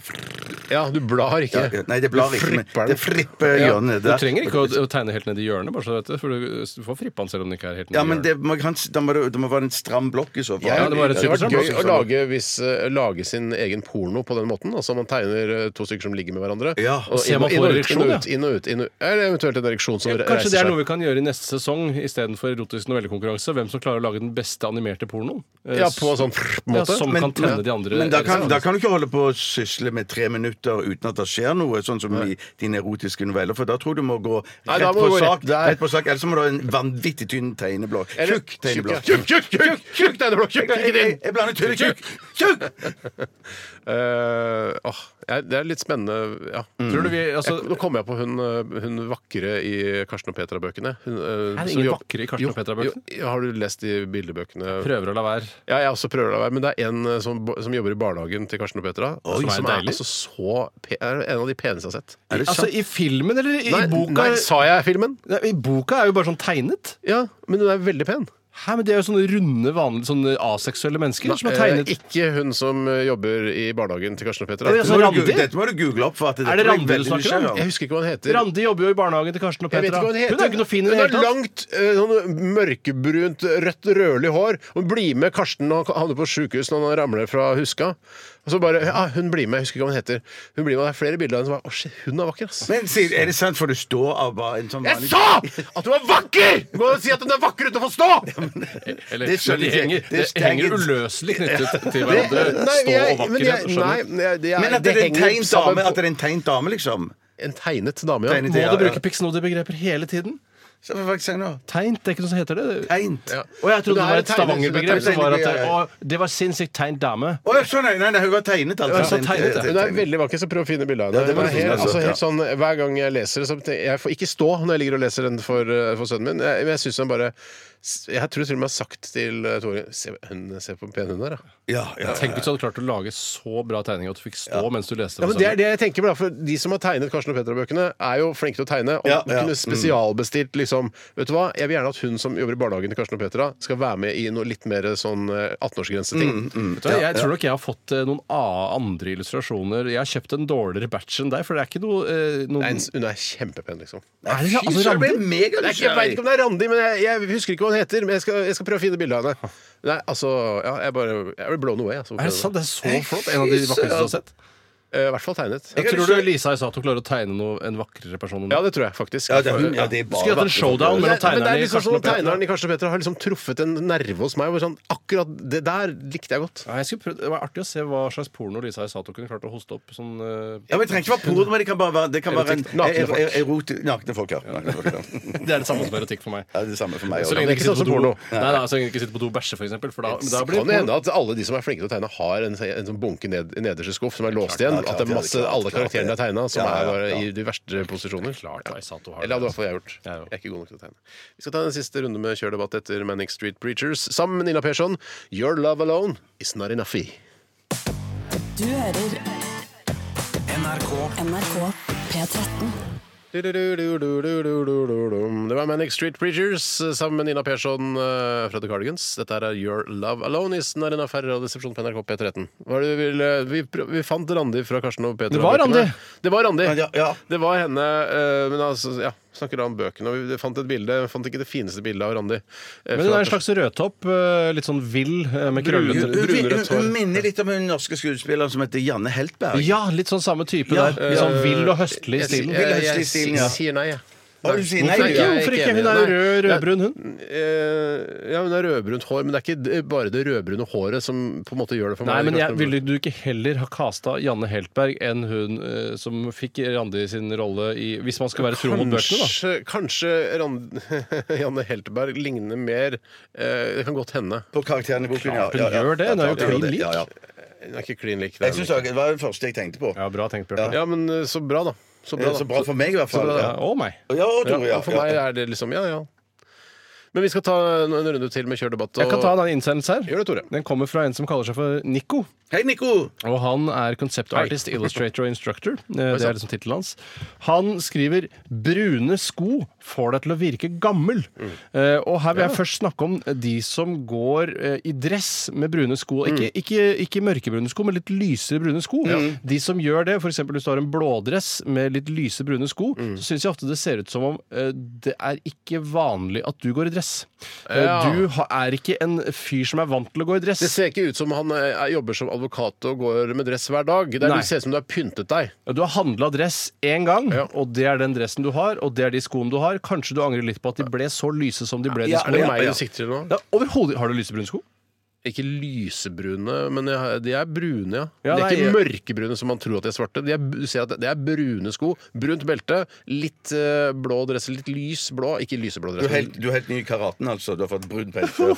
Ja, du blar
Ja,
ikke.
ja. Nei, det blar
Du
ikke, men
fripper
det
den.
fripper
Ja.
hjørnet.
Du
der.
trenger ikke å, å tegne helt ned i hjørnet, bare så du vet det. For du, du får frippe den selv om den ikke er helt ned
Ja,
i
men
hjørnet.
det må, kan, da må det, det må være en stram blokk i så fall.
Ja, det må være et
Det hadde
superstram
vært gøy å
blokk.
lage, hvis, eh, lage sin egen porno på den måten. Altså Man tegner eh, to stykker som ligger med hverandre.
Ja,
og
ser
inn,
man
og- inn,
får
og ut,
ereksjon,
inn,
ja.
og ut, inn og ut, inn og ut. Eller eventuelt en ereksjon som
Ja,
re-
Kanskje det
reiser
er
seg.
noe vi kan gjøre i neste sesong istedenfor erotisk novellekonkurranse. Hvem som klarer å lage den beste animerte pornoen. Eh,
Ja, på en sånn frr-
ja,
måte.
som
Men-
kan tenne de andre. eh,
Men da kan, da kan du ikke holde på å sysle med tre minutter uten at det skjer noe, sånn som i dine erotiske noveller, for da tror du må gå
Nei,
rett
da må
på
du gå
sak.
rett der.
Rett på sak Ellers må du ha en vanvittig tynn tegneblokk.
Eller-
Tjukk tegneblokk.
Tjukk, tjukk, tjukk, tjukk tegneblokk! Tjukk,
Jeg,
tjukk,
jeg,
tjukk,
jeg blander tynn og
tjukk! Tjukk!
Eh, åh, jeg- det er litt spennende, ja.
Tror du vi altså,
jeg, nå kommer jeg på hun, eh, hun vakre i Karsten og Petra-bøkene. Hun, eh,
Er det
som
ingen
jobb-
vakre i Karsten
Jo,
og Petra-bøkene?
jo, Har du lest de bildebøkene?
Prøver å la være.
Ja, jeg også prøver å la være, men det er en eh, som, bo- som jobber i barnehagen til Karsten og Petra.
Oi,
som
så
er,
deilig.
altså så pe er en av de peneste jeg har sett.
Er det
Altså,
sant?
I filmen eller i
Nei,
boka?
nei, sa jeg filmen?
Nei, i boka er jo bare sånn tegnet.
Ja, men hun er veldig pen.
Hæ, men De er jo sånne runde, vanlige sånne aseksuelle mennesker som har
Eh,
tegnet.
ikke hun som eh, jobber i barnehagen til Karsten og Petra.
Er altså det
Nå må du
Randi?
gu- Dette må du google opp. For at
Er det
blir
Randi du
veldig
snakker om?
nysgjerrig
Jeg husker ikke hva hun heter.
Randi jobber jo i barnehagen til Karsten og
Jeg vet
Petra.
ikke hva hun heter.
er jo ikke noe fin i
Hun
det
har
hele tatt.
langt, eh, sånn mørkebrunt, rødt, rødlig hår. Hun blir med Karsten når han havner på sjukehus når han ramler fra Huska. Og så bare, ja, Hun blir med, jeg husker ikke hva hun heter. Hun blir med, og Det er flere bilder av henne som bare Å, shit, hun er vakker, ass.
Men sier- er det sant, for det står av bare en sånn
Jeg
vanlig
sa at hun var vakker! Du kan jo si at hun er vakker uten å få stå!
Eller,
Det skjønner
de
jeg.
henger,
Det
det
er
henger
stengt.
uløselig knyttet til hverandre. Stå og vakkerhet.
nei,
skjønner du?
nei, det er,
Men at det er en
henger
tegnet
sammen
dame, at
på-
det er en tegnet dame, liksom.
En tegnet dame, ja.
Tegnet,
Må
ja,
du
ja.
bruke pixnody-begreper hele tiden?
Så får jeg faktisk si noe.
Tegnt, det er ikke noe som heter det.
Tegnet. Å
Og jeg
Det er
trodde det var et
tegnet, det
Stavanger-begrep
er
som var at
tegnet,
det,
ja, ja.
å, det var sinnssykt tegnet dame.
ja, sånn, nei, nei, nei, hun var tegnet,
Ja,
altså.
så tegnet, ja.
Hun er veldig vakker, så prøv å finne bilde av henne.
det må
Hun er
du finne,
helt,
altså.
altså, helt sånn, hver gang jeg leser det, så tenker jeg jeg får ikke stå når jeg ligger og leser den for, eh, for sønnen min. Jeg, men jeg synes han bare Jeg tror til og med jeg har sagt til eh, Tore Se, hun, se på hvor pen hun er, da.
Ja, ja, ja.
Tenk hvis du hadde klart å lage så bra tegninger at du fikk stå mens du leste.
Ja,
for
Altså,
men det
sønnen.
er det jeg tenker på, da, for De som har tegnet Karsten og Petra-bøkene, er jo flinke til å tegne. Og
Ja, Mm. ja.
kunne spesialbestilt liksom Vet du hva, jeg vil gjerne at hun som jobber i barnehagen til Karsten og Petra, skal være med i noe litt mer sånn eh, 18-årsgrenseting.
Mm,
Vet du hva, Jeg tror nok jeg har fått eh, noen a- andre illustrasjoner. Jeg har kjøpt en dårligere batch enn deg, for det er ikke noe, eh, noen
Nei, Hun er kjempepen, liksom.
Er det,
Fy
altså,
søren,
Randi?
jeg ble mega
Det er ikke, jeg veit ikke
nysgjerrig.
om det er Randi, men jeg, jeg husker ikke hva hun heter. Men jeg skal, jeg skal prøve å finne bilde av henne. Nei, altså, ja, jeg bare Jeg blir blown away. Altså,
Er det sant? Det er så flott. En av de vakreste du har sett.
Eh, I hvert fall tegnet.
Jeg har
Tror
lyst
du
til-
Lisa sa at hun klarer å tegne noe, en vakrere person enn
Ja,
deg?
det tror jeg faktisk.
Ja, det er hun, ja, det er
Du
bare
skulle hatt en showdown
Men det, men
mellom
det
tegnerne
er
i
liksom sånn
Karsten og
at
Petra.
Tegneren i Karsten og Petra har liksom truffet en nerve hos meg. Hvor sånn, akkurat det der likte jeg godt.
Ja, jeg skulle prøvd- det var artig å se hva slags porno Lisa Isato kunne klart å hoste opp. Sånn, eh,
Ja, men Det trenger ikke være porno, men det kan bare være, det kan være en
Erotikk. Nakne folk.
er- er- eroti- Nakne folk, ja. Nakne folk, ja.
det er det samme som erotikk for meg.
Ja, det er det samme for meg
Så
også.
men
lenge de
ikke
ikke sitter
sånn som
på do.
porno.
Nei, nei, så lenge de ikke sitter på do og bæsjer, for eksempel. For da, men da
Så
blir
kan det
det
hende at alle de som er flinke til å tegne, har en, en sånn bunke ned, i nederste skuff som er låst igjen.
klart,
At det er
ja,
masse,
klart,
alle
klart,
karakterene de har tegna, som
Ja, ja,
er bare
ja.
i de verste posisjoner.
Klart
Ja.
Isato har
Eller hadde i
det.
hvert fall jeg gjort.
Ja, jo.
Jeg er ikke god nok til å tegne. Vi skal ta en siste runde med Kjør debatt etter Manic Street Preachers sammen med Nina Persson. Your love alone is not enough.
Du hører NRK P13.
Det var Manic Street Preachers sammen med Nina Persson eh, fra The Cardigans. Dette her er Your love alone is not enough. Her i Radioresepsjonen på NRK P13. Hva er det vi, ville? vi, prø- vi fant Randi fra Karsten og Peter.
Det var
og bøkene.
Randi.
Det var Randi.
Ja, ja.
Det var henne, eh, men altså, ja, snakker da om bøkene. Og vi fant et bilde, fant ikke det fineste bildet av Randi. eh,
Men hun
fra
er en slags rødtopp. eh, Litt sånn vill, eh, med
Hun,
krøllete
hun,
Brunrødt
hun,
hår.
hun minner litt om hun norske skuespilleren som heter Janne Heltberg.
Ja, litt sånn samme type
Ja,
der. Litt sånn
eh,
vill og høstlig i stilen.
jeg-
Jeg,
Høstlig i stilen, ja.
sier nei, jeg.
Å, du sier nei,
Hvorfor
du,
ikke?
ja.
Hvorfor ikke?
enig.
Hun er jo rød,
Nei.
rødbrun, hun.
Eh, ja, hun har rødbrunt hår, men det er ikke d- bare det rødbrune håret som på en måte gjør det for
Nei,
meg.
men jeg, Ville du ikke heller ha kasta Janne Heltberg enn hun eh, som fikk Randi sin rolle i Hvis man skal være tro mot bøkene, da.
Kanskje, kanskje Rand Janne Helteberg ligner mer eh, Det kan godt hende.
På karakteren i boken, ja.
Hun
ja, ja.
gjør det, hun er jo
Ja, ja,
klin
ja,
lik.
ja, ja.
Hun er ikke klin lik. det er hun
Jeg synes
ikke.
også, Det var det første jeg tenkte på.
Ja, bra tenkt, Bjarte.
Ja, men eh, så bra, da. Så
Det
bra,
er
da.
Så bra for meg, i hvert fall.
Så bra,
Ja, og meg.
Ja, og
Ja,
Tore, ja.
for meg er det liksom ja, ja. Men vi skal ta en, en runde til med kjør debatt.
Jeg kan ta
og-
en innsendelse her.
Gjør det, Tore.
Den kommer fra en som kaller seg for Nico.
Hei, Nico!
Og han er concept artist, illustrator og instructor. Eh, Det er liksom tittelen hans. Han skriver 'Brune sko får deg til å virke gammel'.
Mm.
Eh, og her vil jeg først snakke om de som går eh, i dress med brune sko.
Mm.
Ikke, ikke, ikke mørkebrune sko, men litt lysere brune sko. De som gjør det, f.eks. hvis du har en blådress med litt lyse brune sko,
Mm.
så syns jeg ofte det ser ut som om eh, det er ikke vanlig at du går i dress. Eh,
Ja.
Du ha, er ikke en fyr som er vant til å gå i dress.
Det ser ikke ut som han eh, jobber som advokat og går med dress hver dag. Det, er,
Nei.
det ser ut som du har pyntet deg.
Ja, Du har handla dress én gang,
Ja.
og det er den dressen du har, og det er de skoene du har. Kanskje du angrer litt på at de ble så lyse som de ble. de
Er det
skoene.
meg du sikter til nå?
Ja, overhodet Har du lysebrune sko?
Ikke lysebrune, men jeg, har- de er brune, ja.
Ja,
de er ikke
nei,
mørkebrune som man tror at de er svarte. De er, du ser at det er brune sko, brunt belte, litt eh, blå dress, litt lys blå. Ikke lyseblå
Du
dress.
er, helt,
men-
du er helt ny i karaten, altså. Du har fått brun pelse.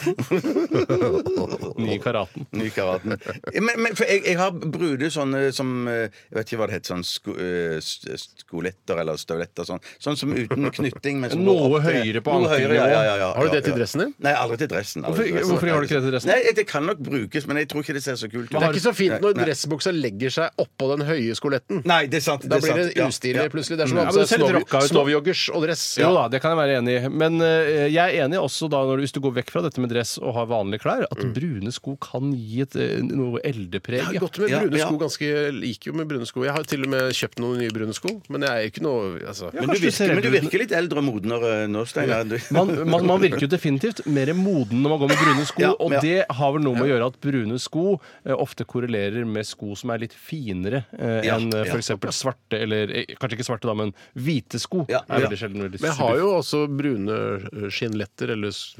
Ny karaten.
Ny i karaten. Men, men for jeg, jeg har brune sånne som eh, Jeg vet ikke hva det heter. Sånn sko, eh, st- skoletter eller støvletter. Sånn, sånn som uten knytting. Men som
Noe
går opp til-
høyere på
Noe høyere, ja, ja, ja, ja,
Har du det
ja,
til
ja.
dressen din?
Nei, aldri til dressen. aldri
Hvorfor-
til dressen.
hvorfor har du ikke det til dressen?
Nei, Det kan nok brukes, men jeg tror ikke det ser så kult ut.
Det er ikke så fint når dressbuksa legger seg oppå den høye skoletten.
Nei, det er sant.
Da
er
blir
sant.
det
Ja,
ustilig
ja. Mm.
plutselig. Det er som
Ja,
å ha
men
på
det ser litt rocka
seg
ut.
snovjoggers og dress.
Jo da, det kan jeg være enig i. Men eh, jeg er enig også da når, hvis du går vekk fra dette med dress og har vanlige klær, at brune sko kan gi et, eh, noe eldepreg.
Jeg har
ja.
gått med
Mm. Ja,
brune
ja.
sko ganske Liker jo med brune sko. Jeg har til og med kjøpt noen nye brune sko, men jeg er jo ikke noe altså.
Ja,
Men
kanskje
du,
du ser
virker, men du
eldre ut.
virker litt eldre og modnere eh, nå, Steinar. Du-
Man, man, man virker jo definitivt mer moden når man går med brune sko,
Ja,
og
ja.
det har vel noe med å gjøre at brune sko eh, ofte korrelerer med sko som er litt finere eh,
Ja,
enn eh,
ja.
for eksempel svarte, eller eh, kanskje ikke svarte, da, men hvite sko.
Ja,
er
ja.
veldig sjelden veldig
Men jeg har jo også brune eh, skinnletter, eller s-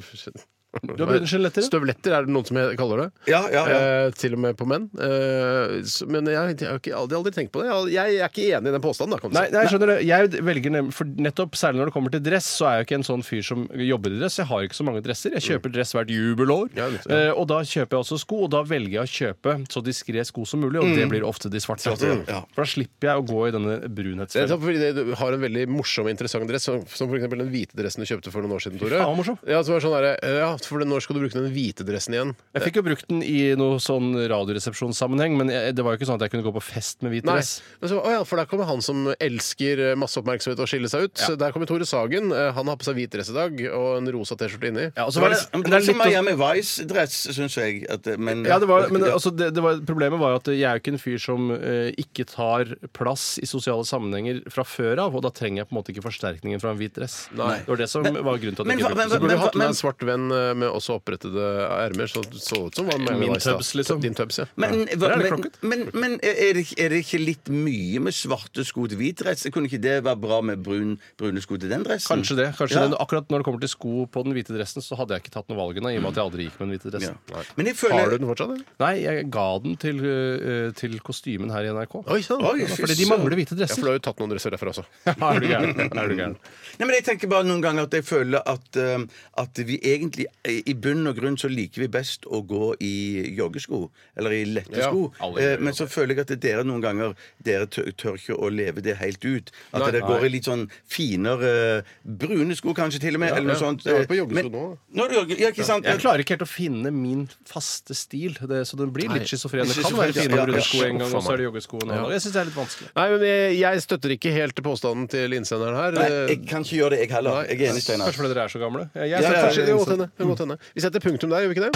Du har brune skjeletter?
Støvletter er det noen som he- kaller det.
Ja, ja, ja.
Eh, til og med på menn. Eh, så, men jeg, har ikke- jeg har ikke, aldri, aldri tenkt på det. Jeg, jeg er ikke enig i den påstanden. Da, kan du
Nei,
si.
nei, skjønner du. Jeg velger nem for nettopp, særlig når det kommer til dress, så er jeg jo ikke en sånn fyr som jobber i dress. Jeg har jo ikke så mange dresser. Jeg
Mm.
kjøper dress hvert jubelår.
Ja, litt, ja.
Eh, og da kjøper jeg også sko, og da velger jeg å kjøpe så diskré sko som mulig, og det blir ofte de svarte.
Mm. ja. Ja.
For da slipper jeg å gå i denne
Det er
brunhetsfella.
sant, fordi det- Du har en veldig morsom og interessant dress, som, som for eksempel den hvite dressen du kjøpte for noen år siden. Tore
faen, hvor morsom.
Ja, som er sånn der, eh, ja, for Når skal du bruke den hvite dressen igjen?
Jeg fikk jo brukt den i noe sånn radioresepsjonssammenheng, men jeg, det var jo ikke sånn at jeg kunne gå på fest med hvit
Nei.
dress.
Men så, å ja, for der kommer han som elsker eh, masse oppmerksomhet og skiller seg ut. Så Der kommer Tore Sagen. Eh, Han har på seg hvit dress i dag og en rosa T-skorte inni.
Ja, og så
Det
var
var det,
det,
men
det er
også
litt å-
Miami Vice-dress, syns jeg. At, det- men,
Ja, det var, men altså, det, det var, problemet var jo at jeg er jo ikke en fyr som eh, ikke tar plass i sosiale sammenhenger fra før av, og da trenger jeg på en måte ikke forsterkningen fra en hvit dress. Det var det som var grunnen til at
men
jeg ikke
hva-
brukte
Så burde
men-
du hatt med
men-
en svart venn eh, med også opprettede ermer. Så det så ut som var med
Min
Weiss, da.
tubs, liksom.
Din tubs, ja.
Men,
Ja.
hva-
Der er det
men,
klokket.
men, men er, det, ikke- er det ikke litt mye med svarte sko til hvit dress? Kunne ikke det være bra med brun, brune sko til den dressen?
Kanskje det. kanskje
Ja.
den, Akkurat når det kommer til sko på den hvite dressen, så hadde jeg ikke tatt noen valgene, i og med at jeg aldri gikk med den hvite
Ja.
dressen.
Men jeg
Har
føler
du den fortsatt, eller?
Nei, jeg ga den til, eh, til kostymen her i NRK.
Oi sann!
Oi, sånn.
Ja,
fy
Fordi de
søren.
mangler hvite
for
dresser.
du har jo tatt noen dresser derfra også.
er du gæren? Er du gæren?
Nei, men Jeg tenker bare noen ganger at jeg føler at, eh, at vi egentlig eh, i bunn og grunn så liker vi best å gå i joggesko. Eller i lette
Ja,
sko.
alle
Eh,
gjør
men så føler jeg at dere noen ganger Dere tør, tør ikke å leve det helt ut. At dere går i litt sånn finere eh, brune sko kanskje til og med. eller
ja.
noe sånt.
Jeg har på
Eh,
joggesko
men-
nå.
Nå er du jogge, ja, ikke sant?
Jeg klarer ikke helt å finne min faste stil, det, så den blir litt schizofren. Det kan være
Schizofren,
fine
ja.
brune sko en gang,
Faen
og så er
meg.
det joggesko en annen dag. Jeg syns det er litt vanskelig.
Nei, men jeg, jeg støtter ikke helt påstanden til innsenderen her.
Nei,
Eh,
jeg kan ikke gjøre det, jeg heller. Jeg er enig, Steinar.
Kanskje fordi dere er så gamle? Jeg, jeg,
Ja,
synes
ja,
kanskje-
Kanskje, det kan godt hende, det kan
Mm.
godt hende. Vi setter punktum der, gjør vi ikke det?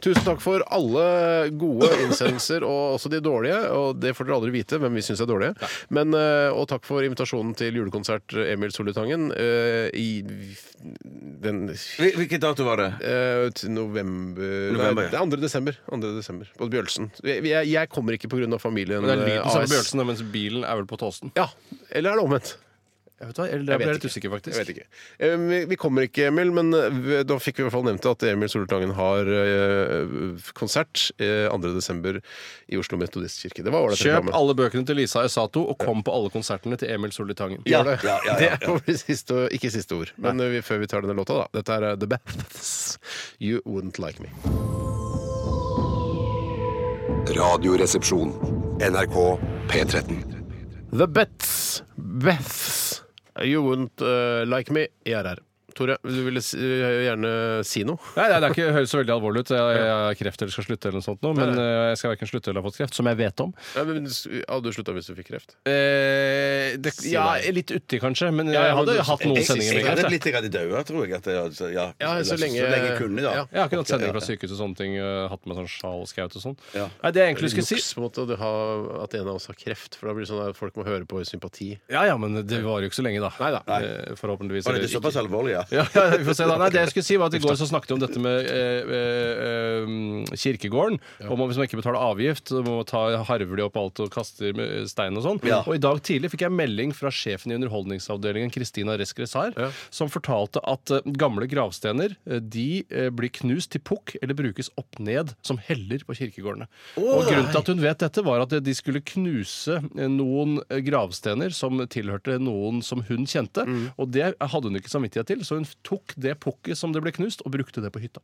Tusen takk for alle gode innsendelser, og også de dårlige. Og det får dere aldri vite hvem vi syns er dårlige. Men, eh, og takk for invitasjonen til julekonsert Emil Solitangen eh, i den
Hvil- Hvilken dato var det?
eh, til november,
November,
Nei,
ja.
det er 2. desember. 2. desember på Bjølsen. Jeg, jeg jeg kommer ikke pga. familien
Det er lyden som er
AS.
på Bjølsen, mens bilen er vel på Tåsen.
Ja, Eller er det omvendt?
Jeg vet hva, eller jeg
vet
ble litt
ikke.
usikker, faktisk.
Jeg vet ikke. Eh, Vi vi kommer ikke, Emil, men eh, da fikk vi i hvert fall nevnt at Emil Soltangen har eh, konsert eh, 2.12. i Oslo Metodistkirke. Det var ålreit.
Kjøp
reklame.
alle bøkene til Lisa Esato, og kom på alle konsertene til Emil Solli Tangen.
Gjør
Ja,
det.
ja, ja, ja,
Det får bli siste, ikke siste ord, men eh, vi, før vi tar denne låta, da. Dette er eh, The Baths. You Wouldn't Like Me.
Radioresepsjon. NRK P13.
The Bets. Beths. You Wouldn't eh, Like Me. Jeg er her. Tore, du ville si- gjerne si noe?
Nei, nei, det er ikke, det høres så veldig alvorlig ut. Jeg, jeg har kreft eller skal slutte eller noe sånt nå, men eh, jeg skal verken slutte eller ha fått kreft, som jeg vet om.
Ja, men, hadde du slutta hvis du fikk kreft?
Eh, det, ja, litt uti, kanskje, men
Ja,
jeg
ja, men
hadde
du-
hatt noen
Jeg, jeg,
sendinger
jeg
med
hadde
kreft. jeg.
blitt jeg hadde daua, tror jeg. At jeg altså, ja,
Ja,
eller
så lenge-
jeg kunne, da.
ja.
Jeg har ikke hatt sending
Ja,
fra sykehuset og sånne ting. eh, hatt med sånn sjal og skaut og sånn.
Ja.
Nei, det jeg egentlig skulle si
Juks på en måte å ha, at en av oss har kreft, for da blir det sånn at folk må høre på i sympati.
Ja ja, men det varer jo ikke så lenge, da.
Nei da.
Eh, Forhåpentligvis.
Var
eller
det såpass
ikke.
alvorlig, ja?
Ja, ja, vi får se da. Nei, det jeg skulle si var at I går så snakket vi om dette med eh, eh, um, kirkegården. Om at hvis man ikke betaler avgift, så må man ta harver de opp alt og kaster med stein og sånn. Og I dag tidlig fikk jeg melding fra sjefen i Underholdningsavdelingen, Kristina Reskressar, som fortalte at eh, gamle gravstener eh, de eh, blir knust til pukk eller brukes opp ned som heller på kirkegårdene. og Grunnen til at hun vet dette, var at de skulle knuse eh, noen eh, gravstener som tilhørte noen som hun kjente. Og det hadde hun ikke samvittighet til, så hun tok det pukket som det ble knust, og brukte det på hytta.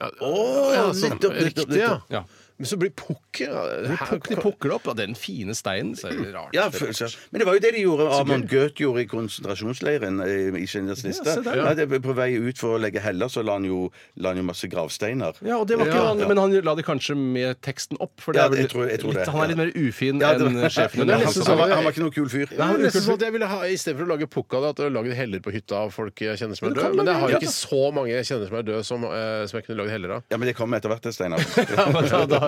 Ja,
Å,
sånn.
nettopp, nettopp,
Riktig, ja.
nettopp.
Ja.
Men så blir pukker
De puk- de pukker det opp. Ja, den fine steinen. Så er det rart.
Ja, følelser. Men det var jo det de gjorde Amon Goeth gjorde i konsentrasjonsleiren eh, i Schindlers liste.
se der, ja.
Ja, det- på vei ut for å legge heller, så la han jo, la han jo masse gravsteiner.
Ja, og det var ikke
Ja,
han,
ja.
Men han la det kanskje med teksten opp, for det
Ja,
er vel
jeg tror- jeg tror
litt,
det,
han er litt
ja.
mer ufin
Ja, det-
enn sjefen.
Men det er nesten
Han
sånn-
var, han var ikke noe kul fyr.
Det er
Nei,
nesten sånn at jeg ville ha, Istedenfor å lage pukk av det, at jeg lager heller på hytta av folk jeg kjenner som er
Men du kan
døde. Men jeg
lage
har jo
heller,
ikke så mange jeg kjenner som er døde, som, eh, som jeg kunne lagd heller av.
Ja, men det kommer etter hvert, det, Steinar.
Ja, men da, da,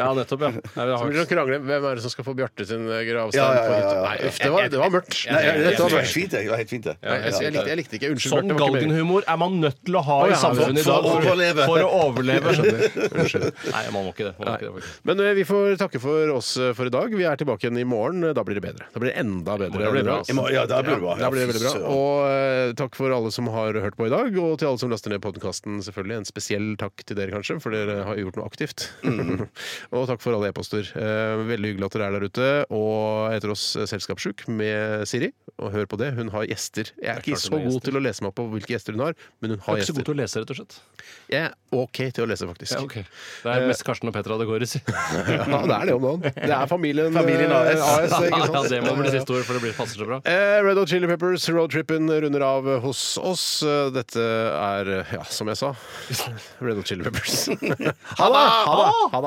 ja, nettopp, ja. Nei, vi
Så
har-
blir det noen krangler. Hvem er det som skal få Bjarte sin eh, gravstein
Ja, ja,
på
ja, ja,
hytta?
ja.
Nei, uff, det var, det var mørkt.
Nei, ja,
var
det var
mørkt.
helt fint, det. det var helt fint, det.
Ja, jeg, jeg, likte, jeg likte ikke. Unnskyld,
Sånn
Bjarte. det var ikke meningen.
galgenhumor er man nødt til å ha
Å,
i
ja,
samfunnet i
for
dag.
å overleve.
For å overleve.
Unnskyld.
Nei, man må ikke det. Man må ikke det faktisk.
Men eh, vi får takke for oss eh, for i dag. Vi er tilbake igjen i morgen. Da blir det bedre. Da blir det enda bedre. altså.
det blir bra,
Jeg må- Ja, da blir det bra.
Da blir det veldig bra.
Ja, fy søren.
Og eh, takk for alle som har hørt på i dag, og til alle som laster ned podkasten, selvfølgelig. En spesiell takk til dere, kanskje, for dere har gjort noe aktivt.
Mm.
og takk for alle e-poster. Eh, veldig hyggelig at dere er der ute. Og etter oss eh, Selskapssjuk med Siri. Og hør på det, hun har gjester. Jeg er
Det er
ikke
klart hun
så
har
god
gjester.
til å lese meg opp på hvilke gjester hun har, men hun
Du
har
er ikke så god
gjester.
til å lese, rett og slett.
Jeg er OK til å lese, faktisk.
Ja, ok. Det er mest Karsten og Petra det går i. si.
ja, det er det om dagen. Det er familien,
Familien
eh,
AS.
ikke sant?
Ja, det må bli siste ord, for det blir- passer så bra.
Eh, Red Hot Chili Peppers, Roadtrippen runder av hos oss. Eh, Dette er, eh, ja, som jeg sa, Red Hot Chili Peppers. ha det! Ha det! Ha